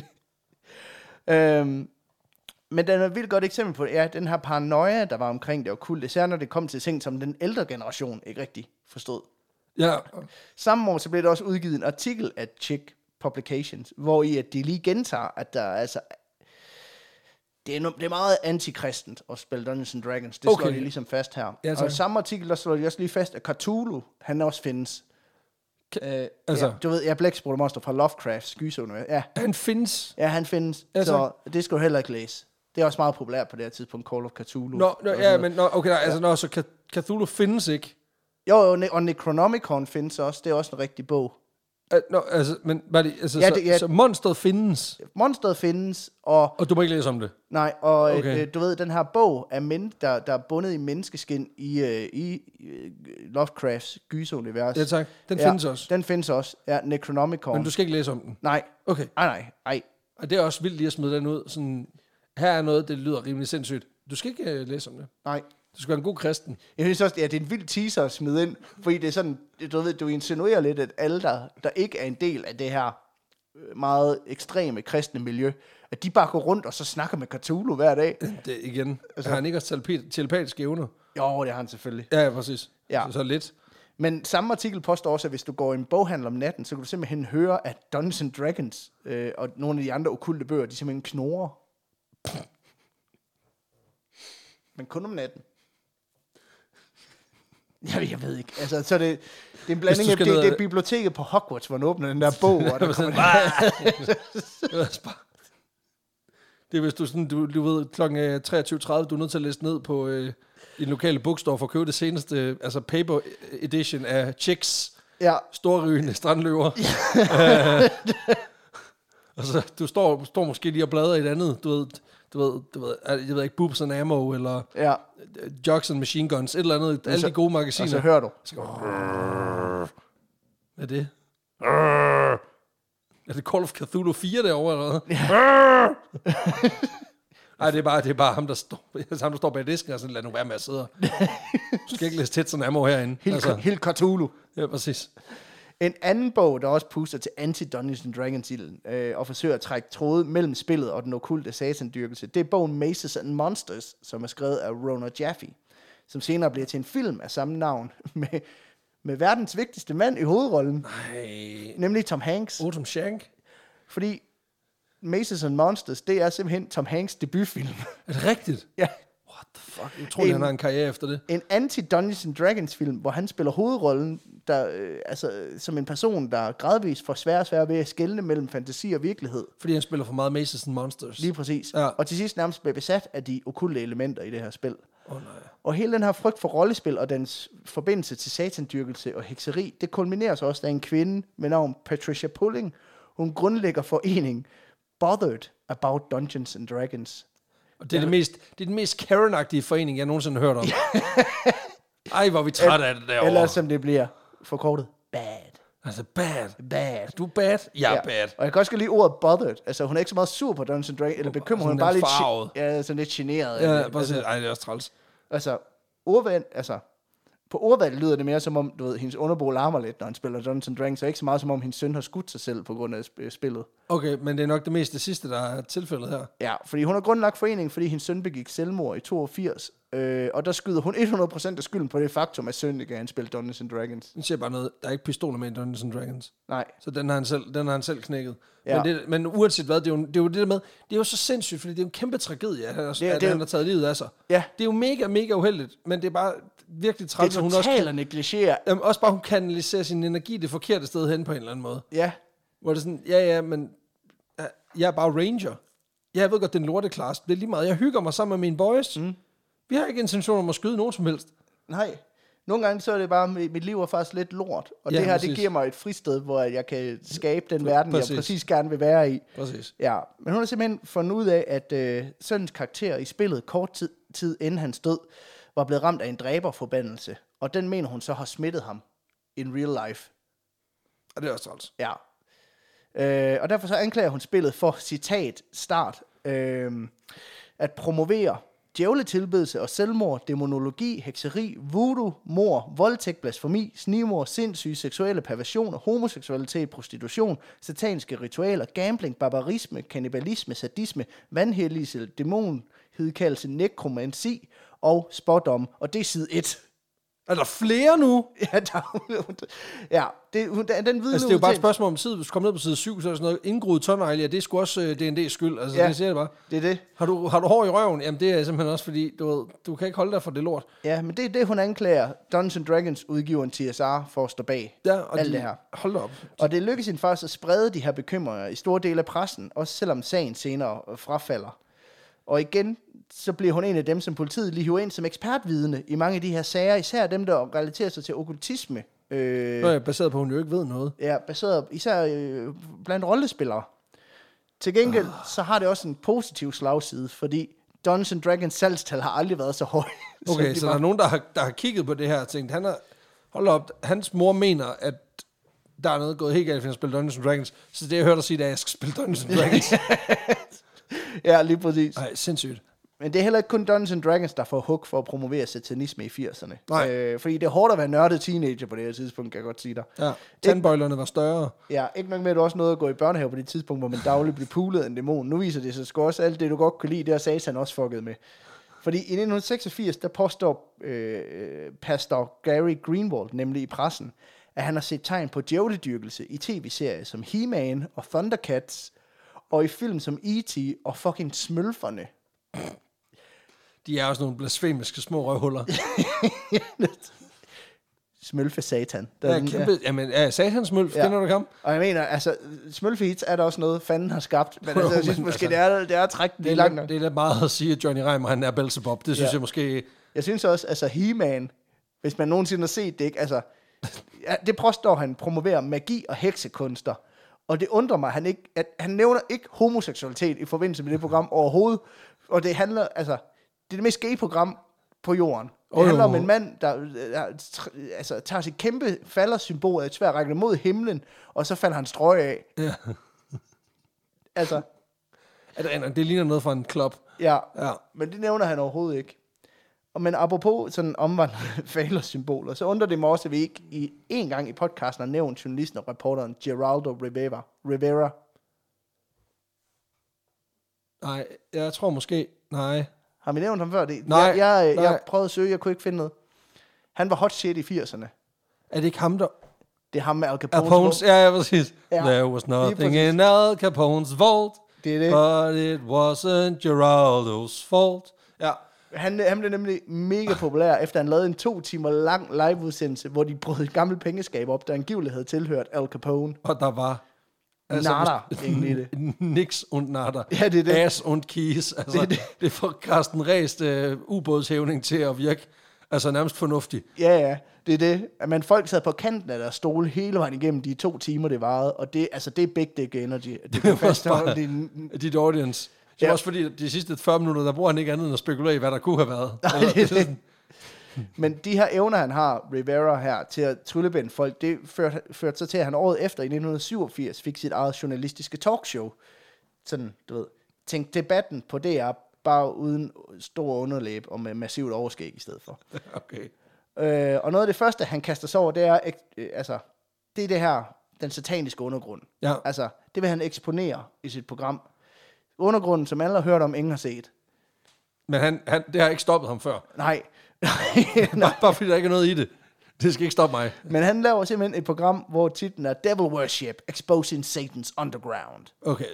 Speaker 2: (laughs) øhm, men den er et vildt godt eksempel på, ja, den her paranoia, der var omkring det okulte, især når det kom til ting, som den ældre generation ikke rigtig forstod.
Speaker 1: Ja,
Speaker 2: Samme år så blev der også udgivet en artikel af Chick Publications, hvor i at de lige gentager, at der er altså... Det er, no, det er meget antikristent at spille Dungeons and Dragons. Det okay. slår
Speaker 1: Okay.
Speaker 2: de ligesom fast her.
Speaker 1: Ja,
Speaker 2: og
Speaker 1: tak.
Speaker 2: i samme artikel, der slår de også lige fast, at Cthulhu, han også findes.
Speaker 1: Ka-
Speaker 2: Øh,
Speaker 1: altså-
Speaker 2: altså. ja, du ved, jeg er monster fra Lovecraft, skysøvne. Ja,
Speaker 1: han findes.
Speaker 2: ja, han findes.
Speaker 1: Altså-
Speaker 2: Altså. Så det skal du heller ikke læse. Det er også meget populært på det her tidspunkt, Call of Cthulhu.
Speaker 1: Nå,
Speaker 2: og
Speaker 1: nå
Speaker 2: sådan
Speaker 1: ja,
Speaker 2: noget.
Speaker 1: men nå, okay, nej, altså, nå, så Ca- Cthulhu findes ikke.
Speaker 2: Jo, jo, ne- og Necronomicon findes også. Det er også en rigtig bog.
Speaker 1: Øh, Nå, altså, men var det, altså,
Speaker 2: Ja,
Speaker 1: så,
Speaker 2: det- ja.
Speaker 1: så monstret findes,
Speaker 2: Monsteret findes, og
Speaker 1: og du må ikke læse om det.
Speaker 2: Nej, og
Speaker 1: Okay.
Speaker 2: okay. øh, du ved, den her bog, er men, der, der er bundet i menneskeskin i, øh, i øh, Lovecrafts gyserunivers.
Speaker 1: Ja, tak. Den
Speaker 2: Ja,
Speaker 1: findes også.
Speaker 2: Den findes også, ja, Necronomicon.
Speaker 1: Men du skal ikke læse om den.
Speaker 2: Nej,
Speaker 1: Okay.
Speaker 2: nej, nej, nej.
Speaker 1: Og det er også vildt lige at smide den ud. Sådan, her er noget, det lyder rimelig sindssygt. Du skal ikke øh, læse om det.
Speaker 2: nej.
Speaker 1: Du skal være en god kristen.
Speaker 2: Jeg synes også, ja, det er en vild teaser at smide ind, fordi det er sådan, du ved, du insinuerer lidt, at alle, der, der ikke er en del af det her øh, meget ekstreme kristne miljø, at de bare går rundt og så snakker med Cthulhu hver dag.
Speaker 1: Det, igen, altså, har han ikke også telepa- telepatiske evner?
Speaker 2: Jo, det har han selvfølgelig.
Speaker 1: Ja, ja, præcis.
Speaker 2: Ja.
Speaker 1: Så, så lidt.
Speaker 2: Men samme artikel påstår også, at hvis du går i en boghandel om natten, så kan du simpelthen høre, at Dungeons and Dragons øh, og nogle af de andre okulte bøger, de simpelthen knorer. Men kun om natten. Jeg, jeg ved ikke. Altså, så er det, det er en blanding af,
Speaker 1: skal
Speaker 2: det,
Speaker 1: ned-
Speaker 2: det er biblioteket på Hogwarts, hvor man åbner den der bog,
Speaker 1: (laughs)
Speaker 2: og der kommer
Speaker 1: Det er også bare- Det er, hvis du, sådan, du, du ved, kl. 23.30, du er nødt til at læse ned på øh, i den lokale bookstore for at købe det seneste, øh, altså paper edition af Chicks,
Speaker 2: Ja,
Speaker 1: storrygende
Speaker 2: (laughs)
Speaker 1: strandløver. Øh, (laughs) og så du står, står måske lige og bladrer i et andet, du ved, du ved, du ved, øh, jeg ved ikke, Boobs and Ammo, eller
Speaker 2: ja.
Speaker 1: øh, Jugs and Machine Guns, et eller andet, alle
Speaker 2: så-
Speaker 1: de gode
Speaker 2: Og
Speaker 1: magasiner.
Speaker 2: så hører du.
Speaker 1: Hvad er det?
Speaker 2: Øh.
Speaker 1: Er det Call of Cthulhu 4 derovre, eller hvad? Nej, det er bare, det er bare ham, der står, (laughs) altså, ham, der står bag disken og sådan, lad nu være med at sidde. og- Du skal ikke læse tæt sådan ammo herinde.
Speaker 2: Helt, altså. helt Cthulhu.
Speaker 1: ja, præcis.
Speaker 2: En anden bog, der også puster til anti-Dungeons and dragons øh, og forsøger at trække tråde mellem spillet og den okulte satandyrkelse, det er bogen Maces and Monsters, som er skrevet af Rona Jaffe, som senere bliver til en film af samme navn, (laughs) med, med verdens vigtigste mand i hovedrollen,
Speaker 1: Ej.
Speaker 2: nemlig Tom Hanks.
Speaker 1: Otum Shank.
Speaker 2: Fordi Maces and Monsters, det er simpelthen Tom Hanks debutfilm.
Speaker 1: Er det rigtigt?
Speaker 2: ja.
Speaker 1: What the fuck? Jeg tror, en... han har en karriere efter det.
Speaker 2: En anti-Dungeons and Dragons film, hvor han spiller hovedrollen der, øh, altså, øh, som en person, der gradvist får sværere og sværere ved at skelne mellem fantasi og virkelighed.
Speaker 1: Fordi han spiller for meget Maces and Monsters.
Speaker 2: Lige præcis.
Speaker 1: Ja.
Speaker 2: Ja. Og til sidst nærmest blev besat af de okulte elementer i det her spil.
Speaker 1: oh, nej.
Speaker 2: Og hele den her frygt for rollespil og dens forbindelse til satandyrkelse og hekseri, det kulminerer så også, da en kvinde med navn Patricia Pulling, hun grundlægger foreningen Bothered About Dungeons and Dragons.
Speaker 1: Og det er, det, mest, det er den mest Karen-agtige forening, jeg nogensinde har hørt om. Ej, hvor er vi trætte af det
Speaker 2: Oh.
Speaker 1: derovre.
Speaker 2: Eller som det bliver forkortet, Bad.
Speaker 1: Altså, bad.
Speaker 2: Bad.
Speaker 1: Du er bad, jeg er ja. bad.
Speaker 2: Og jeg kan også godt lide ordet bothered. Altså, hun er ikke så meget sur på Dungeons and Dragons, eller bekymret, hun er
Speaker 1: sådan
Speaker 2: bare
Speaker 1: lidt
Speaker 2: lidt,
Speaker 1: Altså, farvet.
Speaker 2: gen- ja, sådan lidt generet.
Speaker 1: Ja, præcis. Ej, det er også træls.
Speaker 2: Altså, ordvalg, altså, på ordvalg lyder det mere som om, du ved, hendes underbo larmer lidt, når han spiller Dungeons and Dragons, og ikke så meget som om, hendes søn har skudt sig selv på grund af sp- spillet.
Speaker 1: Okay, men det er nok det mest det sidste, der er tilfældet her.
Speaker 2: Ja, fordi hun har grundlagt foreningen, fordi hendes søn begik selvmord i 82, Øh, og der skyder hun 100% af skylden på det faktum, at Sønneke han spillede Dungeons and Dragons.
Speaker 1: Den siger bare noget. Der er ikke pistoler med i Dungeons and Dragons.
Speaker 2: Nej.
Speaker 1: Så den har han selv, den har han selv knækket.
Speaker 2: Ja.
Speaker 1: Ja. Men, det, men uanset hvad, det er, jo, det er jo det der med, det er jo så sindssygt, fordi det er jo en kæmpe tragedie, at han, er,
Speaker 2: er
Speaker 1: at
Speaker 2: jo-
Speaker 1: han har taget livet af sig.
Speaker 2: Ja.
Speaker 1: Det er jo mega, mega uheldigt, men det er bare virkelig
Speaker 2: Det Altså, er
Speaker 1: træt, at hun også,
Speaker 2: totalt at negligere.
Speaker 1: jamen, også bare hun kanaliserer sin energi det forkerte sted hen på en eller anden måde.
Speaker 2: Ja,
Speaker 1: Hvor det er sådan, ja ja, men ja, jeg er bare ranger. Ja, jeg ved godt, det er en lorteklasse. Det er lige meget. Jeg hygger mig sammen med mine boys. Mm. Vi har ikke intention om at skyde nogen som helst.
Speaker 2: nej. Nogle gange så er det bare, mit mit liv er faktisk lidt lort. Og ja,
Speaker 1: Ja,
Speaker 2: det her, det
Speaker 1: præcis.
Speaker 2: giver mig et fristed, hvor jeg kan skabe den verden, præcis. jeg
Speaker 1: præcis.
Speaker 2: præcis gerne vil være i.
Speaker 1: Præcis.
Speaker 2: Ja, men hun har simpelthen fundet ud af, at øh, sønnens karakter i spillet kort tid, tid inden hans død, var blevet ramt af en dræberforbandelse. Og den mener hun så har smittet ham in real life.
Speaker 1: Og det er også træls.
Speaker 2: Ja. Øh, og derfor så anklager hun spillet for, citat, start, øh, at promovere djævletilbedelse og selvmord, dæmonologi, hekseri, voodoo, mor, voldtægt, blasfemi, snimor, sindssyge, seksuelle perversioner, homoseksualitet, prostitution, sataniske ritualer, gambling, barbarisme, kannibalisme, sadisme, vandhelligelse, dæmon, hedkaldelse, nekromansi og spådom. Og det er side 1.
Speaker 1: Er der flere nu?
Speaker 2: (laughs) Ja, der, ja det, hun- den, den viden
Speaker 1: Altså, det er jo bare et
Speaker 2: udtænkt-
Speaker 1: spørgsmål om side. Hvis du kommer ned på side 7, så er der sådan noget indgroet tånegle. Ja, det er sgu også uh, D&D's skyld. Altså,
Speaker 2: Ja.
Speaker 1: ja. det siger jeg bare.
Speaker 2: Det er det.
Speaker 1: Har du, har du hår i røven? Jamen, det er simpelthen også fordi, du, ved, du kan ikke holde dig for det lort.
Speaker 2: Ja, men det er det, hun anklager Dungeons Dragons udgiveren TSR for at stå bag.
Speaker 1: Ja, og
Speaker 2: Alt
Speaker 1: de,
Speaker 2: det her. Øh.
Speaker 1: Hold da op.
Speaker 2: Og det lykkedes hende faktisk at sprede de her bekymringer i store dele af pressen, også selvom sagen senere øh, frafalder. Og igen, så bliver hun en af dem, som politiet lige hiver ind som ekspertvidne i mange af de her sager, især dem, der relaterer sig til okkultisme. Øh,
Speaker 1: Nå, ja, baseret på, at hun jo ikke ved noget.
Speaker 2: ja, baseret især øh, blandt rollespillere. Til gengæld,
Speaker 1: Ah.
Speaker 2: så har det også en positiv slagside, fordi Dungeons Dragons salgstal har aldrig været så høje. (laughs) som
Speaker 1: Okay,
Speaker 2: de
Speaker 1: så
Speaker 2: var
Speaker 1: der er nogen, der har, der har kigget på det her og tænkt, han er, hold da op, hans mor mener, at der er noget gået helt galt, for at spille Dungeons and Dragons. Så det, jeg hørte dig sige, det er, at jeg skal spille Dungeons and
Speaker 2: (laughs)
Speaker 1: Dragons.
Speaker 2: Ja, lige præcis.
Speaker 1: Nej, sindssygt.
Speaker 2: Men det er heller ikke kun Dungeons and Dragons, der får hug for at promovere satanisme i 80'erne.
Speaker 1: Nej.
Speaker 2: Øh, fordi det er hårdt at være nørdet teenager på det her tidspunkt, kan jeg godt sige dig.
Speaker 1: Ja, tandbøjlerne var større.
Speaker 2: Ja, ikke nok med, at du også nåede at gå i børnehave på det tidspunkt, hvor man dagligt blev pulet af en dæmon. Nu viser det sig sgu også alt det, du godt kunne lide, det har satan også fucket med. Fordi i 1986, der påstår øh, pastor Gary Greenwald nemlig i pressen, at han har set tegn på djævledyrkelse i tv-serier som He-Man og Thundercats, og i film som E.T. og fucking Smølferne.
Speaker 1: De er også nogle blasfemiske små røvhuller.
Speaker 2: Smølfe satan. Der
Speaker 1: Der
Speaker 2: den-
Speaker 1: er kæmpe, jamen, ja, satans mølf,
Speaker 2: Ja.
Speaker 1: ja. kender du kamp?
Speaker 2: Og jeg mener, altså, smølfeeds er der også noget, fanden har skabt. Men altså,
Speaker 1: Jo, (laughs)
Speaker 2: jeg synes
Speaker 1: men
Speaker 2: måske,
Speaker 1: altså,
Speaker 2: det er, det er at trække
Speaker 1: Det
Speaker 2: det
Speaker 1: er,
Speaker 2: langt
Speaker 1: lidt-
Speaker 2: nok.
Speaker 1: det er lidt meget at sige, at Johnny Reimer han er Belzebub. Det synes
Speaker 2: Ja.
Speaker 1: ja. jeg måske...
Speaker 2: Jeg synes også, altså, He-Man, hvis man nogensinde har set det, ikke? Altså, ja, det påstår han promoverer magi og heksekunster. Og det undrer mig, han ikke, at han nævner ikke homoseksualitet i forbindelse med det program overhovedet. Og det handler, altså, det er det mest gay program på jorden. Det
Speaker 1: Åh,
Speaker 2: handler om
Speaker 1: jo.
Speaker 2: en mand, der, der tr- altså, tager sit kæmpe faldersymbol af et svær række mod himlen, og så falder han strøg af.
Speaker 1: Ja.
Speaker 2: Altså,
Speaker 1: At, at det ligner noget fra en klub.
Speaker 2: ja.
Speaker 1: Ja.
Speaker 2: Men det nævner han overhovedet ikke. Og men apropos sådan omvandrende (laughs) falersymboler, så undrer det mig også, at vi ikke i en gang i podcasten har nævnt journalisten og reporteren Geraldo Rivera. Rivera.
Speaker 1: Nej, jeg tror måske... Nej.
Speaker 2: Har vi nævnt ham før? Det,
Speaker 1: Nej,
Speaker 2: jeg, jeg,
Speaker 1: nej.
Speaker 2: jeg prøvede at søge, jeg kunne ikke finde noget. Han var hot shit i 80'erne.
Speaker 1: Er det ikke ham, der...
Speaker 2: Det er ham med Al Capone's
Speaker 1: Capones, ja, ja, præcis.
Speaker 2: Ja,
Speaker 1: Ja, There was nothing
Speaker 2: præcis.
Speaker 1: in Al Capone's vault,
Speaker 2: Det er det.
Speaker 1: but it wasn't Geraldo's fault. Ja,
Speaker 2: Han, han blev nemlig mega populær, (laughs) efter han lavede en to timer lang liveudsendelse, hvor de brød et gammelt pengeskab op, der angiveligt havde tilhørt Al Capone.
Speaker 1: og der var... Altså,
Speaker 2: Nada, egentlig det.
Speaker 1: Nix und nada.
Speaker 2: Ja, det er det.
Speaker 1: Ass und keys. Altså, det, det. det får Carsten Ræst øh, ubådshævning til at virke altså nærmest fornuftig.
Speaker 2: Ja, ja, det er det. At man folk sad på kanten af deres stole hele vejen igennem de to timer, det varede. Og det, altså, det er big dick energy. (laughs) Det kan
Speaker 1: Det var
Speaker 2: fastholde
Speaker 1: bare
Speaker 2: din...
Speaker 1: dit audience. Det
Speaker 2: Mm, Ja.
Speaker 1: er også fordi, at de sidste 40 minutter, der bruger han ikke andet end at spekulere i, hvad der kunne have været. Altså,
Speaker 2: Nej,
Speaker 1: Eller-
Speaker 2: det er det. (laughs) Men de her evner, han har, Rivera her, til at tryllebænde folk, det førte, førte så til, at han året efter i 1987 fik sit eget journalistiske talkshow. Sådan, du ved, tænk debatten på DR, bare uden stor underlæb og med massivt overskæg i stedet for.
Speaker 1: Okay.
Speaker 2: Øh, og noget af det første, han kaster sig over, det er, ek- øh, altså, det er det her, den sataniske undergrund.
Speaker 1: Ja.
Speaker 2: Altså, det vil han eksponere i sit program. Undergrunden, som alle har hørt om, ingen har set.
Speaker 1: Men han, han, det har ikke stoppet ham før.
Speaker 2: Nej. (laughs)
Speaker 1: Bare, bare fordi der ikke er noget i det. Det skal ikke stoppe mig.
Speaker 2: Men han laver simpelthen et program, hvor titlen er Devil Worship, Exposing Satan's Underground.
Speaker 1: Okay.
Speaker 2: Og-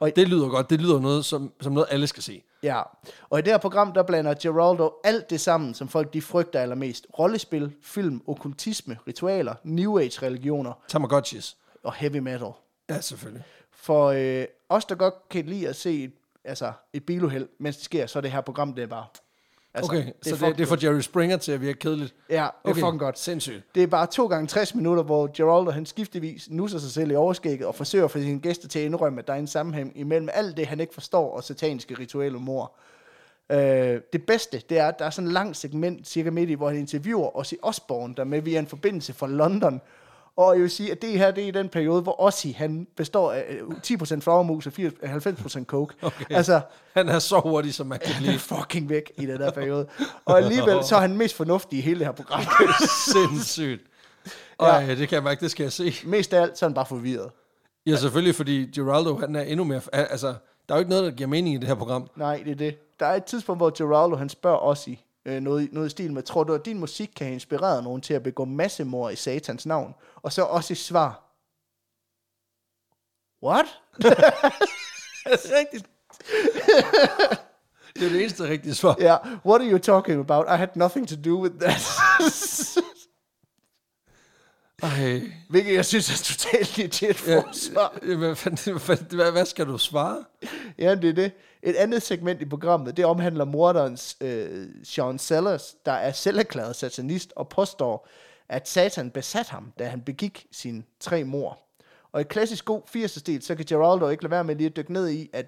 Speaker 1: Og det lyder godt. Det lyder noget, som, som noget, alle skal se.
Speaker 2: Ja, og i det her program, der blander Geraldo alt det sammen, som folk de frygter allermest. Rollespil, film, okkultisme, ritualer, New Age-religioner
Speaker 1: Tamagotchis.
Speaker 2: og heavy metal.
Speaker 1: Ja, selvfølgelig.
Speaker 2: For øh, os, der godt kan lide at se et, altså, et biluheld, mens det sker, så er det her program, det er bare...
Speaker 1: Altså, okay,
Speaker 2: er
Speaker 1: det så
Speaker 2: fucking
Speaker 1: det, det får Jerry Springer til at virke kedeligt.
Speaker 2: Ja, det er fucking godt.
Speaker 1: Sindssygt.
Speaker 2: Det er bare to gange 60 minutter, hvor Geraldo han skiftevis nusser sig selv i overskægget og forsøger at få sine gæster til at indrømme, at der er en sammenhæng imellem alt det, han ikke forstår, og sataniske rituelle mor. Øh, det bedste, det er, at der er sådan et langt segment cirka midt i, hvor han interviewer Ozzy Osbourne, der er med via en forbindelse fra London. Og jeg vil sige, at det her, det er i den periode, hvor Ozzy, han består af øh, 10% flagermus og 80 90% coke. Okay. Altså,
Speaker 1: Han er så hurtig, som man kan
Speaker 2: han er (laughs)
Speaker 1: blive.
Speaker 2: fucking væk i den der periode. Og alligevel, så er han mest fornuftig i hele det her program.
Speaker 1: Sindssygt. Ej, det kan jeg mærke, det skal jeg se.
Speaker 2: mest af alt, så er han bare forvirret.
Speaker 1: Ja, selvfølgelig, fordi Geraldo, han er endnu mere... al- Altså, der er jo ikke noget, der giver mening i det her program.
Speaker 2: Nej, det er det. Der er et tidspunkt, hvor Geraldo han spørger Ozzy øh, noget, i- noget i stil med, tror du, at din musik kan have inspireret nogen til at begå massemord i satans navn? Og så Ozzy svar.
Speaker 1: (laughs)
Speaker 2: What?
Speaker 1: Rigtigt. det er det eneste rigtige svar.
Speaker 2: Ja, yeah, what are you talking about? I had nothing to do with that. (laughs)
Speaker 1: Ej.
Speaker 2: Hvilket jeg synes er totalt legit
Speaker 1: Ja,
Speaker 2: forsvar.
Speaker 1: ja, hvad, fanden- hvad- hvad, hvad skal du svare?
Speaker 2: Ja, det er det. Et andet segment i programmet, det omhandler morderen øh, Sean Sellers, der er selverklæret satanist og påstår, at satan besat ham, da han begik sine tre mor. Og i klassisk god 80'er-stil, så kan Geraldo ikke lade være med lige at dykke ned i, at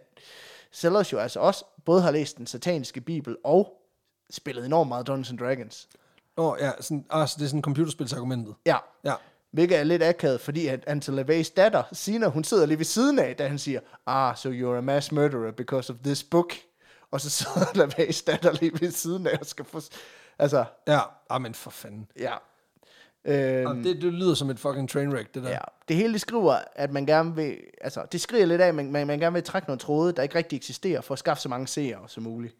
Speaker 2: Sellers jo altså også både har læst den sataniske bibel og spillet enormt meget Dungeons and Dragons.
Speaker 1: Nå, ja, sådan, ah, så det er sådan computerspilsargumentet.
Speaker 2: Ja,
Speaker 1: Ja.
Speaker 2: hvilket er lidt akavet, fordi at Anton LaVey's datter, Sina, hun sidder lige ved siden af, da han siger, ah, so you're a mass murderer because of this book. Og så sidder (laughs) LaVey's datter lige ved siden af og skal få... Altså,
Speaker 1: Ja, ah, men for fanden.
Speaker 2: ja. Øhm,
Speaker 1: Det, det lyder som et fucking trainwreck, det der.
Speaker 2: ja. Det hele det skriver, at man gerne vil... Altså, det skriver lidt af, at man, man, man gerne vil trække nogle tråde, der ikke rigtig eksisterer, for at skaffe så mange seere som muligt.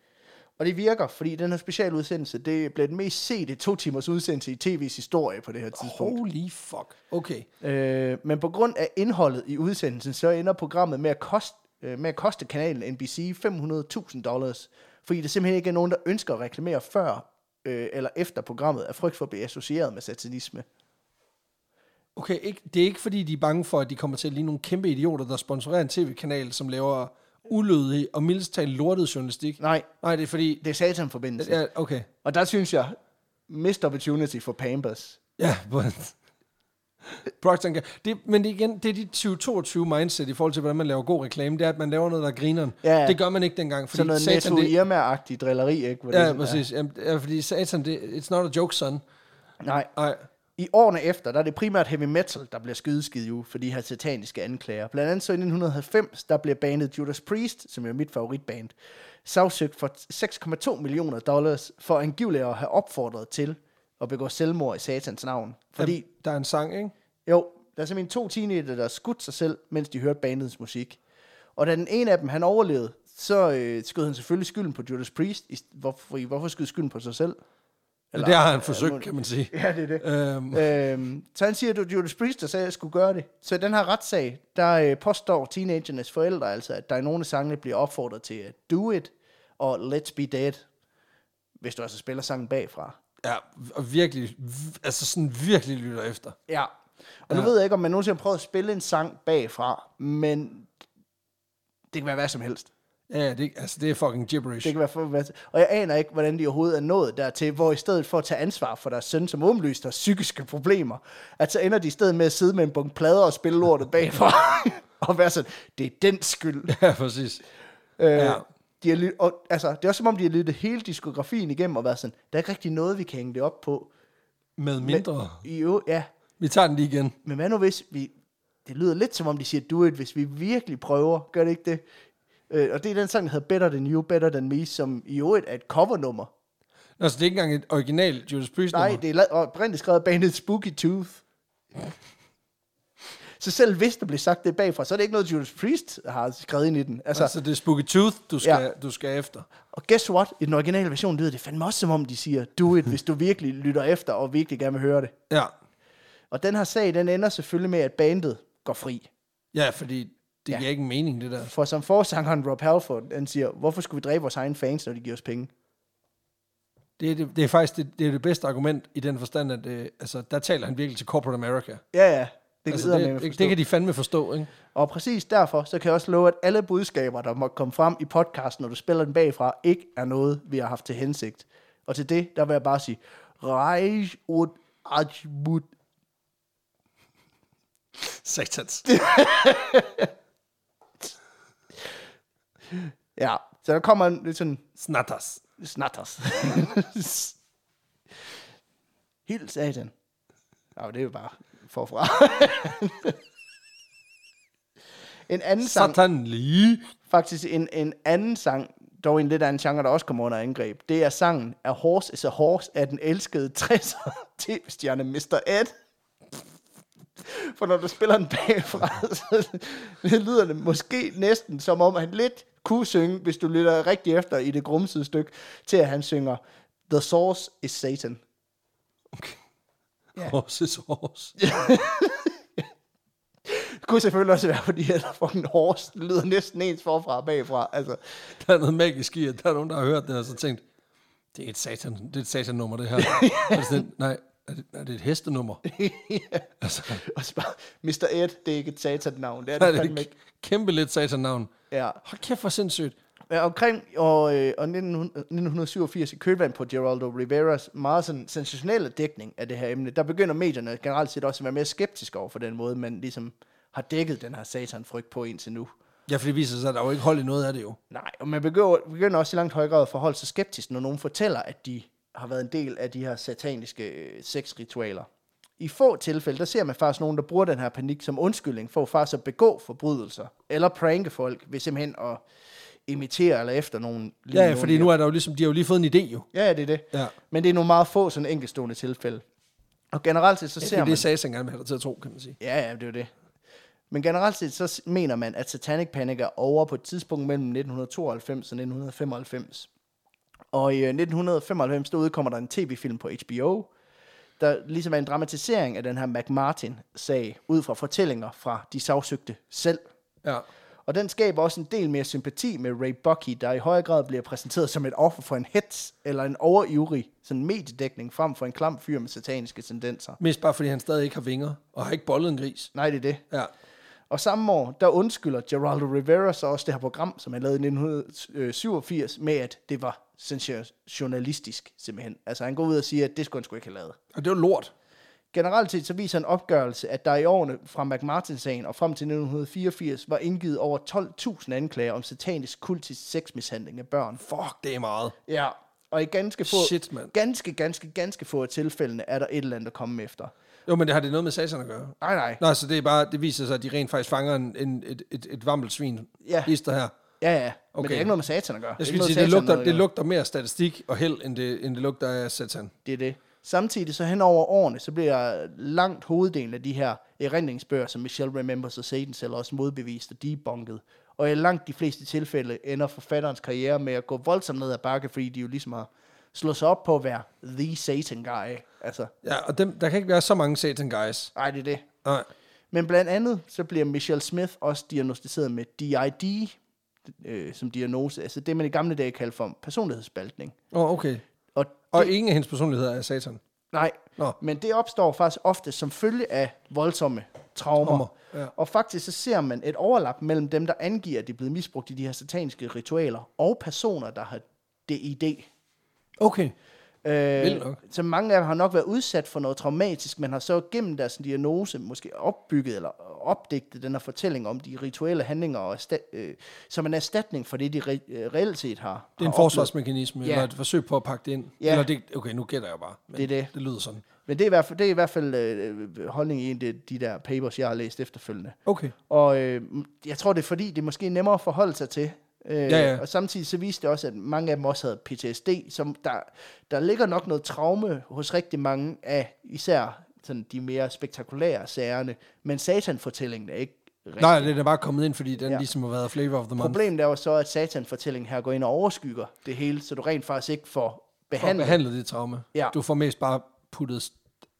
Speaker 2: Og det virker, fordi den her specialudsendelse, det blev den mest sete to timers udsendelse i tv's historie på det her tidspunkt.
Speaker 1: Holy fuck. Okay.
Speaker 2: Øh, men på grund af indholdet i udsendelsen, så ender programmet med at koste, øh, med at koste kanalen NBC 500.000 dollars, fordi der simpelthen ikke er nogen, der ønsker at reklamere før øh, eller efter programmet, af frygt for at blive associeret med satanisme.
Speaker 1: Okay, ikke, det er ikke fordi, de er bange for, at de kommer til at ligne nogle kæmpe idioter, der sponsorerer en tv-kanal, som laver ulødig og mildest talt lortet journalistik.
Speaker 2: Nej,
Speaker 1: Nej, det er fordi...
Speaker 2: det er satanforbindelsen. Ja.
Speaker 1: Ja, okay.
Speaker 2: Og der synes jeg, missed opportunity for Pampers.
Speaker 1: Ja, but... Procter Gamble. Det, men det er igen, det er dit 2022 mindset i forhold til, hvordan man laver god reklame, det er, at man laver noget, der er grineren.
Speaker 2: Ja, ja.
Speaker 1: Det gør man ikke dengang, fordi
Speaker 2: Sådan noget
Speaker 1: satan,
Speaker 2: netto ligesom,
Speaker 1: det,
Speaker 2: irma drilleri, ikke? Hvor det er
Speaker 1: ja,
Speaker 2: sådan,
Speaker 1: præcis. Jamen, ja, fordi satan, det, it's not a joke, son.
Speaker 2: Nej,
Speaker 1: Ej,
Speaker 2: I årene efter, der er det primært heavy metal, der bliver skydeskid uge for de her sataniske anklager. Blandt andet så i 1990, der bliver bandet Judas Priest, som jo er mit favoritband, sagsøgt for 6,2 millioner dollars for angiveligt at have opfordret til at begå selvmord i satans navn. Fordi,
Speaker 1: fordi... der er en sang, ikke?
Speaker 2: jo, der er simpelthen to teenager, der har skudt sig selv, mens de hørte bandets musik. Og da den ene af dem, han overlevede, så øh, skød han selvfølgelig skylden på Judas Priest. I, hvorfor, hvorfor skød skylden på sig selv?
Speaker 1: Eller, det har han forsøgt, kan man
Speaker 2: (laughs)
Speaker 1: sige.
Speaker 2: Ja, det er det.
Speaker 1: Øhm,
Speaker 2: Øhm, så han siger, at det var Judas Priest, der sagde, at jeg skulle gøre det. Så i den her retssag, der øh, påstår teenagernes forældre altså, at der i nogle af sangene bliver opfordret til at do it og let's be dead, hvis du altså spiller sangen bagfra.
Speaker 1: ja, og virkelig, v- altså sådan virkelig lytter efter.
Speaker 2: Ja. Og nu ved jeg ikke, om man nogensinde har prøvet at spille en sang bagfra, men det kan være hvad som helst.
Speaker 1: Ja, ja, det, altså det er fucking gibberish.
Speaker 2: Det
Speaker 1: (laughs)
Speaker 2: kan være for, hvad, og jeg aner ikke, hvordan de overhovedet er nået dertil, hvor i stedet for at tage ansvar for deres søn, som åbenlyst har psykiske problemer, at så ender de i stedet med at sidde med en bunke plader og spille lortet bagfra, (laughs) og være sådan, det er den skyld.
Speaker 1: Ja, præcis.
Speaker 2: Øh,
Speaker 1: Ja.
Speaker 2: de har lyt, og, altså, det er også som om, de har lyttet hele diskografien igennem og været sådan, der er ikke rigtig noget, vi kan hænge det op på.
Speaker 1: Med mindre.
Speaker 2: I øvrigt, ja,
Speaker 1: Vi tager den lige igen.
Speaker 2: men hvad nu hvis vi... Det lyder lidt som om, de siger, do it, hvis vi virkelig prøver. Gør det ikke det? Øh, og det er den sang, der hedder Better Than You, Better Than Me, som i øvrigt er et covernummer
Speaker 1: Nå, så det er ikke engang et original Judas Priest
Speaker 2: Nej, det er la- oprindeligt skrevet af bandet Spooky Tooth. Så selv hvis der blev sagt det bagfra, så er det ikke noget, Judas Priest har skrevet ind i den.
Speaker 1: Altså, altså det er Spooky Tooth, du skal, ja. du skal efter.
Speaker 2: Og guess what? I den originale version lyder det fandme også, som om de siger, do it, hvis du virkelig lytter efter og virkelig gerne vil høre det.
Speaker 1: Ja.
Speaker 2: Og den her sag, den ender selvfølgelig med, at bandet går fri.
Speaker 1: Ja, fordi det ja. giver ikke mening, det der.
Speaker 2: For som forsangeren Rob Halford, han siger, hvorfor skulle vi dræbe vores egne fans, når de giver os penge?
Speaker 1: Det er, det, det er faktisk det, det, er det bedste argument i den forstand, at øh, altså, der taler han virkelig til Corporate America.
Speaker 2: Ja, ja.
Speaker 1: Det, altså, det, det, det kan de fandme forstå, ikke?
Speaker 2: Og præcis derfor, så kan jeg også love, at alle budskaber, der må komme frem i podcasten, når du spiller den bagfra, ikke er noget, vi har haft til hensigt. Og til det, der vil jeg bare sige, Rejs ud Ajmut.
Speaker 1: Satans.
Speaker 2: Ja, så der kommer en lidt sådan
Speaker 1: Snatters.
Speaker 2: snatters. (laughs) Helt satan. Nå, det er jo bare forfra. (laughs) en anden sang,
Speaker 1: Satan lige.
Speaker 2: faktisk en, en anden sang, dog en lidt anden genre, der også kommer under angreb, det er sangen A Horse is a Horse af den elskede 60'er (laughs) tv-stjerne Mr. Ed. For når du spiller den bagfra, (laughs) så lyder det måske næsten som om, han lidt kunne synge, hvis du lytter rigtig efter i det grumsede stykke, til at han synger The source is Satan.
Speaker 1: Okay.
Speaker 2: Ja.
Speaker 1: Horse is horse.
Speaker 2: Det kunne selvfølgelig også være, fordi at fucking horse det lyder næsten ens forfra og bagfra. Altså,
Speaker 1: Der er noget magisk i, at der er nogen, der har hørt det, og så tænkt, det er et satan, det er et satannummer, det her. (laughs) ja. sådan, nej, er det, er det et hestenummer?
Speaker 2: ja.
Speaker 1: Altså,
Speaker 2: Og så bare, Mr. Ed, det er ikke et satan-navn. Det er
Speaker 1: der er
Speaker 2: det fandme
Speaker 1: det
Speaker 2: ikke.
Speaker 1: et kæmpe lidt satannavn.
Speaker 2: Ja.
Speaker 1: Hold kæft, hvor sindssygt.
Speaker 2: Ja, omkring år, øh, år 1900 1987 i kølvand på Geraldo Riveras meget sådan sensationelle dækning af det her emne, der begynder medierne generelt set også at være mere skeptiske over for den måde, man ligesom har dækket den her satanfrygt på indtil nu.
Speaker 1: Ja, for det viser sig, at der er jo ikke hold i noget af det jo.
Speaker 2: Nej, og man begynder, begynder også i langt højere grad at forholde sig skeptisk, når nogen fortæller, at de har været en del af de her sataniske øh, sexritualer. I få tilfælde, der ser man faktisk nogen, der bruger den her panik som undskyldning for faktisk at begå forbrydelser, eller pranke folk ved simpelthen at imitere eller efter nogen.
Speaker 1: Ja, ja, fordi nu er der jo ligesom, de har jo lige fået en idé jo.
Speaker 2: Ja, det er det.
Speaker 1: Ja.
Speaker 2: Men det er nogle meget få sådan enkeltstående tilfælde. Og generelt set, så
Speaker 1: Det
Speaker 2: ser
Speaker 1: er
Speaker 2: man...
Speaker 1: det, Satan gerne vil have dig til at tro, kan man sige.
Speaker 2: Ja, ja, det er jo det. Men generelt set, så s- mener man, at Satanic Panic er over på et tidspunkt mellem 1992 og 1995. Og i øh, 1995, der udkommer der en tv-film på HBO, der ligesom er en dramatisering af den her McMartin-sag, ud fra fortællinger fra de sagsøgte selv.
Speaker 1: Ja.
Speaker 2: Og den skaber også en del mere sympati med Ray Bucky, der i højere grad bliver præsenteret som et offer for en hets eller en overivrig sådan mediedækning frem for en klam fyr med sataniske tendenser.
Speaker 1: Mest bare fordi han stadig ikke har vinger, og har ikke bollet en gris.
Speaker 2: Nej, det er det.
Speaker 1: Ja.
Speaker 2: Og samme år, der undskylder Geraldo Rivera så også det her program, som han lavede i 1987, med at det var sensationalistisk simpelthen. Altså han går ud og siger, at det skulle han sgu ikke have lavet.
Speaker 1: Og det er jo lort.
Speaker 2: Generelt set så viser en opgørelse, at der i årene fra McMartin-sagen og frem til 1984 var indgivet over 12.000 anklager om satanisk kultisk sexmishandling af børn.
Speaker 1: Fuck, det er meget.
Speaker 2: Ja, og i ganske få,
Speaker 1: Shit, mand.
Speaker 2: ganske, ganske, ganske få af tilfældene er der et eller andet at komme efter.
Speaker 1: Jo, men det har det noget med Satan at gøre.
Speaker 2: Nej, nej.
Speaker 1: Nå, så det er bare, det viser sig, at de rent faktisk fanger en, en, et, et, et vammelsvin.
Speaker 2: Ja.
Speaker 1: Hister her.
Speaker 2: Ja, ja. Men
Speaker 1: Okay.
Speaker 2: det er ikke noget med satan at gøre.
Speaker 1: Jeg
Speaker 2: ikke
Speaker 1: skal
Speaker 2: noget
Speaker 1: sige, det
Speaker 2: satan
Speaker 1: lugter,
Speaker 2: noget at
Speaker 1: det
Speaker 2: gøre.
Speaker 1: lugter mere statistik og held, end det, end det lugter af Satan.
Speaker 2: Det er det. Samtidig så hen over årene, så bliver langt hoveddelen af de her erindringsbøger, som Michelle Remembers og Satan selv også modbevist og debunket. Og i langt de fleste tilfælde ender forfatterens karriere med at gå voldsomt ned ad bakke, fordi de jo ligesom har slået sig op på at være the satan guy. Altså,
Speaker 1: Ja, og dem, der kan ikke være så mange Satan guys.
Speaker 2: ej, det er det.
Speaker 1: Nej.
Speaker 2: Men blandt andet, så bliver Michelle Smith også diagnostiseret med DID, øh, som diagnose. Altså det, man i gamle dage kaldte for personlighedsspaltning.
Speaker 1: Åh, oh, okay.
Speaker 2: Og,
Speaker 1: Og ingen af hendes personligheder er Satan.
Speaker 2: nej,
Speaker 1: Nå.
Speaker 2: men det opstår faktisk ofte som følge af voldsomme traumer.
Speaker 1: Traumer, ja.
Speaker 2: Og faktisk så ser man et overlap mellem dem, der angiver, at de er blevet misbrugt i de her sataniske ritualer, og personer, der har DID.
Speaker 1: Okay.
Speaker 2: Øh,
Speaker 1: Vildt nok.
Speaker 2: så mange af dem har nok været udsat for noget traumatisk, men har så gennem deres diagnose måske opbygget eller opdigtet den her fortælling om de rituelle handlinger, og ersta- øh, som en erstatning for det, de re- øh, reelt set har.
Speaker 1: Det er en
Speaker 2: har oplevet.
Speaker 1: forsvarsmekanisme,
Speaker 2: Ja.
Speaker 1: ja. eller et forsøg på at pakke det ind.
Speaker 2: Ja.
Speaker 1: Ja. Eller det, okay, nu gætter jeg bare. Men
Speaker 2: Det er det.
Speaker 1: Det lyder sådan.
Speaker 2: Men det er i hvert fald, det er i hvert fald øh, holdningen i en af de- de der papers, jeg har læst efterfølgende.
Speaker 1: Okay.
Speaker 2: Og øh, jeg tror, det er fordi, det er måske nemmere at forholde sig til. Øh,
Speaker 1: Ja, ja.
Speaker 2: Og samtidig så viste det også, at mange af dem også havde PTSD, som der, der ligger nok noget traume hos rigtig mange af især sådan de mere spektakulære sagerne, men Satan-fortællingen er ikke rigtig.
Speaker 1: Nej, den er bare kommet ind, fordi den
Speaker 2: Ja.
Speaker 1: ja. ligesom har været flavor of the month.
Speaker 2: Problemet er jo så, at Satan-fortællingen her går ind og overskygger det hele, så du rent faktisk ikke får
Speaker 1: For at
Speaker 2: behandlet
Speaker 1: behandle det traume.
Speaker 2: Ja.
Speaker 1: Du får mest bare puttet s-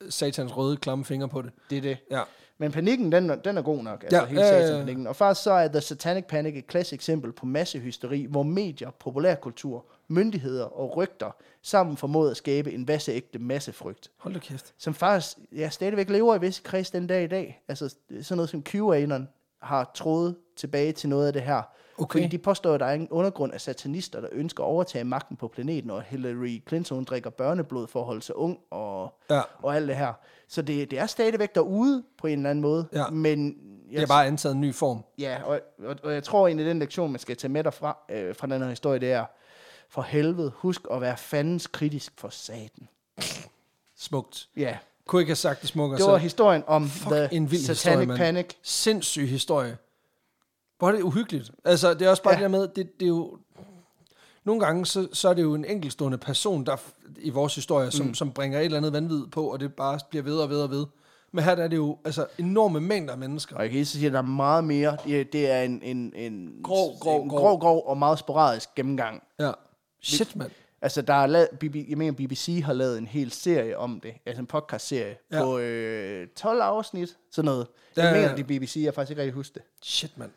Speaker 1: satans røde klamme fingre på det.
Speaker 2: det. er det.
Speaker 1: Ja.
Speaker 2: Men panikken, den, den er god nok, altså ja,
Speaker 1: Ja,
Speaker 2: hele
Speaker 1: ja, ja, ja.
Speaker 2: Satan-panikken. Og faktisk så er The Satanic Panic et klassisk eksempel på massehysteri, hvor medier, populærkultur, myndigheder og rygter sammen formåede at skabe en vasseægte massefrygt,
Speaker 1: Hold da kæft.
Speaker 2: som faktisk ja, stadigvæk lever i visse kreds den dag i dag. Altså sådan noget som QAnon har troet tilbage til noget af det her.
Speaker 1: Okay.
Speaker 2: Fordi de påstår, at der er en undergrund af satanister, der ønsker at overtage magten på planeten, og Hillary Clinton hun drikker børneblod for at holde sig ung, og
Speaker 1: Ja.
Speaker 2: og alt det her. Så det, det er stadigvæk derude på en eller anden måde.
Speaker 1: Ja.
Speaker 2: Men jeg,
Speaker 1: Det er bare antaget en ny form.
Speaker 2: ja, og, og, og jeg tror egentlig, den lektion, man skal tage med derfra, øh, fra den her historie, det er, for helvede, husk at være fandens kritisk for satan.
Speaker 1: Smukt.
Speaker 2: Ja,
Speaker 1: Kunne ikke have sagt det smukkere
Speaker 2: det var
Speaker 1: selv.
Speaker 2: historien om The
Speaker 1: altså, en vild historie,
Speaker 2: Satanic
Speaker 1: mand.
Speaker 2: Panic.
Speaker 1: Sindssyg historie. Hvor er det uhyggeligt. Altså, det er også bare
Speaker 2: Ja.
Speaker 1: ja. det der med, det, det er jo... Nogle gange, så, så er det jo en enkeltstående person, der f- i vores historie, som, mm. som bringer et eller andet vanvid på, og det bare bliver ved og ved og ved. Men her der er det jo altså, enorme mængder af mennesker.
Speaker 2: Og jeg kan lige så sige, at der er meget mere. Det, det er en, en, en,
Speaker 1: Grov, grov,
Speaker 2: en
Speaker 1: grov.
Speaker 2: grov, grov og meget sporadisk gennemgang.
Speaker 1: Ja. Shit, mand.
Speaker 2: Altså, der er lavet, BB, jeg mener, BBC har lavet en hel serie om det, altså en podcast-serie, ja.
Speaker 1: Ja.
Speaker 2: på øh, 12 afsnit, sådan noget. Jeg
Speaker 1: Ja, ja,
Speaker 2: mener,
Speaker 1: ja.
Speaker 2: det er BBC, jeg kan faktisk ikke rigtig huske det.
Speaker 1: Shit, mand.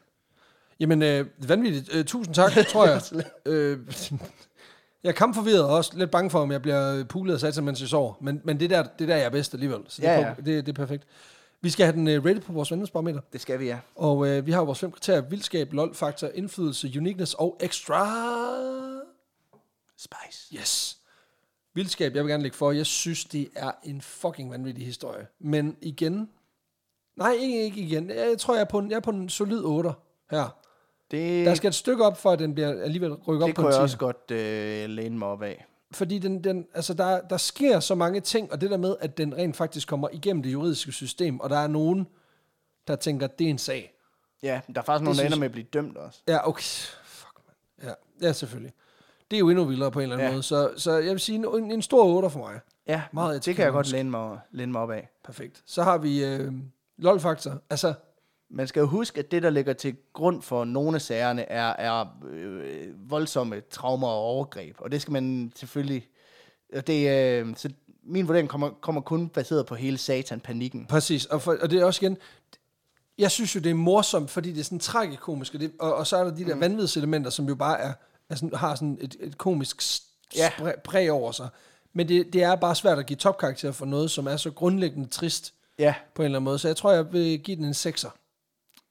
Speaker 1: Jamen, øh, vanvittigt. Øh, tusind
Speaker 2: (laughs)
Speaker 1: tak, tror jeg. øh, (laughs) jeg er kampforvirret og også lidt bange for, om jeg bliver øh, pulet og sat sig, mens jeg sover. Men, men det, der, det der er jeg bedst alligevel. Så det,
Speaker 2: Ja,
Speaker 1: er på- det, det er perfekt. Vi skal have den øh, rated på vores venlighedsbarometer.
Speaker 2: Det skal vi, ja.
Speaker 1: Og øh, vi har jo vores fem kriterier. Vildskab, lol, faktor, indflydelse, uniqueness og extra.
Speaker 2: Spice.
Speaker 1: Yes. Vildskab, jeg vil gerne lægge for. Jeg synes, det er en fucking vanvittig historie. Men igen... Nej, ikke, ikke igen. Jeg tror, jeg er på en, jeg er på en solid 8 her.
Speaker 2: Det,
Speaker 1: Der skal et stykke op, for at den bliver alligevel rykker op
Speaker 2: det
Speaker 1: på en
Speaker 2: kunne jeg
Speaker 1: tier.
Speaker 2: også godt øh, læne mig op af.
Speaker 1: Fordi den, den, altså der, der sker så mange ting, og det der med, at den rent faktisk kommer igennem det juridiske system, og der er nogen, der tænker, det er en sag.
Speaker 2: Ja, der er faktisk nogen, der
Speaker 1: synes
Speaker 2: ender med at blive dømt også.
Speaker 1: Ja, okay. Fuck, man. Ja, ja, selvfølgelig. Det er jo endnu vildere på en eller anden
Speaker 2: Ja.
Speaker 1: ja. måde. Så, så jeg vil sige, en, en stor 8 for mig.
Speaker 2: Ja,
Speaker 1: Meget
Speaker 2: det kan jeg godt
Speaker 1: teknologisk.
Speaker 2: læne mig, læne mig op af.
Speaker 1: Perfekt. Så har vi øh, LOL-faktor. Altså,
Speaker 2: Man skal jo huske, at det, der ligger til grund for nogle af sagerne, er, er øh, voldsomme traumer og overgreb. Og det skal man selvfølgelig... Og det, øh, så min vurdering kommer, kommer kun baseret på hele satan-panikken.
Speaker 1: Præcis, og, for, og det er også igen, jeg synes jo, det er morsomt, fordi det er sådan tragikomisk, og, det, og, og så er der de der mm. vanvidselementer, som jo bare er, er sådan, har sådan et, et komisk s-
Speaker 2: Ja.
Speaker 1: spræ- præg over sig. Men det, det er bare svært at give topkarakter for noget, som er så grundlæggende trist
Speaker 2: Ja,
Speaker 1: på en eller anden måde. Så jeg tror, jeg vil give den en sekser.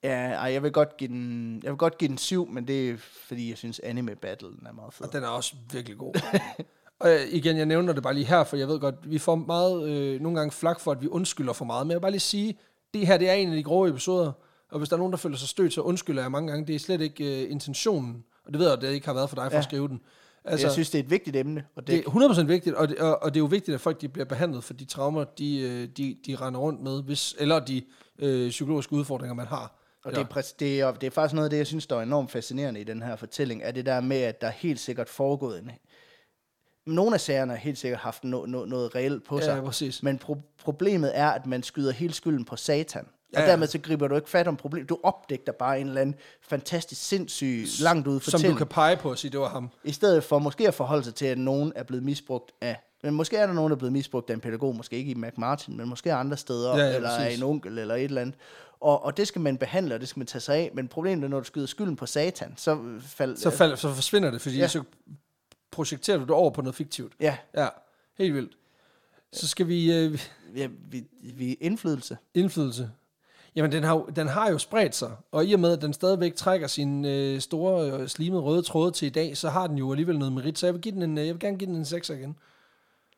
Speaker 2: ja ej, jeg, vil godt give den, jeg vil godt give den syv, men det er, fordi jeg synes, anime-battlen er meget fed.
Speaker 1: Og den er også virkelig god. (laughs) og øh, igen, jeg nævner det bare lige her, for jeg ved godt, vi får meget øh, nogle gange flak for, at vi undskylder for meget. Men jeg vil bare lige sige, det her det er en af de grove episoder, og hvis der er nogen, der føler sig stødt, så undskylder jeg mange gange. Det er slet ikke øh, intentionen, og det ved jeg, at det ikke har været for dig for
Speaker 2: Ja.
Speaker 1: at skrive den.
Speaker 2: Altså,
Speaker 1: Altså,
Speaker 2: jeg synes, det er et vigtigt emne, og det,
Speaker 1: det er 100% vigtigt, og det, og, og det er jo vigtigt, at folk de bliver behandlet for de traumer, de, øh, de, de render rundt med, hvis, eller de øh, psykologiske udfordringer, man har.
Speaker 2: Og det, er, præcis- det, er, det er faktisk noget af det, jeg synes, der er enormt fascinerende i den her fortælling, er det der med, at der helt sikkert foregået en... Nogle af sagerne har helt sikkert haft no, no, noget reelt på
Speaker 1: Ja,
Speaker 2: sig,
Speaker 1: ja, præcis.
Speaker 2: men pro, problemet er, at man skyder hele skylden på satan. Og
Speaker 1: Ja, ja.
Speaker 2: dermed så griber du ikke fat om problemet. Du opdægter bare en eller anden fantastisk sindssyg, langt ud
Speaker 1: som
Speaker 2: fortælling.
Speaker 1: du kan pege på og sige, det var ham.
Speaker 2: I stedet for måske at forholde sig til, at nogen er blevet misbrugt af... Men måske er der nogen, der er blevet misbrugt af en pædagog, måske ikke i McMartin, men måske andre steder,
Speaker 1: Ja,
Speaker 2: ja, ja,
Speaker 1: ja,
Speaker 2: eller af
Speaker 1: præcis.
Speaker 2: en onkel, eller et eller andet. Og, og det skal man behandle, og det skal man tage sig af. Men problemet er, når du skyder skylden på satan, så øh, fald,
Speaker 1: Så, fald, så forsvinder det, fordi
Speaker 2: Ja.
Speaker 1: ja. så projekterer du det over på noget fiktivt.
Speaker 2: Ja,
Speaker 1: Ja, helt vildt. Så skal vi... Øh,
Speaker 2: ja vi, vi indflydelse.
Speaker 1: indflydelse. Jamen, den har, jo- den har jo spredt sig, og i og med, at den stadigvæk trækker sine øh, store, øh, slimede røde tråde til i dag, så har den jo alligevel noget merit, så jeg vil, give den en, øh, jeg vil gerne give den en 6 igen.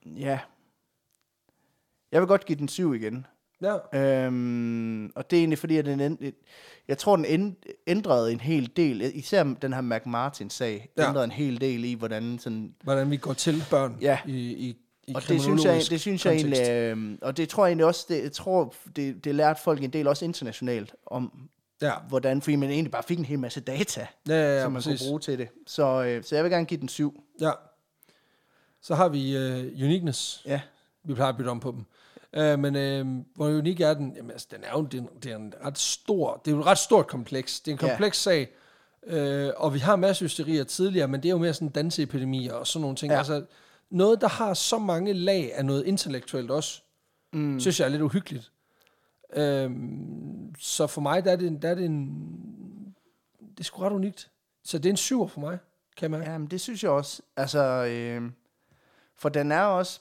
Speaker 2: Ja. Jeg vil godt give den syv igen.
Speaker 1: Ja,
Speaker 2: Øhm, og det er egentlig fordi, at den end, jeg tror, den end, ændrede en hel del. Især den her McMartin-sag
Speaker 1: Ja.
Speaker 2: ændrede en hel del i, hvordan sådan
Speaker 1: hvordan vi går til børn
Speaker 2: Ja.
Speaker 1: i, i, i
Speaker 2: og det synes jeg,
Speaker 1: kriminologisk
Speaker 2: det synes jeg
Speaker 1: kontekst.
Speaker 2: egentlig, øh, og det tror jeg egentlig også, det, jeg tror, det, det lærte folk en del også internationalt, om
Speaker 1: Ja,
Speaker 2: hvordan, fordi man egentlig bare fik en hel masse data,
Speaker 1: ja, ja, ja
Speaker 2: som man
Speaker 1: præcis.
Speaker 2: kunne bruge til det. Så, øh, så jeg vil gerne give den syv.
Speaker 1: Ja. Så har vi øh, uniqueness.
Speaker 2: Ja.
Speaker 1: Vi plejer at bytte om på dem. Øh, men øh, hvor unik er den? Jamen, altså, den er jo det er en, det er en ret stor, det er jo et ret stort kompleks. Det er en
Speaker 2: Ja.
Speaker 1: kompleks sag, øh, og vi har masser af hysterier tidligere, men det er jo mere sådan danseepidemier og sådan nogle ting.
Speaker 2: Ja.
Speaker 1: Ja. Altså, noget, der har så mange lag af noget intellektuelt også, mm. synes jeg er lidt uhyggeligt. Øh, så for mig, der er det, en- der er det en... Det er sgu ret unikt. Så det er en syver for mig, kan jeg mærke.
Speaker 2: Jamen, det synes jeg også. Altså, øh, for den er også...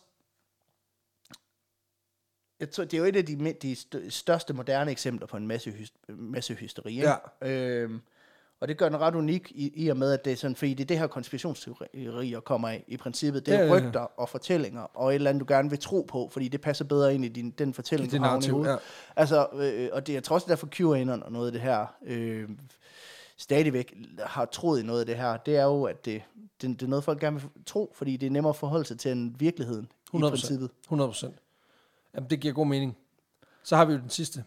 Speaker 2: Jeg tror, det er jo et af de, mi- de stø- største moderne eksempler på en masse, hys- masse hysteri. ikke? Øh, og det gør den ret unik i, i og med, at det er sådan, fordi det er det her konspirationsteorier kommer af i princippet. Det
Speaker 1: Ja,
Speaker 2: er
Speaker 1: ja, ja.
Speaker 2: rygter og fortællinger, og et eller andet, du gerne vil tro på, fordi det passer bedre ind i din, den
Speaker 1: I
Speaker 2: fortælling,
Speaker 1: det
Speaker 2: du har oven i
Speaker 1: narrativ,
Speaker 2: hovedet.
Speaker 1: ja.
Speaker 2: Altså, øh, og det er trods derfor QAnon og noget af det her, øh, stadigvæk har troet i noget af det her, det er jo, at det, det, det er noget, folk gerne vil tro, fordi det er nemmere at forholde sig til end virkeligheden 100%. i
Speaker 1: 100%.
Speaker 2: princippet.
Speaker 1: 100 procent. Jamen, det giver god mening. Så har vi jo den sidste.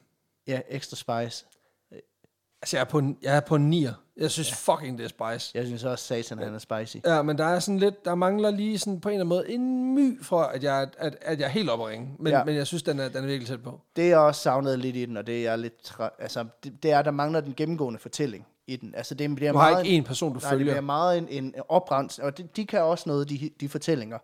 Speaker 2: Ja, ekstra spice.
Speaker 1: Altså, jeg er på en, jeg er på en nier. Jeg synes ja. fucking, det er spice.
Speaker 2: Jeg synes også, satan, han er spicy.
Speaker 1: Ja, men der er sådan lidt, der mangler lige sådan på en eller anden måde en my fra, at jeg, at, at jeg er helt oppe at ringe. Men,
Speaker 2: Ja.
Speaker 1: ja. men jeg synes, den er, den er virkelig tæt på.
Speaker 2: Det jeg også savnede lidt i den, og det er jeg lidt... Tra- altså, det, det er, der mangler den gennemgående fortælling i den. Altså, det bliver
Speaker 1: Du
Speaker 2: meget...
Speaker 1: har ikke en person, du
Speaker 2: nej, det
Speaker 1: følger.
Speaker 2: bliver meget en, en oprens, og de, de kan også noget, de, de fortællinger,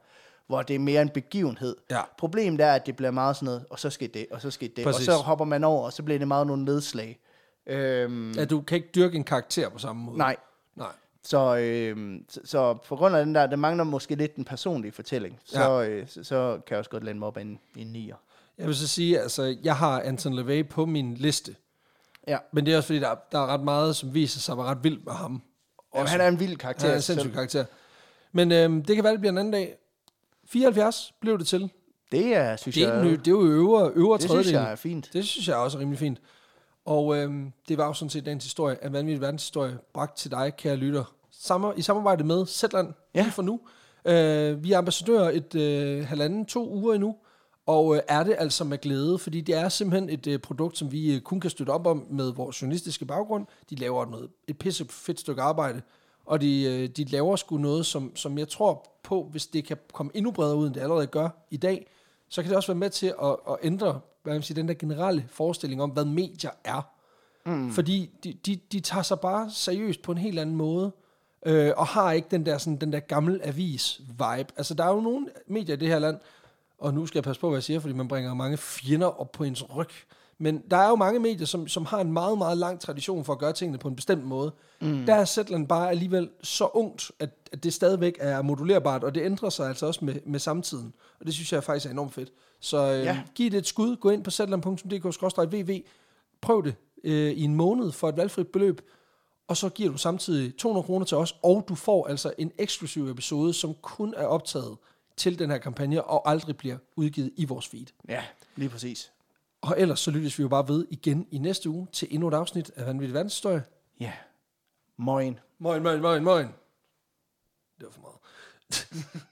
Speaker 2: hvor det er mere en begivenhed.
Speaker 1: Ja.
Speaker 2: Problemet er, at det bliver meget sådan noget, og så skete det, og så skete det,
Speaker 1: Præcis.
Speaker 2: og så hopper man over, og så bliver det meget nogle nedslag. Øhm,
Speaker 1: At du kan ikke dyrke en karakter på samme måde.
Speaker 2: nej,
Speaker 1: Nej.
Speaker 2: så, øh, så, så på grund af den der, der mangler måske lidt den personlige fortælling, så, ja. øh, så, så kan jeg også godt lande mig op af en, en nier.
Speaker 1: Jeg vil så sige, altså, jeg har Anton LaVey på min liste.
Speaker 2: Ja.
Speaker 1: Men det er også fordi, der, er- der er ret meget, som viser sig at være ret vildt med ham.
Speaker 2: Jamen, han er en vild karakter.
Speaker 1: Han er en
Speaker 2: så-
Speaker 1: sindssyg karakter. Men øhm, det kan være, det bliver en anden dag. 74 blev det til.
Speaker 2: Det er, synes
Speaker 1: Det er,
Speaker 2: jeg,
Speaker 1: ikke ny, det er jo øvre, øvre
Speaker 2: det synes
Speaker 1: tredjedel.
Speaker 2: jeg er fint.
Speaker 1: Det synes jeg også er rimelig fint. Og øhm, det var jo sådan set dagens historie, en vanvittig verdenshistorie, bragt til dig, kære lytter. Samme, I samarbejde med Zetland,
Speaker 2: Ja.
Speaker 1: ja. lige for nu. Øh, vi er ambassadører et øh, halvanden, to uger endnu, og øh, er det altså med glæde, fordi det er simpelthen et øh, produkt, som vi øh, kun kan støtte op om med vores journalistiske baggrund. De laver noget, et pisse fedt stykke arbejde, og de, øh, de laver sgu noget, som, som jeg tror på, hvis det kan komme endnu bredere ud, end det allerede gør i dag, så kan det også være med til at, at ændre hvad man siger, den der generelle forestilling om, hvad medier er. Mm. Fordi de, de, de tager sig bare seriøst på en helt anden måde, øh, og har ikke den der, sådan, den der gamle avis-vibe. Altså, der er jo nogle medier i det her land, og nu skal jeg passe på, hvad jeg siger, fordi man bringer jo mange fjender op på ens ryg. Men der er jo mange medier, som, som har en meget, meget lang tradition for at gøre tingene på en bestemt måde. Mm. Der er Zetland bare alligevel så ungt, at, at det stadigvæk er modulerbart, og det ændrer sig altså også med, med samtiden. Og det synes jeg faktisk er enormt fedt. Så øh,
Speaker 2: Ja.
Speaker 1: ja. giv det et skud. Gå ind på zetland.dk-vv prøv det øh, i en måned for et valgfrit beløb, og så giver du samtidig 200 kroner til os, og du får altså en eksklusiv episode, som kun er optaget til den her kampagne, og aldrig bliver udgivet i vores feed.
Speaker 2: Ja, lige præcis.
Speaker 1: Og ellers så lyttes vi jo bare ved igen i næste uge til endnu et afsnit af Vanvittig Verdenshistorie.
Speaker 2: Ja. Moin.
Speaker 1: Moin, moin, moin, moin. Det var for meget.